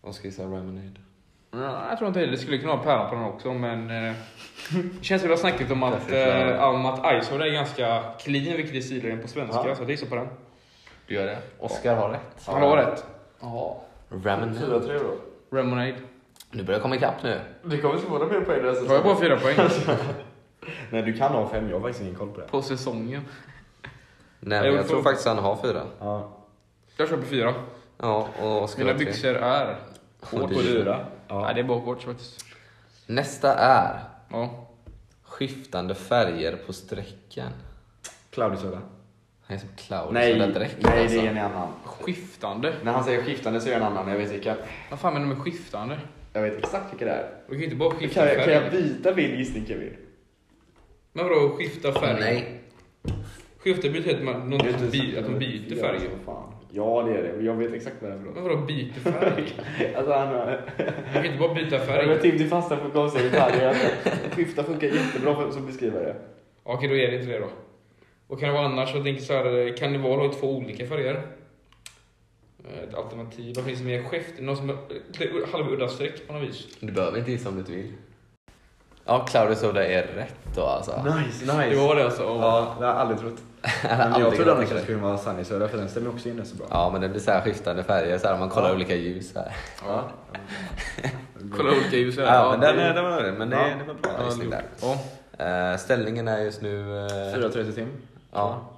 Speaker 2: Oskar gissar Ramonade.
Speaker 1: Ja, jag tror inte det. Det skulle kunna vara päron på den också, men... Eh, det känns som vi har snackat om att,
Speaker 2: Klassisk, ja.
Speaker 1: eh, om att Icehold är ganska clean, vilket är stilen på svenska.
Speaker 3: Ja.
Speaker 1: Så det är så på den.
Speaker 2: Du gör det? Oskar har rätt.
Speaker 1: Han har rätt. Ja.
Speaker 2: Ramonade.
Speaker 3: tre då.
Speaker 1: Lemonade.
Speaker 2: Du börjar komma ikapp nu.
Speaker 3: Du kommer inte få några mer poäng den
Speaker 1: Då har jag bara fyra poäng
Speaker 3: Nej, du kan ha fem. Jag har faktiskt ingen koll på det.
Speaker 1: på säsongen.
Speaker 2: Nej,
Speaker 1: Jag
Speaker 2: men
Speaker 1: vill
Speaker 2: jag tror
Speaker 1: fråga-
Speaker 2: faktiskt han har fyra.
Speaker 3: Ja.
Speaker 1: Jag köper fyra.
Speaker 2: Ja, och Oskar
Speaker 1: Mina
Speaker 2: har tre.
Speaker 1: byxor är...
Speaker 2: Och
Speaker 1: Shorts.
Speaker 2: dyra.
Speaker 3: Ja.
Speaker 1: Nej, det är bara shorts faktiskt.
Speaker 2: Nästa är
Speaker 1: Ja.
Speaker 2: skiftande färger på strecken.
Speaker 3: Cloudy soda.
Speaker 2: Han är som clown.
Speaker 3: Nej,
Speaker 2: så
Speaker 3: nej
Speaker 2: det direkt, alltså.
Speaker 3: det är en annan.
Speaker 1: Skiftande.
Speaker 3: När han säger skiftande så är det en annan. Jag vet, vilka,
Speaker 1: Vad fan menar du med skiftande?
Speaker 3: jag vet exakt vilka det är.
Speaker 1: Vi kan ju inte bara skifta
Speaker 3: Kan jag, kan jag
Speaker 1: färg.
Speaker 3: byta min gissning Kevin?
Speaker 1: Men vadå skifta färg?
Speaker 2: Nej.
Speaker 1: Skifta betyder att man, någon,
Speaker 4: Det är inte
Speaker 1: by,
Speaker 4: så-
Speaker 1: att de byter
Speaker 4: Ja,
Speaker 1: färg.
Speaker 4: som fan. Ja, det är det. Jag vet exakt vad det är för något.
Speaker 1: Men vadå byter färg?
Speaker 4: Alltså han har...
Speaker 1: Man kan inte bara byta
Speaker 4: Ja, men
Speaker 1: färg.
Speaker 4: Tim, du fastnar på konstiga detaljer. Alltså, Skifta funkar jättebra för, som beskrivare.
Speaker 1: Ja, Okej, då är det inte det då. Och kan det vara annars? Jag tänker så här, karneval har ju två olika färger. Eh, Ett alternativ. Vad finns det mer? Skäft? Någon som har halvudda streck på något vis?
Speaker 2: Du behöver inte gissa om du inte vill. Ja, Claudio Soda är rätt då alltså.
Speaker 3: Nice, nice.
Speaker 1: Det var det alltså? Oh.
Speaker 3: Ja, det har jag aldrig trott.
Speaker 2: Jag hade
Speaker 3: Men jag
Speaker 2: aldrig
Speaker 3: trodde
Speaker 2: kunnat
Speaker 3: annars
Speaker 2: tänka
Speaker 3: att det
Speaker 2: mig.
Speaker 3: skulle vara Sunny Söder för den stämmer också in rätt så bra.
Speaker 2: Ja, men det blir så här skiftande färger, så här, man kollar olika ljus. Så här.
Speaker 1: Ja. Kolla olika ljus här.
Speaker 2: Ja, men den,
Speaker 1: det-
Speaker 2: är- den var det. Men det,
Speaker 3: Ja.
Speaker 2: det var bra
Speaker 1: Ja,
Speaker 2: gissning där.
Speaker 1: Ja.
Speaker 2: Eh, ställningen är just nu... eh,
Speaker 3: 4.30 tim.
Speaker 2: ja.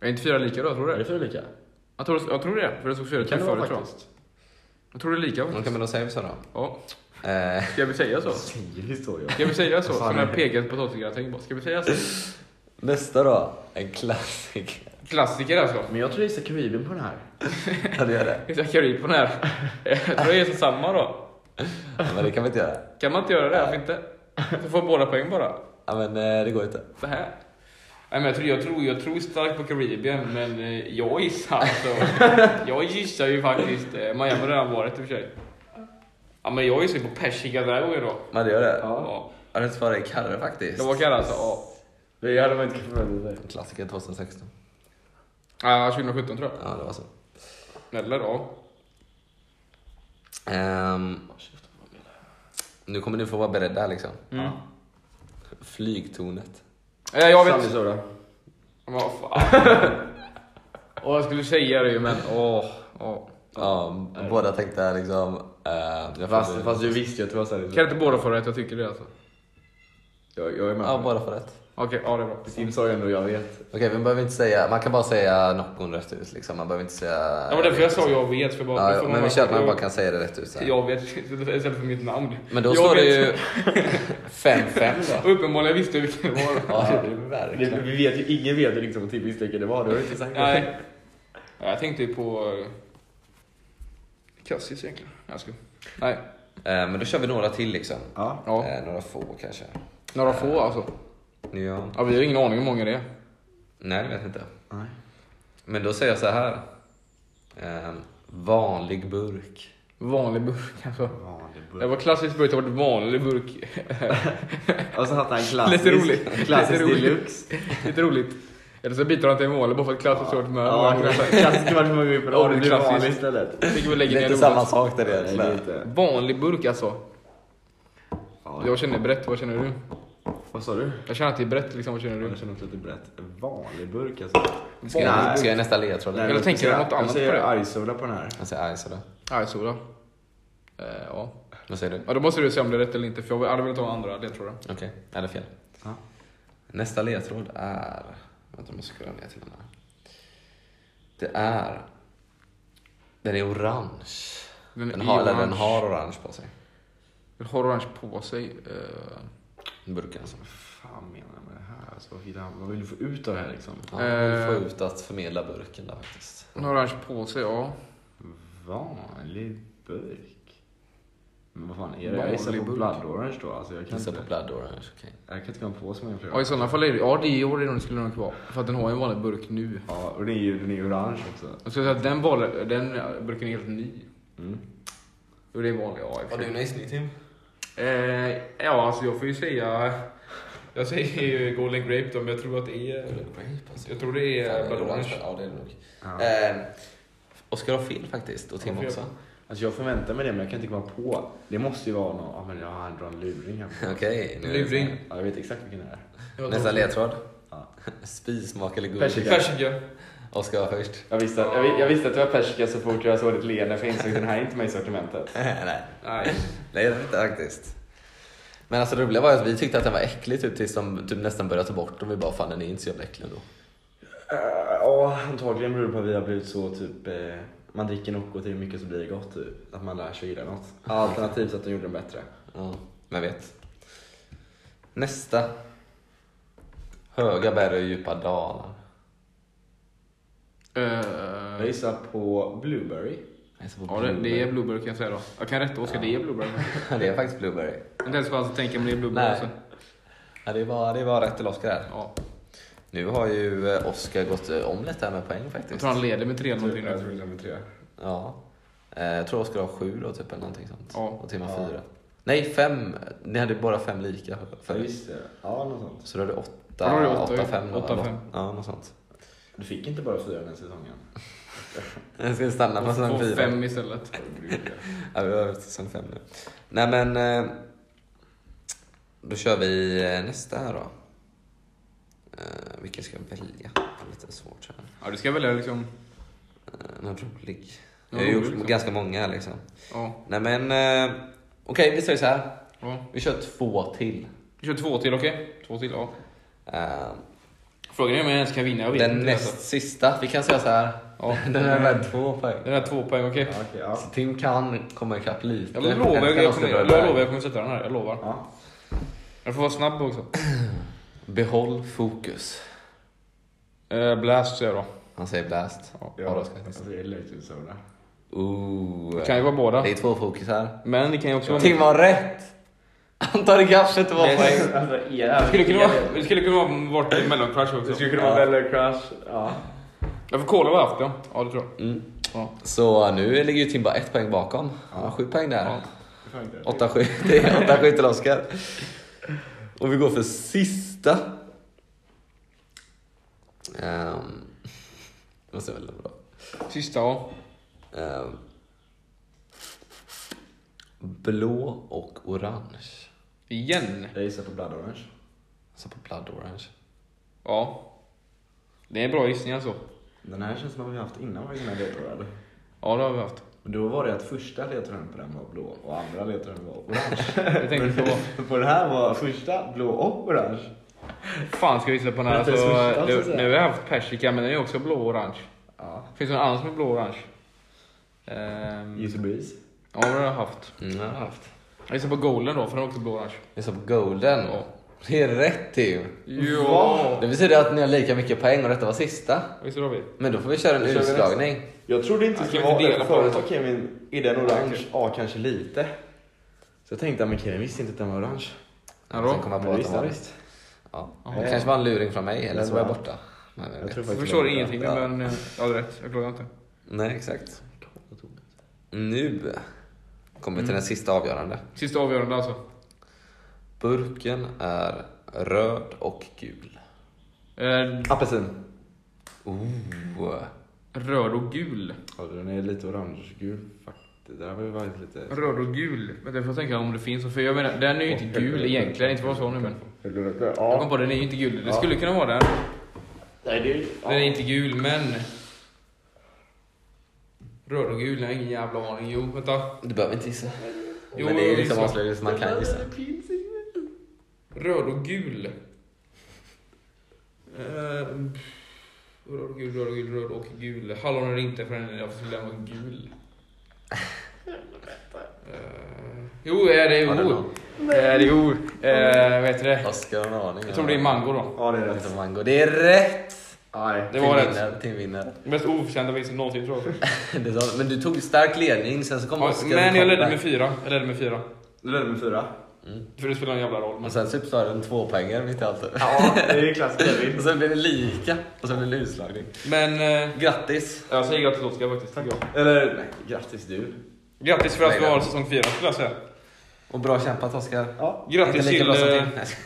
Speaker 1: Är inte fyra lika då? Tror
Speaker 3: Är
Speaker 1: du
Speaker 3: det
Speaker 1: det?
Speaker 3: fyra lika?
Speaker 1: Jag tror, jag tror det. För det såg fyra ut
Speaker 3: Kan det vara
Speaker 1: förut tror jag.
Speaker 3: faktiskt?
Speaker 1: Jag tror det är lika
Speaker 2: Okej,
Speaker 1: faktiskt.
Speaker 2: men då säger vi så då.
Speaker 1: Ja.
Speaker 2: Eh,
Speaker 1: Ska vi säga så?
Speaker 3: Säger historia.
Speaker 1: Ska vi säga så?
Speaker 3: Fan.
Speaker 1: Som jag pekat på potatisgratäng på. Ska vi säga så?
Speaker 2: nästa då. En klassiker.
Speaker 1: Klassiker alltså.
Speaker 3: Men jag tror jag gissar Karibien på den här.
Speaker 2: Ja, det gör det.
Speaker 1: Jag ska köra i på den här. Jag tror jag är så samma då.
Speaker 2: Ja, men det kan vi inte göra.
Speaker 1: Kan man inte göra det? Varför inte? Du får båda poäng bara.
Speaker 2: Ja, men eh, det går inte.
Speaker 1: Så här. Nej, men jag, tror, jag, tror, jag tror starkt på Karibien, men eh, jag gissar alltså. Jag gissar ju faktiskt. eh, Miami har redan varit i och för sig. Ja, men jag gissar ju på Persika Dragway då.
Speaker 2: Men det gör det. Ja.
Speaker 1: Ja.
Speaker 2: det svarar i Karre faktiskt.
Speaker 1: Det var Karre alltså. Ja.
Speaker 4: Det hade man inte kunnat förvänta sig.
Speaker 2: Klassiker 2016.
Speaker 1: Ja, 2017 tror jag.
Speaker 2: Ja, det var så.
Speaker 1: Eller ja.
Speaker 2: Ehm, nu kommer ni få vara beredda liksom. Flygtornet.
Speaker 1: Eh, Jag
Speaker 3: Sunny
Speaker 1: vet.
Speaker 3: Söder.
Speaker 1: Vad fan. Åh, jag skulle säga det ju, men åh. åh.
Speaker 2: Ja, båda tänkte liksom... eh, jag
Speaker 3: Fast,
Speaker 2: får-
Speaker 3: fast du visste ju att det var Sunny
Speaker 1: Kan
Speaker 3: Söder.
Speaker 1: inte båda få rätt? Jag tycker det alltså.
Speaker 3: Jag, jag är med.
Speaker 2: Ja,
Speaker 3: Ja,
Speaker 2: båda får rätt.
Speaker 1: Okej, ja det är bra.
Speaker 3: Tim sa ju ändå jag vet.
Speaker 2: Okej, vi behöver inte säga... Man kan bara säga Noccon rätt ut liksom. Man behöver inte säga...
Speaker 1: Ja, men därför jag sa jag vet. För bara, då
Speaker 2: Ja,
Speaker 1: får
Speaker 2: men vi
Speaker 1: bara-
Speaker 2: kör att man bara kan säga det rätt ut så här.
Speaker 1: Jag vet istället för mitt namn.
Speaker 2: Men då
Speaker 1: Jag
Speaker 2: står det
Speaker 1: vet.
Speaker 2: ju 5-5 då.
Speaker 1: Och uppenbarligen visste jag vilken det var.
Speaker 2: Ja,
Speaker 3: Vi,
Speaker 2: verkligen.
Speaker 3: vi vet ju, ingen vet ju liksom vad Tim visste vilken det var. Det har du inte sagt.
Speaker 1: Nej. Ja, Jag tänkte ju på... eh, Cassis egentligen. Jag ska. Nej.
Speaker 2: Eh, Men då kör vi några till liksom.
Speaker 3: Ja.
Speaker 1: Ja.
Speaker 2: Eh, Några få kanske.
Speaker 1: Några få alltså.
Speaker 2: Ja.
Speaker 1: Ja, vi har ingen aning om hur många det är.
Speaker 2: Nej, det vet jag inte.
Speaker 3: Nej.
Speaker 2: Men då säger jag så här. Eh, Vanlig burk.
Speaker 1: Vanlig burk alltså.
Speaker 3: Vanlig burk.
Speaker 1: Det var klassisk burk, det har varit vanlig burk.
Speaker 3: Och så hade han klassisk,
Speaker 1: Lite roligt.
Speaker 3: klassisk
Speaker 1: Lite roligt.
Speaker 3: deluxe.
Speaker 1: Lite roligt. Eller så byter han till mål bara för att klassiskt svårt med.
Speaker 3: Ja, klassisk- klassisk varför man går upp
Speaker 1: Ja, det är
Speaker 3: en
Speaker 1: klassiskt.
Speaker 3: vanlig istället.
Speaker 1: Jag tycker vi lägger ner
Speaker 2: Lite
Speaker 1: ordet.
Speaker 2: samma sak där
Speaker 3: Nej, det är
Speaker 2: egentligen.
Speaker 3: inte.
Speaker 1: Vanlig burk alltså.
Speaker 3: Ja.
Speaker 1: Jag känner brett, vad känner du?
Speaker 3: Vad sa du?
Speaker 1: Jag känner att det är brett liksom, vad känner du?
Speaker 3: Jag känner också lite brett. Vanlig burk alltså.
Speaker 2: Ska
Speaker 3: Nej.
Speaker 2: jag, ska jag nästa ledtråd?
Speaker 3: Nej,
Speaker 2: eller?
Speaker 1: Eller tänker du något annat
Speaker 3: Jag
Speaker 1: på
Speaker 3: säger
Speaker 1: det?
Speaker 3: argsola på den här.
Speaker 2: Jag säger aj sådär.
Speaker 1: Argsola. Eh, ja.
Speaker 2: Vad säger du?
Speaker 1: ja, då måste du se om det är rätt eller inte för jag hade velat ha andra ledtrådar.
Speaker 2: Okej, eller fel.
Speaker 3: Ja.
Speaker 2: Nästa ledtråd är... Vänta, jag måste skruva ner till den här. Det är... Den är orange.
Speaker 1: Den är
Speaker 2: Den har, eller den
Speaker 1: orange.
Speaker 2: har orange på sig.
Speaker 1: Den har orange på sig. Eh,
Speaker 2: Burken alltså.
Speaker 3: fan menar han med det här? Alltså, vad, vill han, vad vill du få ut av det här liksom?
Speaker 2: Ja, vi
Speaker 1: Eh.
Speaker 2: får ut att förmedla burken där faktiskt.
Speaker 1: den har orange på sig, ja.
Speaker 3: Vanlig burk? Men vad fan är det? Jag
Speaker 1: Vanlig
Speaker 3: gissar på
Speaker 1: burk.
Speaker 3: blood orange då. Alltså, jag, kan
Speaker 2: Gissa
Speaker 3: inte,
Speaker 2: på blood orange, okej.
Speaker 3: jag kan inte komma på så många fler.
Speaker 1: Ja i sådana fall är det, ja det är ju det den skulle nog vara. För att den har ju en vanlig burk nu.
Speaker 3: Ja, och den är ju den är ju orange också.
Speaker 1: Jag skulle säga att den, vanlig, den burken är helt ny.
Speaker 3: Mm.
Speaker 1: Jo det är vanlig, ja i och för
Speaker 2: Har du
Speaker 1: sig.
Speaker 2: någon gissning Tim?
Speaker 1: Eh, ja alltså jag får ju säga... Jag säger ju Golden Grape då men jag tror att det är... Jag tror det är Blood Orange.
Speaker 2: alltså. Ja, det är det nog.
Speaker 3: Ja.
Speaker 2: Eh, Oskar har fel faktiskt, och Tim
Speaker 1: Varför
Speaker 2: också.
Speaker 1: gör
Speaker 3: Alltså jag förväntar mig det men jag kan inte komma på. Det måste ju vara någon, ja men jag har drar en luring här. på.
Speaker 2: Okej, nu är det
Speaker 1: Luring.
Speaker 2: så
Speaker 3: Ja, jag vet exakt vilken det är.
Speaker 2: här. Nästa ledtråd.
Speaker 3: Ja.
Speaker 2: Spismak eller godis?
Speaker 3: Persika.
Speaker 1: Persika.
Speaker 2: Oskar var först.
Speaker 3: Jag visste, jag, vi- jag visste att det var persika så fort jag såg ditt leende för jag insåg den här är inte med i sortimentet.
Speaker 2: Nej,
Speaker 1: Nej.
Speaker 2: det är det inte faktiskt. Men alltså det roliga var ju att vi tyckte att den var äcklig typ tills de typ nästan började ta bort den. Vi bara fan den är inte så jävla äcklig ändå.
Speaker 3: Eh, Ja, antagligen beror det på att vi har blivit så typ eh, man dricker Nocco till hur mycket så blir det gott typ. Att man lär sig gilla något. Alternativt att de gjorde den bättre.
Speaker 2: Ja, men jag vet. Nästa. Höga berg och djupa dalar.
Speaker 1: Eh,
Speaker 3: Jag gissar på Blueberry.
Speaker 2: Jag gissar på
Speaker 1: Ja, det, det är
Speaker 2: blueberry.
Speaker 1: blueberry kan jag säga då. Jag kan rätta Oskar, det är blueberry.
Speaker 2: det är faktiskt blueberry.
Speaker 1: Inte ens chans att tänka men alltså det är blueberry.
Speaker 2: Nej.
Speaker 1: Alltså.
Speaker 2: Ja, det, var, det var rätt till Oskar här.
Speaker 1: Ja.
Speaker 2: Nu har ju eh, Oskar gått eh, om lite här med poäng
Speaker 1: Jag
Speaker 2: faktiskt.
Speaker 1: tror han leder med 3 någonting
Speaker 3: Jag
Speaker 1: nu.
Speaker 3: tror det är med tre.
Speaker 2: Ja. Eh, Jag tror Oskar har sju då, typ, eller någonting sånt.
Speaker 1: Ja.
Speaker 2: Och Tim har
Speaker 3: Ja.
Speaker 2: fyra. Nej, fem. Ni hade bara fem lika
Speaker 3: För
Speaker 2: förut.
Speaker 3: visst, ja något sånt.
Speaker 2: Så då är det åtta,
Speaker 1: Ja, då är det åtta,
Speaker 2: åtta,
Speaker 1: ju.
Speaker 2: fem.
Speaker 1: Åtta,
Speaker 2: eller-
Speaker 1: fem.
Speaker 2: Ja, något sånt.
Speaker 3: Du fick inte bara fyra den här säsongen.
Speaker 2: Jag ska stanna på säsong
Speaker 1: Och
Speaker 2: fyra.
Speaker 1: fem istället.
Speaker 2: Ja, vi har över till säsong fem nu. Nej, men... eh, Då kör vi eh, nästa här då. Eh, Vilken ska jag välja? Det är lite svårt här.
Speaker 1: Ja, du ska välja liksom...
Speaker 2: Eh, Någon rolig. Jag
Speaker 1: Någon
Speaker 2: har gjort
Speaker 1: rolig, liksom.
Speaker 2: ganska många liksom.
Speaker 1: Ja.
Speaker 2: Nej men... eh, Okej, vi säger så här.
Speaker 1: ja.
Speaker 2: Vi kör två till.
Speaker 1: Vi kör två till, okej? Två till, ja.
Speaker 2: Eh,
Speaker 1: Frågan är om jag ens kan vinna. Jag vet
Speaker 2: den
Speaker 1: inte,
Speaker 2: näst
Speaker 1: alltså.
Speaker 2: sista, vi kan säga så här.
Speaker 1: Ja.
Speaker 2: Den är värd två poäng.
Speaker 1: Den här två poäng, okej?
Speaker 3: Ja, okej, ja.
Speaker 2: Så Alltså, Tim kan komma ikapp lite.
Speaker 1: Jag lovar, jag,
Speaker 2: Eller
Speaker 1: jag,
Speaker 2: kan
Speaker 1: kommer,
Speaker 2: Oskar
Speaker 1: jag
Speaker 2: börja.
Speaker 1: lovar jag kommer sätta den här. Jag lovar.
Speaker 3: ja.
Speaker 1: Jag får vara snabb också.
Speaker 2: Behåll fokus.
Speaker 1: Eh, blast säger jag då.
Speaker 2: Han säger blast.
Speaker 1: Ja.
Speaker 2: Ja, då ska jag
Speaker 3: alltså, det är Latin Soda.
Speaker 2: Ooh.
Speaker 1: Det kan ju vara båda.
Speaker 2: Det är två fokus här.
Speaker 1: Men det kan ju också vara...
Speaker 2: Tim har rätt! Han tar ikapp 22
Speaker 1: Det är-
Speaker 2: poäng.
Speaker 3: Alltså,
Speaker 1: Det skulle kunna vara, det skulle kunna vara vårt mellancrush också.
Speaker 3: Det skulle kunna vara Bella Crush. Ja.
Speaker 1: Jag får kolla vad jag haft ja. Ja det tror jag.
Speaker 2: Mm.
Speaker 1: Ja.
Speaker 2: Så nu ligger ju Tim bara ett poäng bakom. Han har sju poäng där.
Speaker 1: Ja.
Speaker 3: det får jag
Speaker 2: 8-7
Speaker 3: inte.
Speaker 2: Det är 8-7 till Oskar. Och vi går för sista. Ehm, det måste vara väldigt bra.
Speaker 1: Sista ja.
Speaker 2: Ehm, blå och orange.
Speaker 1: Igen.
Speaker 3: Jag gissar på Blood Orange.
Speaker 2: Alltså på blood orange.
Speaker 1: Ja. Det är en bra gissning alltså.
Speaker 3: Den här känns som att vi har haft innan vi med ledtrådar. eller?
Speaker 1: Ja det har vi haft.
Speaker 3: Men då var det att första ledtråden på den var blå och andra ledtråden var orange.
Speaker 1: Jag tänkte så.
Speaker 3: Men på den här var första blå och orange.
Speaker 1: Fan ska vi gissa på den här?
Speaker 3: Det
Speaker 1: Alltså,
Speaker 3: är smutsigt, alltså,
Speaker 1: det,
Speaker 3: så här.
Speaker 1: nu har vi haft persika men den är också blå och orange.
Speaker 3: Ja.
Speaker 1: Finns det någon annan som är blå och orange? Ehm,
Speaker 3: Juicy Breeze.
Speaker 1: ja det har jag haft.
Speaker 2: Mm, jag har haft.
Speaker 1: Jag gissar på golden då för den är också blå och orange.
Speaker 2: Det är så på golden.
Speaker 1: Ja.
Speaker 2: Det är rätt Tim.
Speaker 1: Ja!
Speaker 2: Det betyder att ni har lika mycket poäng och detta var sista.
Speaker 1: Visst har vi?
Speaker 2: Men då får vi köra en
Speaker 3: Då kör vi nästa.
Speaker 2: utslagning.
Speaker 3: Jag trodde inte
Speaker 1: Jag
Speaker 3: det
Speaker 1: skulle inte
Speaker 3: skulle vara
Speaker 1: dela
Speaker 3: det
Speaker 1: på
Speaker 3: förut.
Speaker 1: den.
Speaker 3: Okej, men är den orange? Ja, kanske lite. Så jag tänkte, ja, men Kevin visste inte att den var orange.
Speaker 1: Ja, då.
Speaker 2: Sen kom jag på
Speaker 3: Men
Speaker 2: att
Speaker 3: visst,
Speaker 2: den var det.
Speaker 3: ja, visst.
Speaker 2: Ja.
Speaker 1: Ja.
Speaker 2: Det kanske var en luring från mig eller så var jag borta. Men jag
Speaker 3: Jag
Speaker 2: vet.
Speaker 1: Jag
Speaker 3: tror faktiskt
Speaker 1: förstår
Speaker 3: det var
Speaker 1: ingenting
Speaker 2: Ja.
Speaker 1: men eh, jag hade rätt. Jag klagar inte.
Speaker 2: Nej, exakt. Nu kommer vi
Speaker 3: Mm.
Speaker 2: till den sista avgörande.
Speaker 1: Sista avgörande alltså.
Speaker 2: Burken är röd och gul.
Speaker 1: Eh,
Speaker 3: Apelsin.
Speaker 2: Oh.
Speaker 1: röd och gul.
Speaker 3: Ja, den är lite orange-gul faktiskt. Det här var ju varit lite...
Speaker 1: Röd och gul. Vänta, jag får tänka om det finns. För jag menar, den är ju inte gul egentligen. Inte vad jag sa nu men. Jag kom
Speaker 3: Ja.
Speaker 1: på den är ju inte gul. Det skulle kunna vara den.
Speaker 3: Nej, det är...
Speaker 1: Den är inte gul men... Röd och gul, jag har ingen jävla aning. Jo, vänta.
Speaker 2: Du behöver inte gissa.
Speaker 1: Jo,
Speaker 2: Men det är liksom
Speaker 1: gissa.
Speaker 2: avslöjande så man kan gissa.
Speaker 1: Röd och gul. Ehm, Röd och gul, röd och gul, röd och gul. Hallon är det inte för den är för den var gul. Ehm, Jo, är det
Speaker 2: Ja, det Ehm, är
Speaker 1: jo.
Speaker 2: någon.
Speaker 1: Är det jo. Eh, Vad heter det?
Speaker 2: Oskar har en aning.
Speaker 1: Jag tror det är mango då.
Speaker 3: Ja, det är
Speaker 2: Det är
Speaker 3: rätt.
Speaker 2: inte mango. Det är rätt!
Speaker 3: Nej.
Speaker 1: Det var
Speaker 2: Tim
Speaker 1: rätt.
Speaker 2: vinner, Tim vinner.
Speaker 1: Mest oförtjänta vinsten någonsin tror jag.
Speaker 2: Det är så- Men du tog stark ledning, sen så kom
Speaker 1: Ja,
Speaker 2: Oskar.
Speaker 1: men
Speaker 2: och
Speaker 1: jag ledde
Speaker 2: comeback.
Speaker 1: med fyra. Jag ledde med fyra.
Speaker 3: Du ledde med fyra.
Speaker 1: För det spelar en jävla roll. Men...
Speaker 2: Och sen typ sa den två poänger mitt i allt.
Speaker 3: Ja, det är ju klass
Speaker 2: Och
Speaker 3: Kevin.
Speaker 2: sen blev det lika. Och sen blev det utslagning.
Speaker 1: Men eh,
Speaker 2: Grattis!
Speaker 1: jag säger grattis Oskar faktiskt. tycker jag.
Speaker 3: Eller, nej, grattis du.
Speaker 1: Grattis för att
Speaker 2: Nej,
Speaker 1: vi har
Speaker 2: det-
Speaker 1: säsong 4 skulle jag säga.
Speaker 2: Och bra kämpat Oskar.
Speaker 3: Ja.
Speaker 1: Grattis
Speaker 2: Inte lika
Speaker 1: till,
Speaker 2: bra som
Speaker 1: eh,
Speaker 2: din.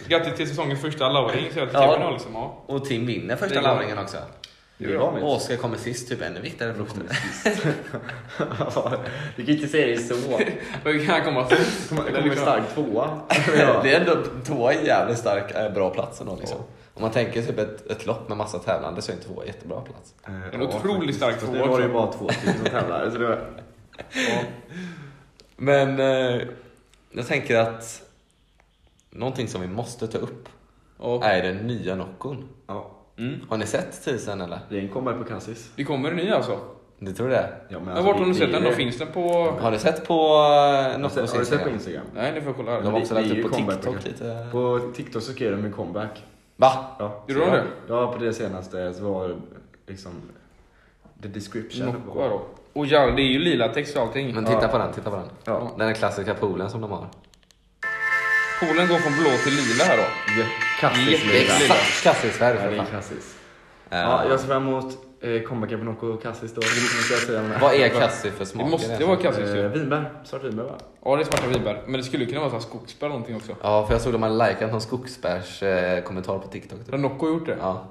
Speaker 1: grattis till säsongens första lauring. Så jag till
Speaker 2: Ja.
Speaker 1: Kevin och liksom, ja.
Speaker 2: Och Tim vinner
Speaker 1: Det
Speaker 2: första
Speaker 1: är bra.
Speaker 2: lauringen också.
Speaker 3: Det var
Speaker 2: Och Oskar kommer sist, typ ännu viktigare för Oskar.
Speaker 3: Du kan inte säga det så.
Speaker 1: Men vi kan komma till. liksom-
Speaker 3: Jag kommer stark tvåa.
Speaker 2: Det är ändå, tvåa är en jävligt stark, eh, bra plats ändå liksom. Om man tänker typ ett, ett lopp med massa tävlande så är inte tvåa en jättebra plats.
Speaker 1: En otroligt stark tvåa
Speaker 3: Nu var det ju
Speaker 1: också.
Speaker 3: bara två stycken som tävlade. Så det var...
Speaker 1: Ja.
Speaker 2: Men eh, jag tänker att någonting som vi måste ta upp
Speaker 1: Ja.
Speaker 2: är den nya Noccon.
Speaker 3: ja.
Speaker 1: Mm.
Speaker 2: Har ni sett teasern eller?
Speaker 3: Den kommer på Cassis.
Speaker 1: Det kommer en ny alltså.
Speaker 2: Du tror det?
Speaker 3: Ja, men alltså,
Speaker 1: Men vart har du
Speaker 3: det-
Speaker 1: sett
Speaker 3: det
Speaker 1: den
Speaker 3: är-
Speaker 1: då? Finns den på...
Speaker 2: Har du sett på eh,
Speaker 3: Har du sett-
Speaker 2: Noccons
Speaker 3: har du sett på
Speaker 2: Instagram?
Speaker 3: Instagram?
Speaker 1: Nej, det får jag kolla
Speaker 2: De
Speaker 1: här.
Speaker 3: Ja.
Speaker 2: har också
Speaker 3: Det-
Speaker 2: lagt
Speaker 3: det är ju
Speaker 2: upp på
Speaker 3: comeback,
Speaker 2: TikTok
Speaker 3: kanske.
Speaker 2: lite.
Speaker 3: På TikTok så skrev de ju comeback.
Speaker 2: Va?
Speaker 3: Ja.
Speaker 1: Gjorde de
Speaker 3: Så-
Speaker 1: det?
Speaker 3: Ja, på det senaste så var det liksom the description.
Speaker 1: Nocco då. Och jävlar, det är ju lila text och allting.
Speaker 2: Men titta på den, titta på den.
Speaker 3: Ja.
Speaker 2: Den här klassiska poolen som de har.
Speaker 1: Polen går från blå till lila här då.
Speaker 3: Ja. Kassis
Speaker 2: Det är
Speaker 1: Jätteäckligt.
Speaker 3: lilla.
Speaker 2: exakt kassisfärg
Speaker 3: Ja,
Speaker 2: för
Speaker 3: det är
Speaker 2: fan.
Speaker 3: kassis.
Speaker 2: Eh,
Speaker 3: Ja, jag ser fram emot eh, comebacken på Nocco och kassis då. Det måste jag säga.
Speaker 2: Vad är kassi för
Speaker 1: Det
Speaker 2: smak?
Speaker 1: måste
Speaker 2: Är
Speaker 1: det vara kassis
Speaker 3: Eh,
Speaker 1: ju.
Speaker 3: vinbär. Svart vinbär va?
Speaker 1: Ja, det är svarta vinbär. Men det skulle kunna vara så här skogsbär eller någonting också.
Speaker 2: Ja, för jag såg de hade likat någon skogsbärs eh, kommentar på TikTok. Typ.
Speaker 1: Har Nocco gjort det?
Speaker 2: Ja.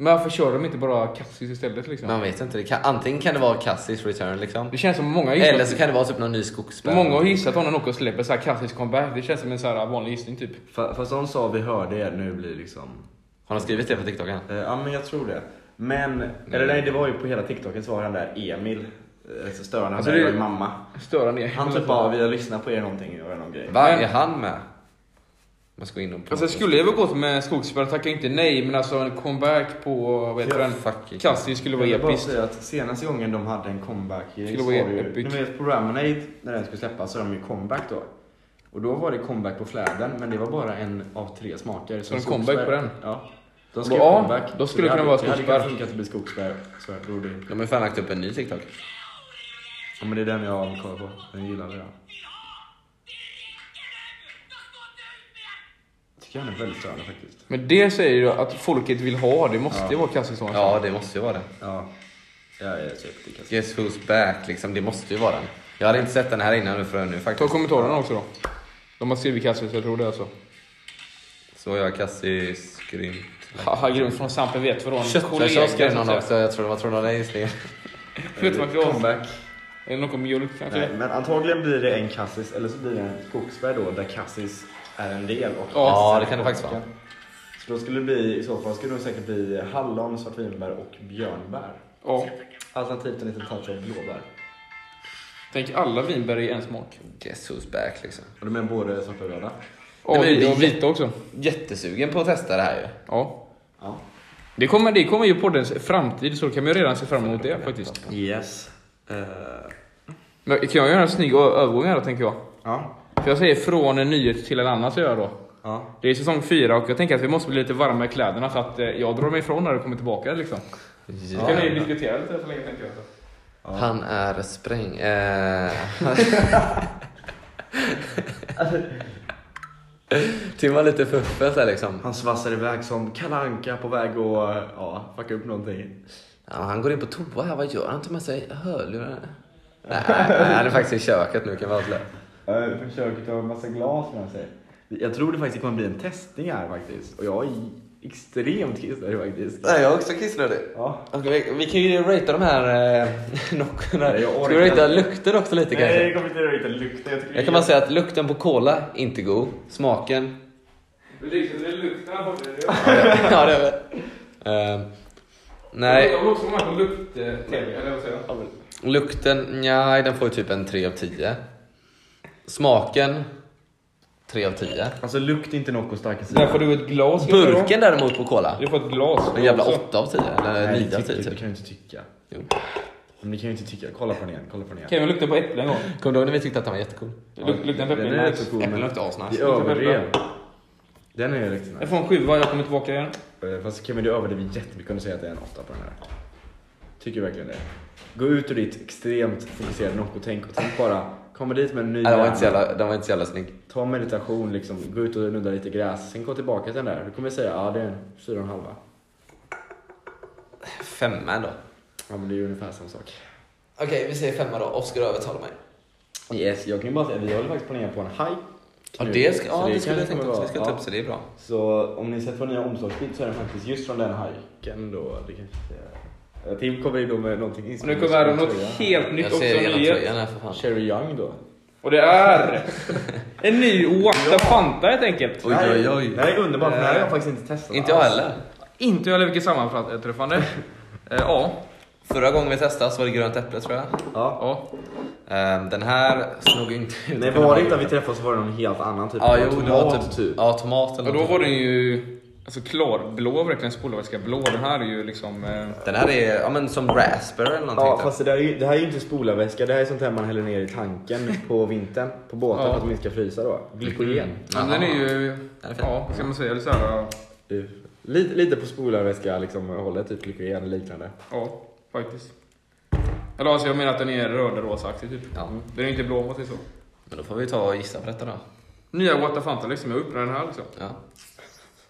Speaker 1: Men varför kör de inte bara kassis istället liksom?
Speaker 2: Man vet inte. Det kan, antingen kan det vara Cassis return liksom.
Speaker 1: Det känns som många har gissat-
Speaker 2: Eller så kan det vara typ någon ny skogsbär.
Speaker 1: Många har gissat om när Nocco släpper så här kassis comeback. Det känns som en så här vanlig gissning typ.
Speaker 3: Fa- Fast de sa vi hörde er nu blir liksom...
Speaker 2: Har de skrivit det på TikTok än?
Speaker 3: Eh, ja men jag tror det. Men, eller
Speaker 1: Mm.
Speaker 3: nej det var ju på hela TikToken så var han där Emil. Eh, så störande,
Speaker 1: Alltså,
Speaker 3: han där,
Speaker 1: det- Mm.
Speaker 3: var ju mamma.
Speaker 1: Störande är
Speaker 3: Han typ bara, vi har lyssnat på er någonting, gör någon grej.
Speaker 2: Va?
Speaker 1: Men-
Speaker 2: Är han med? Man ska gå in och
Speaker 1: Alltså jag skulle jag väl gått med skogsbär, tackar inte nej. Men alltså en comeback på, vad heter den?
Speaker 2: Fuck
Speaker 1: Kassis skulle
Speaker 3: Jag
Speaker 1: vara
Speaker 3: vill bara
Speaker 1: episkt.
Speaker 3: säga att senaste gången de hade en comeback i
Speaker 1: Skulle
Speaker 3: så
Speaker 1: vara
Speaker 3: var det ju-
Speaker 1: epic.
Speaker 3: Ni vet på Ramonade, när den skulle släppas så hade de ju comeback då. Och då var det comeback på fläden, men det var bara en av tre smaker.
Speaker 1: Så en
Speaker 3: skogsbär.
Speaker 1: comeback på den?
Speaker 3: Ja. De
Speaker 1: Ja, då skulle det kunna vara
Speaker 3: skogsbär. Det
Speaker 1: skogsbär.
Speaker 3: hade kunnat funka att det blir skogsbär. Så jag tror det.
Speaker 2: De har fan lagt upp en ny TikTok.
Speaker 3: Ja, men det är den jag kollar på. Den gillade jag. Tycker jag den är väldigt störande faktiskt.
Speaker 1: Men det säger ju att folket vill ha. Det måste ju vara kassis som
Speaker 2: Ja, det måste ju vara den.
Speaker 3: Ja. Jag är skeptisk. alltså.
Speaker 2: Guess who's back liksom. Det måste ju vara den. Jag hade inte sett den här innan nu förrän nu
Speaker 1: Ta
Speaker 2: faktiskt.
Speaker 1: kommentarerna också då. De har skrivit kassis, jag tror det alltså.
Speaker 2: Så jag Cassis grymt.
Speaker 1: Haha, grymt från Sampe vet vad då. En
Speaker 2: Köttfärssås skrev någon
Speaker 1: kanske.
Speaker 2: också. Jag tror det var tror någon gissningen.
Speaker 1: Köttfärssås.
Speaker 3: Comeback.
Speaker 1: Eller någon mjölk kanske.
Speaker 3: Nej, men antagligen blir det en kassis eller så blir det en skogsbär då där kassis är en del. Och
Speaker 1: Ja,
Speaker 2: det kan det faktiskt vara.
Speaker 3: Så då skulle det bli, i så fall skulle det säkert bli hallon, svartvinbär och björnbär.
Speaker 1: Ja.
Speaker 3: Alternativt en liten touch av blåbär.
Speaker 1: Tänk alla vinbär i en smak.
Speaker 2: Guess who's back liksom.
Speaker 3: Och de är både svarta och röda.
Speaker 1: Ja,
Speaker 2: men det-
Speaker 1: och vita också.
Speaker 2: Jättesugen på att testa det här ju.
Speaker 1: Ja.
Speaker 3: Ja.
Speaker 1: Det kommer, det kommer ju poddens framtid, så då kan man ju redan se fram emot det faktiskt.
Speaker 3: Yes.
Speaker 2: Eh,
Speaker 1: Men kan jag göra en snygg ö- övergång här då, tänker jag?
Speaker 3: ja.
Speaker 1: För jag säger från en nyhet till en annan, så gör jag då.
Speaker 3: Ja.
Speaker 1: Det är säsong fyra och jag tänker att vi måste bli lite varma i kläderna så att eh, jag drar mig ifrån när du kommer tillbaka liksom. Så kan vi diskutera lite så länge tänker jag.
Speaker 2: Han är spräng... Eh... Tim var lite fuffens där liksom.
Speaker 3: Han svassar iväg som Kalle Anka på väg att ja, fucka upp någonting.
Speaker 2: Ja, han går in på toa här, vad gör han? Tar med sig hörlurar? Nej, nej, han är faktiskt i köket nu kan vi avslöja.
Speaker 3: Försöker ta en massa glas med sig. Jag tror det faktiskt kommer bli en testning här faktiskt. Och jag är extremt kissnödig faktiskt.
Speaker 2: Nej, jag är också kissnödig.
Speaker 3: Ja.
Speaker 2: Okej, vi, vi kan ju ratea de här eh, nockorna.
Speaker 3: Nej, jag
Speaker 2: Ska
Speaker 3: orkar
Speaker 2: vi ratea
Speaker 3: inte.
Speaker 2: lukten också lite
Speaker 3: Nej, det
Speaker 2: kanske?
Speaker 3: kommer inte riktigt lukta. Jag, tycker
Speaker 2: Jag kan bara säga att lukten på cola, inte god. Smaken,
Speaker 1: Det luktar bort
Speaker 2: ja det är det. Eh, Nej.
Speaker 1: Jag vill också vara med på lukt-tv, eller vad säger
Speaker 2: Lukten, nej den får ju typ en 3 av 10. Smaken, 3 av 10.
Speaker 3: Alltså lukt inte Nocco starka
Speaker 1: Där
Speaker 3: sida.
Speaker 1: får du ett glas.
Speaker 2: Burken däremot på cola,
Speaker 1: Du får ett glas.
Speaker 2: en jävla
Speaker 1: också.
Speaker 2: 8 av 10. Eller
Speaker 3: Nej,
Speaker 2: 9 av 10
Speaker 3: det tycker- det
Speaker 2: typ.
Speaker 3: kan ju inte tycka.
Speaker 2: Jo.
Speaker 3: Men det kan ju inte tycka. Kolla på den igen. Kolla på den igen.
Speaker 1: Kevin luktade på äpple en gång.
Speaker 2: Kommer du ihåg när vi tyckte att den var jättecool?
Speaker 1: Det luk- Luktar en
Speaker 3: Den
Speaker 1: peppling.
Speaker 3: är så cool.
Speaker 2: Äpplen
Speaker 3: men-
Speaker 2: luktar
Speaker 3: Det
Speaker 2: asnice.
Speaker 3: överdrev. Den är ju riktigt
Speaker 1: Jag
Speaker 3: nice.
Speaker 1: får en sjua, jag kommer tillbaka igen.
Speaker 3: Eh, Fast Kevin du överdrev jättemycket om du säger att det är en åtta på den här. Tycker verkligen det. Gå ut ur ditt extremt fokuserade Nocco-tänk och tänk bara. Kommer dit med en ny
Speaker 2: Nej, den var inte så
Speaker 3: hjärna.
Speaker 2: jävla, den var inte så jävla snygg.
Speaker 3: Ta meditation liksom. Gå ut och nudda lite gräs. Sen gå tillbaka till den där. Du kommer säga ja det är en fyra och en halva.
Speaker 2: Femma ändå.
Speaker 3: Ja men det är ju ungefär samma sak.
Speaker 2: Okej, vi säger femma då. Oskar övertalar mig.
Speaker 3: Yes, jag kan ju bara säga vi håller faktiskt på att ner på en high.
Speaker 2: Ja,
Speaker 3: nu.
Speaker 2: det, ska,
Speaker 3: Så
Speaker 2: ja, det, skulle
Speaker 3: kanske
Speaker 2: jag tänkt
Speaker 3: kommer
Speaker 2: också. Vi
Speaker 3: vara-
Speaker 2: ska ta upp så det är bra.
Speaker 3: Så om ni sett vår nya omslagsbild så är den faktiskt just från den hajken då. Det kanske... Eh, Tim kommer in då med någonting
Speaker 1: Och nu
Speaker 3: inspelat.
Speaker 1: kommer här något helt nytt
Speaker 2: Jag
Speaker 1: också.
Speaker 2: ser genom
Speaker 1: nyhet.
Speaker 2: tröjan här för fan.
Speaker 3: Cherry Young då.
Speaker 1: Och det är en ny Wakta Fanta helt enkelt.
Speaker 2: Oj, oj,
Speaker 3: Det
Speaker 2: oj.
Speaker 3: här är underbart för det här har jag
Speaker 1: Eh,
Speaker 3: faktiskt inte testat
Speaker 2: Inte jag
Speaker 3: alls.
Speaker 2: heller.
Speaker 1: Inte jag vilket sammanträffande. Eh, Ja,
Speaker 2: Förra gången vi testade så var det grönt äpple tror jag.
Speaker 3: Ja.
Speaker 1: ja.
Speaker 2: Ehm, Den här slog ju inte ut.
Speaker 3: Nej var det inte att vi träffades så var det någon helt annan typ.
Speaker 2: Ja,
Speaker 3: Det
Speaker 2: jo,
Speaker 3: var
Speaker 2: det var
Speaker 3: tomat,
Speaker 2: typ, Ja, tomat eller
Speaker 1: Och då
Speaker 2: något.
Speaker 1: var den ju alltså, klarblå, verkligen spolarvätska-blå. Den här är ju liksom... Eh,
Speaker 2: Den här är ja, men som raspberry eller någonting.
Speaker 3: Ja
Speaker 2: typ.
Speaker 3: fast det, där är ju, det här är ju inte spolarväska, det här är sånt här man häller ner i tanken på vintern. På båtar
Speaker 1: Ja.
Speaker 3: för att de inte ska frysa då. Glykogen.
Speaker 2: Mm.
Speaker 1: men den är ju...
Speaker 2: Den är fin.
Speaker 1: Ja, vad ska man säga? Eller så här,
Speaker 3: Du, Mm. Lite, lite på spolarväska liksom hållet, typ glykogen eller liknande.
Speaker 1: ja, faktiskt. Eller alltså jag menar att den är röd-rosaaktig typ.
Speaker 2: Ja.
Speaker 1: Den är inte blå om man säger så.
Speaker 2: Men då får vi ta och gissa på detta då.
Speaker 1: Nya What the Fanta liksom, jag öppnar den här liksom.
Speaker 2: Ja.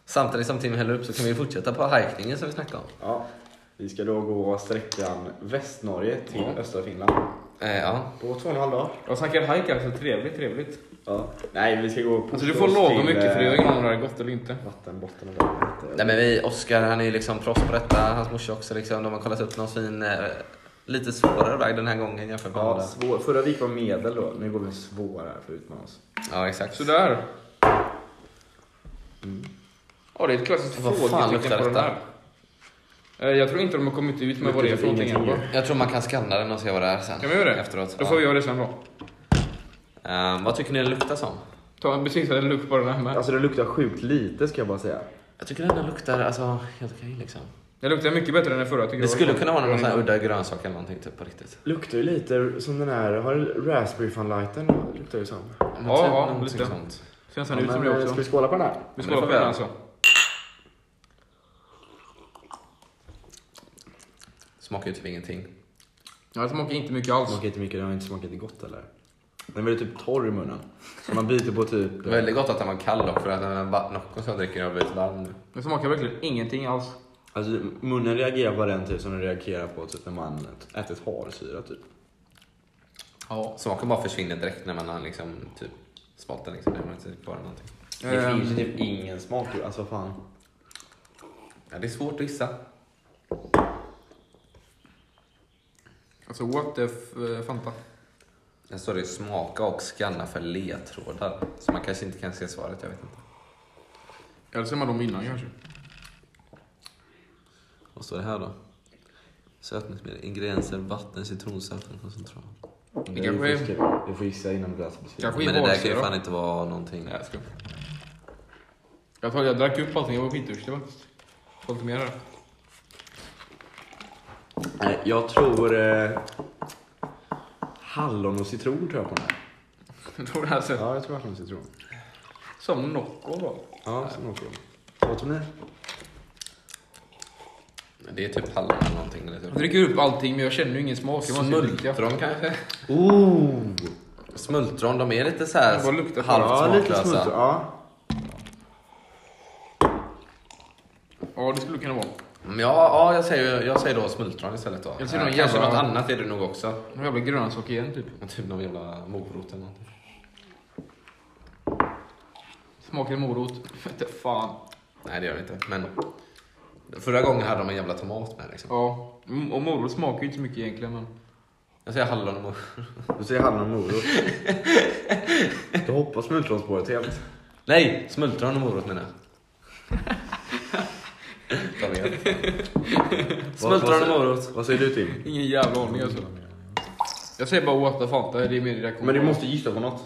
Speaker 2: Samtidigt som Tim häller upp så kan vi fortsätta på hajkningen som vi snackade om.
Speaker 3: Ja. Vi ska då gå sträckan Västnorge till östra Finland.
Speaker 2: Eh, ja.
Speaker 3: På två och en halv dag.
Speaker 1: Jag snackar hajk alltså, trevligt, trevligt.
Speaker 3: Ja. Nej, vi ska gå på eh,
Speaker 1: Alltså du får lagom mycket för det, jag har ingen aning om det här är gott eller inte.
Speaker 3: Vattenbotten eller vad det heter.
Speaker 2: Nej men vi, Oskar han är ju liksom proffs på detta, hans morsa också liksom. De har kollat upp någon fin, eh, lite svårare väg den här gången jämfört med
Speaker 3: Ja,
Speaker 2: andra.
Speaker 3: svår. Förra vik var medel då, nu går vi svårare för att utmana oss.
Speaker 2: Ja exakt.
Speaker 1: Sådär. Mm. Ja, det är ett klassiskt
Speaker 2: Vad fan
Speaker 1: frågetecken
Speaker 2: luktar
Speaker 1: på den
Speaker 2: detta?
Speaker 1: här. Eh, Jag tror inte de har kommit ut med vad det är för
Speaker 3: Luktar
Speaker 1: någonting
Speaker 3: typ
Speaker 1: än.
Speaker 3: ingenting.
Speaker 2: Jag tror man kan skanna den och se vad det är sen.
Speaker 1: Kan vi göra det?
Speaker 2: Efteråt.
Speaker 1: Då får vi göra det sen då.
Speaker 2: ja. Eh, vad tycker ni det luktar som?
Speaker 1: Ta en besiktad lukt på den här med.
Speaker 3: Alltså det luktar sjukt lite ska jag bara säga.
Speaker 2: Jag tycker den luktar alltså, helt okej liksom.
Speaker 1: Den luktar mycket bättre än den förra tycker jag.
Speaker 2: Det skulle kunna vara någon sån här udda grönsak eller någonting typ på riktigt.
Speaker 3: Luktar ju lite som den här, har du raspberry fun lighten? Luktar ju som.
Speaker 2: Men typ
Speaker 1: Ja, ja,
Speaker 2: någonting
Speaker 1: lite.
Speaker 2: sånt.
Speaker 1: Känns
Speaker 3: Ja,
Speaker 1: den ut som
Speaker 3: men,
Speaker 1: det
Speaker 3: eh, ska
Speaker 1: också.
Speaker 3: vi skåla på den här?
Speaker 1: Vi
Speaker 2: Men det
Speaker 1: skålar
Speaker 2: får
Speaker 1: på den
Speaker 2: vi.
Speaker 1: alltså.
Speaker 2: Smakar ju typ ingenting.
Speaker 1: Ja, det smakar inte mycket alls.
Speaker 3: Smakar inte mycket, den har inte smakat gott eller? Den är väldigt typ torr i munnen. Så man biter på typ... eh,
Speaker 2: Väldigt gott att den var kall dock för att den var Nocco som jag dricker har blivit varm nu.
Speaker 1: Det smakar verkligen ingenting alls.
Speaker 3: Alltså munnen reagerar på den typ som den reagerar på typ när man äter ett harsyra typ.
Speaker 1: Ja.
Speaker 2: Smaken bara försvinner direkt när man har liksom typ smolten liksom. Det är inte kvar eller någonting.
Speaker 3: Det
Speaker 1: Ehm.
Speaker 3: finns ju typ ingen smak ju, alltså fan.
Speaker 2: Ja, det är svårt att gissa.
Speaker 1: Alltså what the f- eh, Fanta.
Speaker 2: Där står det ju smaka och skanna för ledtrådar. Så man kanske inte kan se svaret, jag vet inte.
Speaker 1: Eller så är man dem innan kanske.
Speaker 2: Vad står det här då? Sötningsmedel, ingredienser, vatten, citronsaft och koncentrat.
Speaker 1: Det kanske är...
Speaker 3: Du får gissa innan du läser beskrivningen.
Speaker 1: Kanske
Speaker 2: Men det
Speaker 1: är
Speaker 2: där kan ju
Speaker 1: valsyra.
Speaker 2: fan inte vara någonting.
Speaker 1: Nej, jag skojar. Jag, tar, jag drack upp allting, jag var skitdurstig faktiskt. Får lite mer här.
Speaker 3: Nej, jag tror... Eh, hallon och citron tror jag på den här.
Speaker 1: Jag tror det här ser
Speaker 3: Ja, jag tror hallon och citron.
Speaker 1: som Nocco då.
Speaker 3: Ja, så nog på dem. Vad tror ni?
Speaker 2: Det är typ hallon eller någonting. Eller
Speaker 1: Jag
Speaker 2: typ.
Speaker 1: dricker upp allting men jag känner ju ingen smak. Jag måste ju dricka.
Speaker 2: Smultron kanske?
Speaker 3: Ooh!
Speaker 2: Smultron, de är lite så här
Speaker 1: Det bara luktar på
Speaker 2: halvt
Speaker 3: Ja, lite smuts.
Speaker 2: smaklösa.
Speaker 3: Ja.
Speaker 1: Ja, det skulle kunna vara.
Speaker 2: Men Ja, ja jag, säger, jag säger då smultron istället då.
Speaker 1: Jag säger någon
Speaker 2: kanske
Speaker 1: jävla-
Speaker 2: något annat är det nog också.
Speaker 1: Någon jävla grönsak igen typ.
Speaker 2: Typ någon jävla morot eller någonting.
Speaker 1: Smakar morot. Vete fan.
Speaker 2: Nej, det gör det inte. Men förra gången hade de en jävla tomat med liksom.
Speaker 1: Ja, m- och morot smakar ju inte så mycket egentligen men.
Speaker 2: Jag säger hallon och morot.
Speaker 3: Du säger hallon och morot. Du hoppas smultronspåret helt.
Speaker 2: Nej, smultron och morot menar jag. Ta med. smultron och morot.
Speaker 3: Vad säger du Tim?
Speaker 1: Ingen jävla aning alltså. Jag säger bara what the Fanta, det är min reaktion.
Speaker 3: Men du måste gissa på något.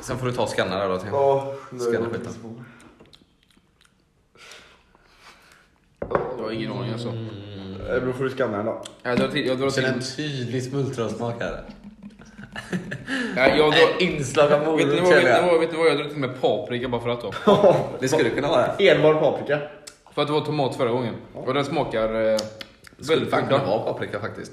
Speaker 2: Sen får du ta och skanna där då. tänker jag.
Speaker 3: Ja,
Speaker 2: Skanna skiten.
Speaker 1: Jag har ingen aning alltså.
Speaker 3: Eh, Då får du skanna den då.
Speaker 1: Jag drar till... Jag drar
Speaker 2: Jag Mm. känner en
Speaker 1: till.
Speaker 2: tydlig smultronsmak här.
Speaker 1: Nej, jag drar...
Speaker 2: Ett inslag av
Speaker 1: Vet ni vad,
Speaker 2: morot
Speaker 1: vet ni
Speaker 2: känner jag.
Speaker 1: vad, vet ni vad jag drar till med paprika bara för att då?
Speaker 2: Det skulle kunna vara.
Speaker 3: Enbart paprika.
Speaker 1: För att det var tomat förra gången. Och den smakar... Eh,
Speaker 2: Det skulle
Speaker 1: väldigt
Speaker 2: fan kunna
Speaker 1: udda.
Speaker 2: vara paprika faktiskt.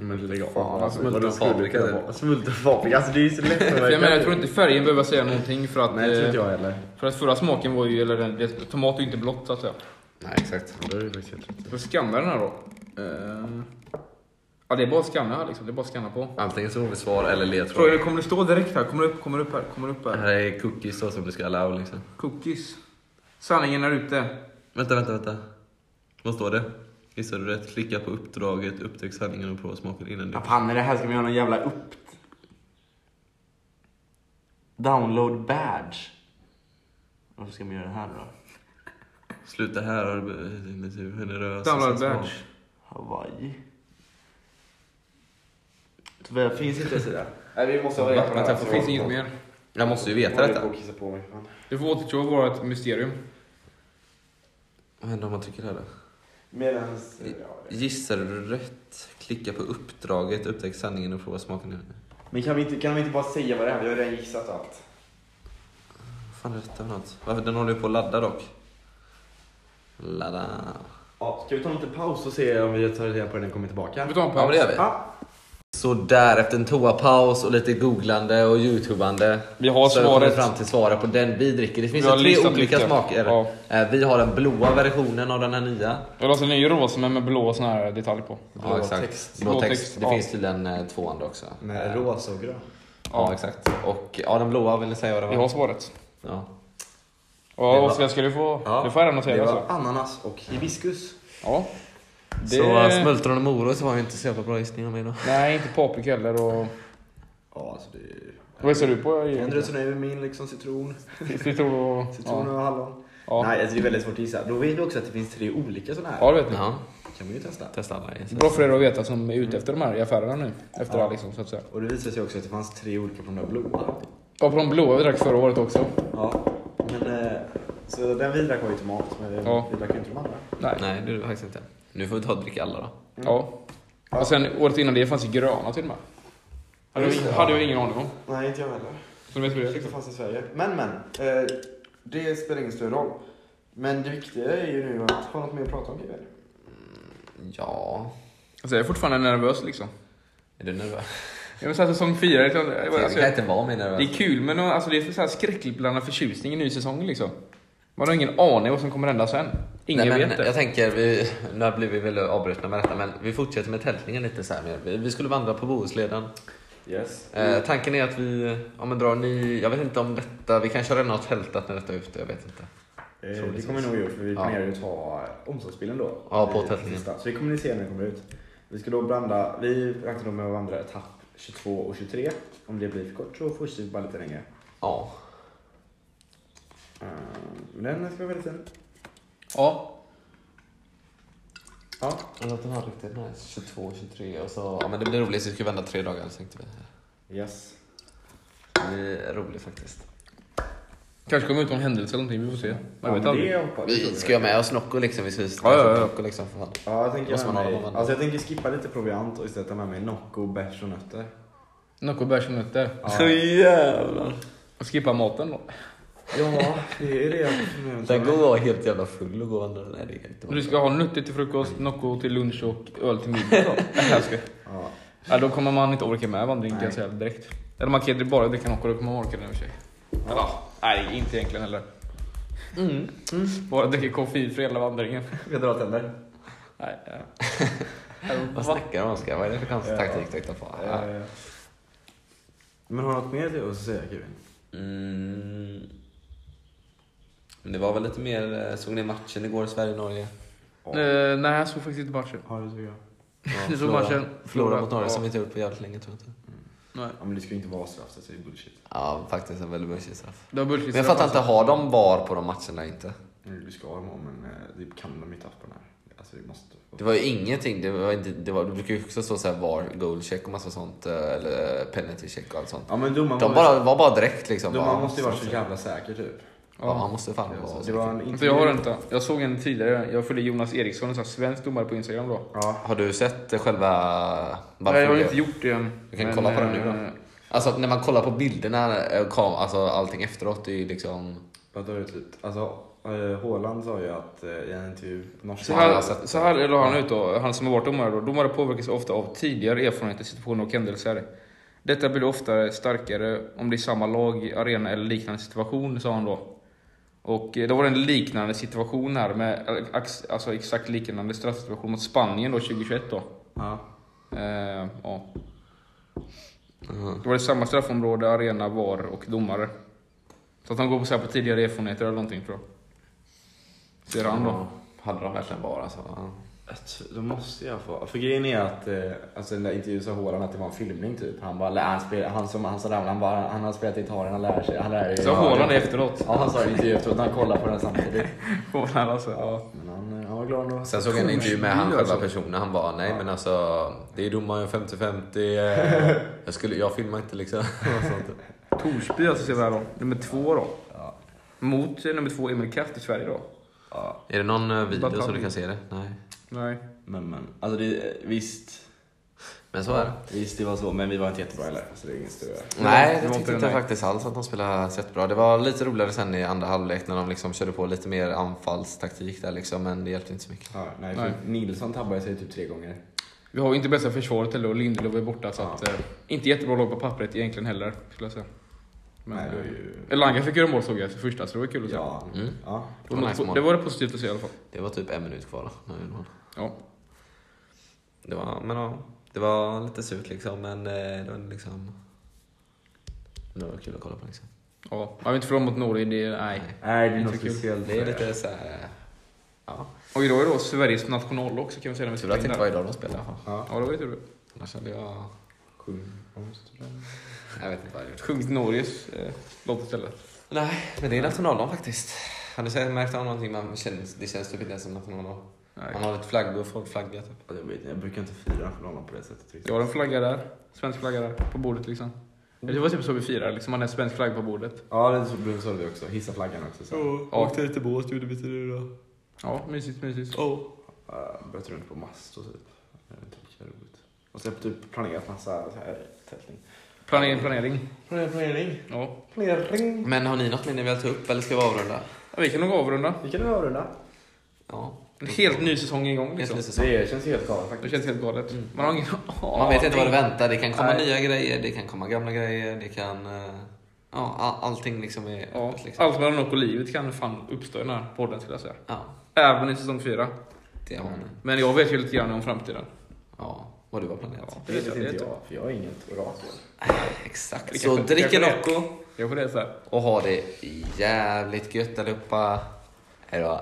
Speaker 3: Men lägg av.
Speaker 2: alltså, smultronpaprika, typ.
Speaker 3: Smultronpaprika, alltså det är ju så lätt att
Speaker 1: För Jag menar jag tror inte färgen behöver säga någonting för att...
Speaker 3: Nej, det tror
Speaker 1: eh,
Speaker 3: inte jag heller.
Speaker 1: För att förra smaken var ju, eller den, det, tomat är ju inte blått så att säga.
Speaker 2: Nej, exakt.
Speaker 3: Ja, det är det faktiskt helt rätt.
Speaker 1: Så skanna den här då. Eh, ja det är bara att skanna liksom, det är bara att skanna på.
Speaker 2: Antingen så får vi svar eller
Speaker 1: Frågan
Speaker 2: ledtråd.
Speaker 1: är, kommer det stå direkt här? Kommer det upp, kommer det upp här, kommer det upp
Speaker 2: Det
Speaker 1: här?
Speaker 2: här är cookies då som du ska allow liksom.
Speaker 1: Cookies. Sanningen är ute.
Speaker 2: Vänta, vänta, vänta. Vad står det? Gissar du rätt? Klicka på uppdraget, upptäck sanningen och prova smaken innan du...
Speaker 3: Panne, det här ska vi göra någon jävla upp... Download badge. Varför ska man göra det här då?
Speaker 2: Sluta här och hur generös...
Speaker 1: Download badge.
Speaker 3: Hawaii. Tyvärr finns inte ens det. Nej, vi måste ha
Speaker 2: Vänta, vänta,
Speaker 1: Det finns inget mer.
Speaker 2: Jag måste ju veta detta.
Speaker 3: kissa på mig. fan.
Speaker 1: Det får återstå att vara ett mysterium.
Speaker 2: Vad händer om man trycker här då?
Speaker 3: Medans...
Speaker 2: Gissar du rätt? Klicka på uppdraget, upptäck sanningen och prova smaken innan du...
Speaker 3: Men kan vi, inte, kan vi inte bara säga vad det är? Vi har redan gissat allt.
Speaker 2: Vad fan är detta för något? Varför? Den håller ju på att ladda dock. Ladda.
Speaker 3: Ja, ska vi ta en liten paus och se om vi tar reda på när den kommer tillbaka?
Speaker 1: Vi tar en
Speaker 2: Ja, men
Speaker 1: paus.
Speaker 2: det gör vi.
Speaker 3: Ja.
Speaker 2: Så där efter en toapaus och lite googlande och youtubande.
Speaker 1: Vi har
Speaker 2: så kom vi
Speaker 1: svaret.
Speaker 2: fram till svaret på den vi dricker. Det finns
Speaker 1: Vi har
Speaker 2: ju tre
Speaker 1: listat
Speaker 2: olika
Speaker 1: vilka.
Speaker 2: smaker.
Speaker 1: Ja.
Speaker 2: Eh, Vi har den blåa versionen av den här nya.
Speaker 1: Jag låter en ny rosa men med blå sån här detalj på.
Speaker 2: Blå ja, exakt. Text. Blå
Speaker 1: Blå
Speaker 2: text.
Speaker 1: text,
Speaker 2: Det
Speaker 1: ja.
Speaker 2: finns tydligen eh, två andra också. Eh,
Speaker 3: Med rosa och grön.
Speaker 2: Ja, exakt. Och ja, den blåa vill ni säga vad det
Speaker 1: Vi
Speaker 2: var?
Speaker 1: har svaret.
Speaker 2: Ja.
Speaker 1: Ja, Oskar, ska du få,
Speaker 3: Ja.
Speaker 1: du får äran att
Speaker 3: Det
Speaker 1: säga det.
Speaker 3: var
Speaker 1: Alltså.
Speaker 3: ananas och hibiskus.
Speaker 1: Ja. Det...
Speaker 2: Så eh, smultron och morot var ju inte så jävla bra gissning av mig då.
Speaker 1: Nej, inte paprika heller. Och...
Speaker 3: Ja, alltså det är...
Speaker 1: Vad gissar du på? eh,
Speaker 3: Andrews och min liksom citron.
Speaker 1: Citron och...
Speaker 3: Citron
Speaker 1: Ja.
Speaker 3: och hallon.
Speaker 1: Ja.
Speaker 3: Nej, alltså det är väldigt svårt att gissa. Då vet vi också att det finns tre olika sådana här.
Speaker 1: ja, det vet ni.
Speaker 2: Ja,
Speaker 3: kan man ju testa.
Speaker 2: testa alla. gissningar.
Speaker 1: Bra för er att veta som är ute efter de här i affärerna nu. Efter
Speaker 3: Ja.
Speaker 1: all liksom, så att säga.
Speaker 3: Och det visade sig också att det fanns tre olika på de där blåa.
Speaker 1: Ja, på de blåa vi drack förra året också.
Speaker 3: Ja, men... Eh, så den vi drack var ju tomat, men
Speaker 1: Ja.
Speaker 3: vi drack ju inte de andra.
Speaker 1: Nej.
Speaker 2: Nej, det är det faktiskt inte. Nu får vi ta och dricka alla då.
Speaker 1: Ja. Och sen året innan det fanns ju gröna till och med. Hade
Speaker 3: Just
Speaker 1: jag,
Speaker 3: det,
Speaker 1: hade
Speaker 3: ja.
Speaker 1: jag ingen aning om.
Speaker 3: Nej, inte jag heller.
Speaker 1: Så de vet vi det
Speaker 3: Jag tyckte
Speaker 1: liksom.
Speaker 3: det fanns i Sverige. Men, men. Eh, det spelar ingen större roll. Men det viktiga är ju nu att ha något mer att prata om ikväll.
Speaker 2: Ja,
Speaker 1: Alltså, jag är fortfarande nervös liksom.
Speaker 2: är du nervös?
Speaker 1: Jag vill säga säsong fyra. liksom,
Speaker 2: Jag
Speaker 1: Alltså,
Speaker 2: kan inte vara mer nervös.
Speaker 1: det är kul men alltså, det är så här skräckblandad förtjusning i ny säsong liksom. Man har ingen aning vad som kommer hända sen. Ingen
Speaker 2: Nej, men
Speaker 1: vet det.
Speaker 2: Jag tänker, vi, nu blir vi väl avbrutna med detta, men vi fortsätter med tältningen lite så här. mer. Vi, vi skulle vandra på Bohusleden.
Speaker 3: Yes.
Speaker 2: Eh, tanken är att vi, ja men drar ni, jag vet inte om detta, vi kanske redan har tältat när detta är ute, jag vet inte.
Speaker 3: Eh, det kommer vi nog gjort för vi
Speaker 2: Ja.
Speaker 3: planerar ju att ta omslagsbilden då.
Speaker 2: Ja, på
Speaker 3: I-
Speaker 2: tätningen.
Speaker 3: sista. Så det kommer ni se när det kommer ut. Vi ska då blanda, vi räknar då med att vandra etapp 22 och 23. Om det blir för kort så fortsätter vi bara lite längre.
Speaker 2: Ja.
Speaker 3: Eh, Men den ska vara väldigt fin.
Speaker 1: Ja.
Speaker 3: Ja.
Speaker 2: Låten har riktigt nice. 22, 23 och så, ja men det blir roligt, så vi ska vända tre dagar tänkte vi.
Speaker 3: Yes.
Speaker 2: Det blir roligt faktiskt.
Speaker 1: Kanske kommer ut någon händelse eller någonting. Vi får se. Man vet
Speaker 3: men det
Speaker 1: aldrig.
Speaker 3: hoppas
Speaker 2: Vi ska ju ha med oss Nocco liksom, vi ska ju
Speaker 1: Ja, ja, ja.
Speaker 2: Nocco liksom för fan.
Speaker 3: Ja, jag tänker,
Speaker 2: Måste
Speaker 3: med
Speaker 2: man ha
Speaker 3: mig,
Speaker 2: dem ändå?
Speaker 3: alltså jag tänker skippa lite proviant och istället ta med mig Nocco, bärs och nötter.
Speaker 1: Nocco bärs och nötter.
Speaker 3: Ja.
Speaker 2: jävlar.
Speaker 1: Och skippa maten då.
Speaker 3: Ja, det är det jag funderar
Speaker 2: Den
Speaker 3: på.
Speaker 2: går vara helt jävla full och gå och vandra. Nej det kan inte
Speaker 1: Och Du
Speaker 2: vara.
Speaker 1: ska ha nötter till frukost, Nocco till lunch och öl till middag då. Nej, jag skojar.
Speaker 3: Ja.
Speaker 1: Ja, då kommer man inte orka med vandringen kan jag säga
Speaker 3: Nej.
Speaker 1: direkt. Eller man kan ju bara dricka Nocco, då kommer man orka den i och för sig. Eller, ja, nej, inte egentligen heller. Bara dricka koffein för hela vandringen.
Speaker 3: Ska jag dra tänder?
Speaker 1: Nej, nej.
Speaker 2: Vad snackar de om Oskar? Vad är det för konstig
Speaker 3: Ja.
Speaker 2: taktik du hittar på? Ja.
Speaker 3: Eh, Men har du något mer till att säga Kevin?
Speaker 2: Mm. Men det var väl lite mer, eh, såg ni matchen igår Sverige-Norge?
Speaker 1: Eh, nej, jag såg faktiskt inte matchen.
Speaker 3: Har du tycker jag.
Speaker 2: Ja,
Speaker 1: Ni såg
Speaker 2: Flora-
Speaker 1: matchen?
Speaker 2: Flora mot Norge
Speaker 1: Ja.
Speaker 2: som vi inte gjort på jävligt länge tror jag inte.
Speaker 1: Nej,
Speaker 3: Ja men det ska ju inte vara straff så det är bullshit.
Speaker 2: Ja, faktiskt en väldigt bullshit straff.
Speaker 1: det var bullshit.
Speaker 2: Men jag fattar inte, har de VAR på de matcherna inte?
Speaker 3: Nu du ska ha dem om, men eh, det kan de inte ha på den här. Alltså det måste.
Speaker 2: Det var ju ingenting, det, var inte, det, var, det brukar ju också stå såhär VAR, goal check och massa sånt, eh, eller penalty check och allt sånt.
Speaker 3: Ja men domaren
Speaker 2: De
Speaker 3: var-
Speaker 2: bara, var bara direkt liksom.
Speaker 3: domaren
Speaker 2: bara,
Speaker 3: måste ju vara så
Speaker 2: ja,
Speaker 3: jävla säker typ.
Speaker 2: Ja, han måste fan vara
Speaker 3: Alltså,
Speaker 2: säker.
Speaker 3: det var en
Speaker 1: Alltså, jag har inte. Jag såg en tidigare. Jag följde Jonas Eriksson, en sån här svensk domare på Instagram då.
Speaker 3: Ja.
Speaker 2: Har du sett eh, själva... varför
Speaker 1: Nej, jag har
Speaker 2: det-
Speaker 1: inte gjort det än.
Speaker 2: Du kan
Speaker 1: men,
Speaker 2: kolla på den nu då.
Speaker 1: eh,
Speaker 2: Alltså när man kollar på bilderna, eh, kam, alltså allting efteråt, det är ju liksom...
Speaker 3: Vänta ut lite. Alltså eh, Haaland sa ju att eh, i en intervju på
Speaker 1: Så
Speaker 3: norska.
Speaker 2: Han har
Speaker 1: här,
Speaker 2: sett det.
Speaker 1: så här la han ut då, han som har varit domare då. Domare påverkas ofta av tidigare erfarenheter, situationer och händelser. Detta blir ofta starkare om det är samma lag, arena eller liknande situation, sa han då. Och eh, då var det en liknande situation här med, ax- alltså exakt liknande straffsituation mot Spanien då 2021 då.
Speaker 3: Ja.
Speaker 1: Eh, ja. Då var det samma straffområde, arena, VAR och domare. Så att han går på, så här på tidigare erfarenheter eller någonting tror jag. Ser han då.
Speaker 2: Ja, Hade de verkligen bara alltså. ja.
Speaker 3: Att Då måste jag få. För grejen är att eh, alltså, den där intervjun sa Haaland att det var en filmning typ. Han bara, lär- han, spel, han som han som ramlade, han bara, han har spelat gitarren, han lär sig. Han lär sig.
Speaker 1: Så Haaland efteråt.
Speaker 3: Ja han sa det i intervjun efteråt, han kollade på den samtidigt.
Speaker 1: Haaland alltså. Ja.
Speaker 3: Men han, eh, han var glad ändå.
Speaker 2: Sen såg jag en intervju med han
Speaker 1: Alltså.
Speaker 2: själva personen, han bara nej men alltså det är domaren 50-50, eh, jag, skulle, jag filmar inte liksom. Och sånt.
Speaker 1: Torsby alltså ser vi här då. Nummer två då. Mot eh, nummer två Emil Kraft i Sverige då.
Speaker 3: Ja,
Speaker 2: Är det någon eh, video
Speaker 1: Batalj.
Speaker 2: så du kan se det? Nej.
Speaker 1: Nej.
Speaker 3: men men. Alltså det, visst.
Speaker 2: Men så är det.
Speaker 3: Visst, det var så, men vi var inte jättebra heller. Så Alltså, det är ingen större...
Speaker 2: Nej,
Speaker 1: det
Speaker 2: det
Speaker 1: var inte
Speaker 2: tyckte inte jag
Speaker 1: den där.
Speaker 2: faktiskt alls att de spelade så jättebra. Det var lite roligare sen i andra halvlek när de liksom körde på lite mer anfallstaktik där liksom, men det hjälpte inte så mycket.
Speaker 3: Ja, nej,
Speaker 1: Nej.
Speaker 3: För Nilsson tabbade sig typ tre gånger.
Speaker 1: Vi har ju inte bästa försvaret heller och Lindelöf är borta så att, eh, inte jättebra lag på pappret egentligen heller skulle jag säga. Men,
Speaker 3: Nej, det var
Speaker 1: eh,
Speaker 3: ju...
Speaker 1: Elanga fick göra mål såg jag för första så det var kul att se.
Speaker 3: Ja.
Speaker 2: Mm.
Speaker 3: ja.
Speaker 1: det, var
Speaker 2: Nice
Speaker 1: något,
Speaker 2: mål.
Speaker 1: det var det positivt att se i alla fall.
Speaker 2: Det var typ en minut kvar. då, när vi gjorde mål.
Speaker 1: Ja.
Speaker 2: Det var, men, ja, det var lite surt liksom, men eh, det var liksom... Det var kul att kolla på liksom.
Speaker 1: Ja, jag vill inte förlora mot Norge, det är, nej.
Speaker 3: Nej, det är
Speaker 1: Inte
Speaker 3: något
Speaker 1: kul.
Speaker 3: speciellt.
Speaker 2: Det är lite så här... Ja.
Speaker 1: Och idag är då Sveriges national också kan vi säga när vi
Speaker 2: Tur att
Speaker 1: spelar
Speaker 2: det
Speaker 1: in det
Speaker 2: inte var
Speaker 1: här.
Speaker 2: idag de spelade i alla fall.
Speaker 3: Ja.
Speaker 1: Ja, det var ju tur det.
Speaker 2: Annars hade jag... Jag vet inte vad jag hade gjort.
Speaker 1: Sjungit Norges eh, låt istället.
Speaker 2: Nej, men det är nationaldagen faktiskt. Har ni sett- märkt av någonting? Man känns, det känns typ inte ens som nationaldag.
Speaker 1: Nej.
Speaker 2: Man har ett flaggor, folk flaggar typ.
Speaker 3: Alltså, Jag, vet, inte, jag brukar inte fira för någon på det sättet. riktigt.
Speaker 1: Jag har en flagga där, svensk flagga där, på bordet liksom. Det var typ så vi firade, liksom hade en svensk flagga på bordet.
Speaker 3: Ja, det är så- blev så det också. Hissa flaggan också. Så. här.
Speaker 1: Ja.
Speaker 2: Åkte lite båt gjorde vi till det då.
Speaker 1: Ja, mysigt, mysigt.
Speaker 2: Oh.
Speaker 3: Uh, Bröt runt på mast och typ. Jag vet inte vilka roligt. Och så har jag typ planerat massa så här tältning.
Speaker 1: Planering, planering.
Speaker 3: Planering, planering.
Speaker 1: Ja.
Speaker 3: Planering.
Speaker 2: Men har ni något mer ni vill ta upp eller ska vi avrunda?
Speaker 1: Ja, vi kan nog avrunda.
Speaker 3: Vi kan avrunda.
Speaker 2: Ja.
Speaker 1: En helt ny säsong igång
Speaker 2: Helt
Speaker 1: liksom.
Speaker 2: ny säsong. Mm.
Speaker 3: Det känns helt galet
Speaker 1: Det
Speaker 3: faktiskt.
Speaker 1: känns helt galet. Man har ingen
Speaker 2: Man vet inte vad det väntar. Det kan komma
Speaker 3: Nej.
Speaker 2: nya grejer, det kan komma gamla grejer, det kan... eh, Ja, all, allting liksom är
Speaker 1: Ja,
Speaker 2: öppet liksom.
Speaker 1: allt mellan något och livet kan fan uppstå i den här podden skulle jag säga.
Speaker 2: Ja,
Speaker 1: Även i säsong fyra.
Speaker 2: det har ni.
Speaker 1: Men jag vet ju lite grann om framtiden.
Speaker 2: Ja, vad du har planerat.
Speaker 1: Ja,
Speaker 3: Det vet inte jag, för jag är typ- inget orakel.
Speaker 2: Exakt.
Speaker 1: Det
Speaker 2: Så
Speaker 1: kanske-
Speaker 2: drick en
Speaker 1: kanske det.
Speaker 2: Nocco
Speaker 1: Jag får det så här.
Speaker 2: och ha det jävligt gött allihopa. Hejdå.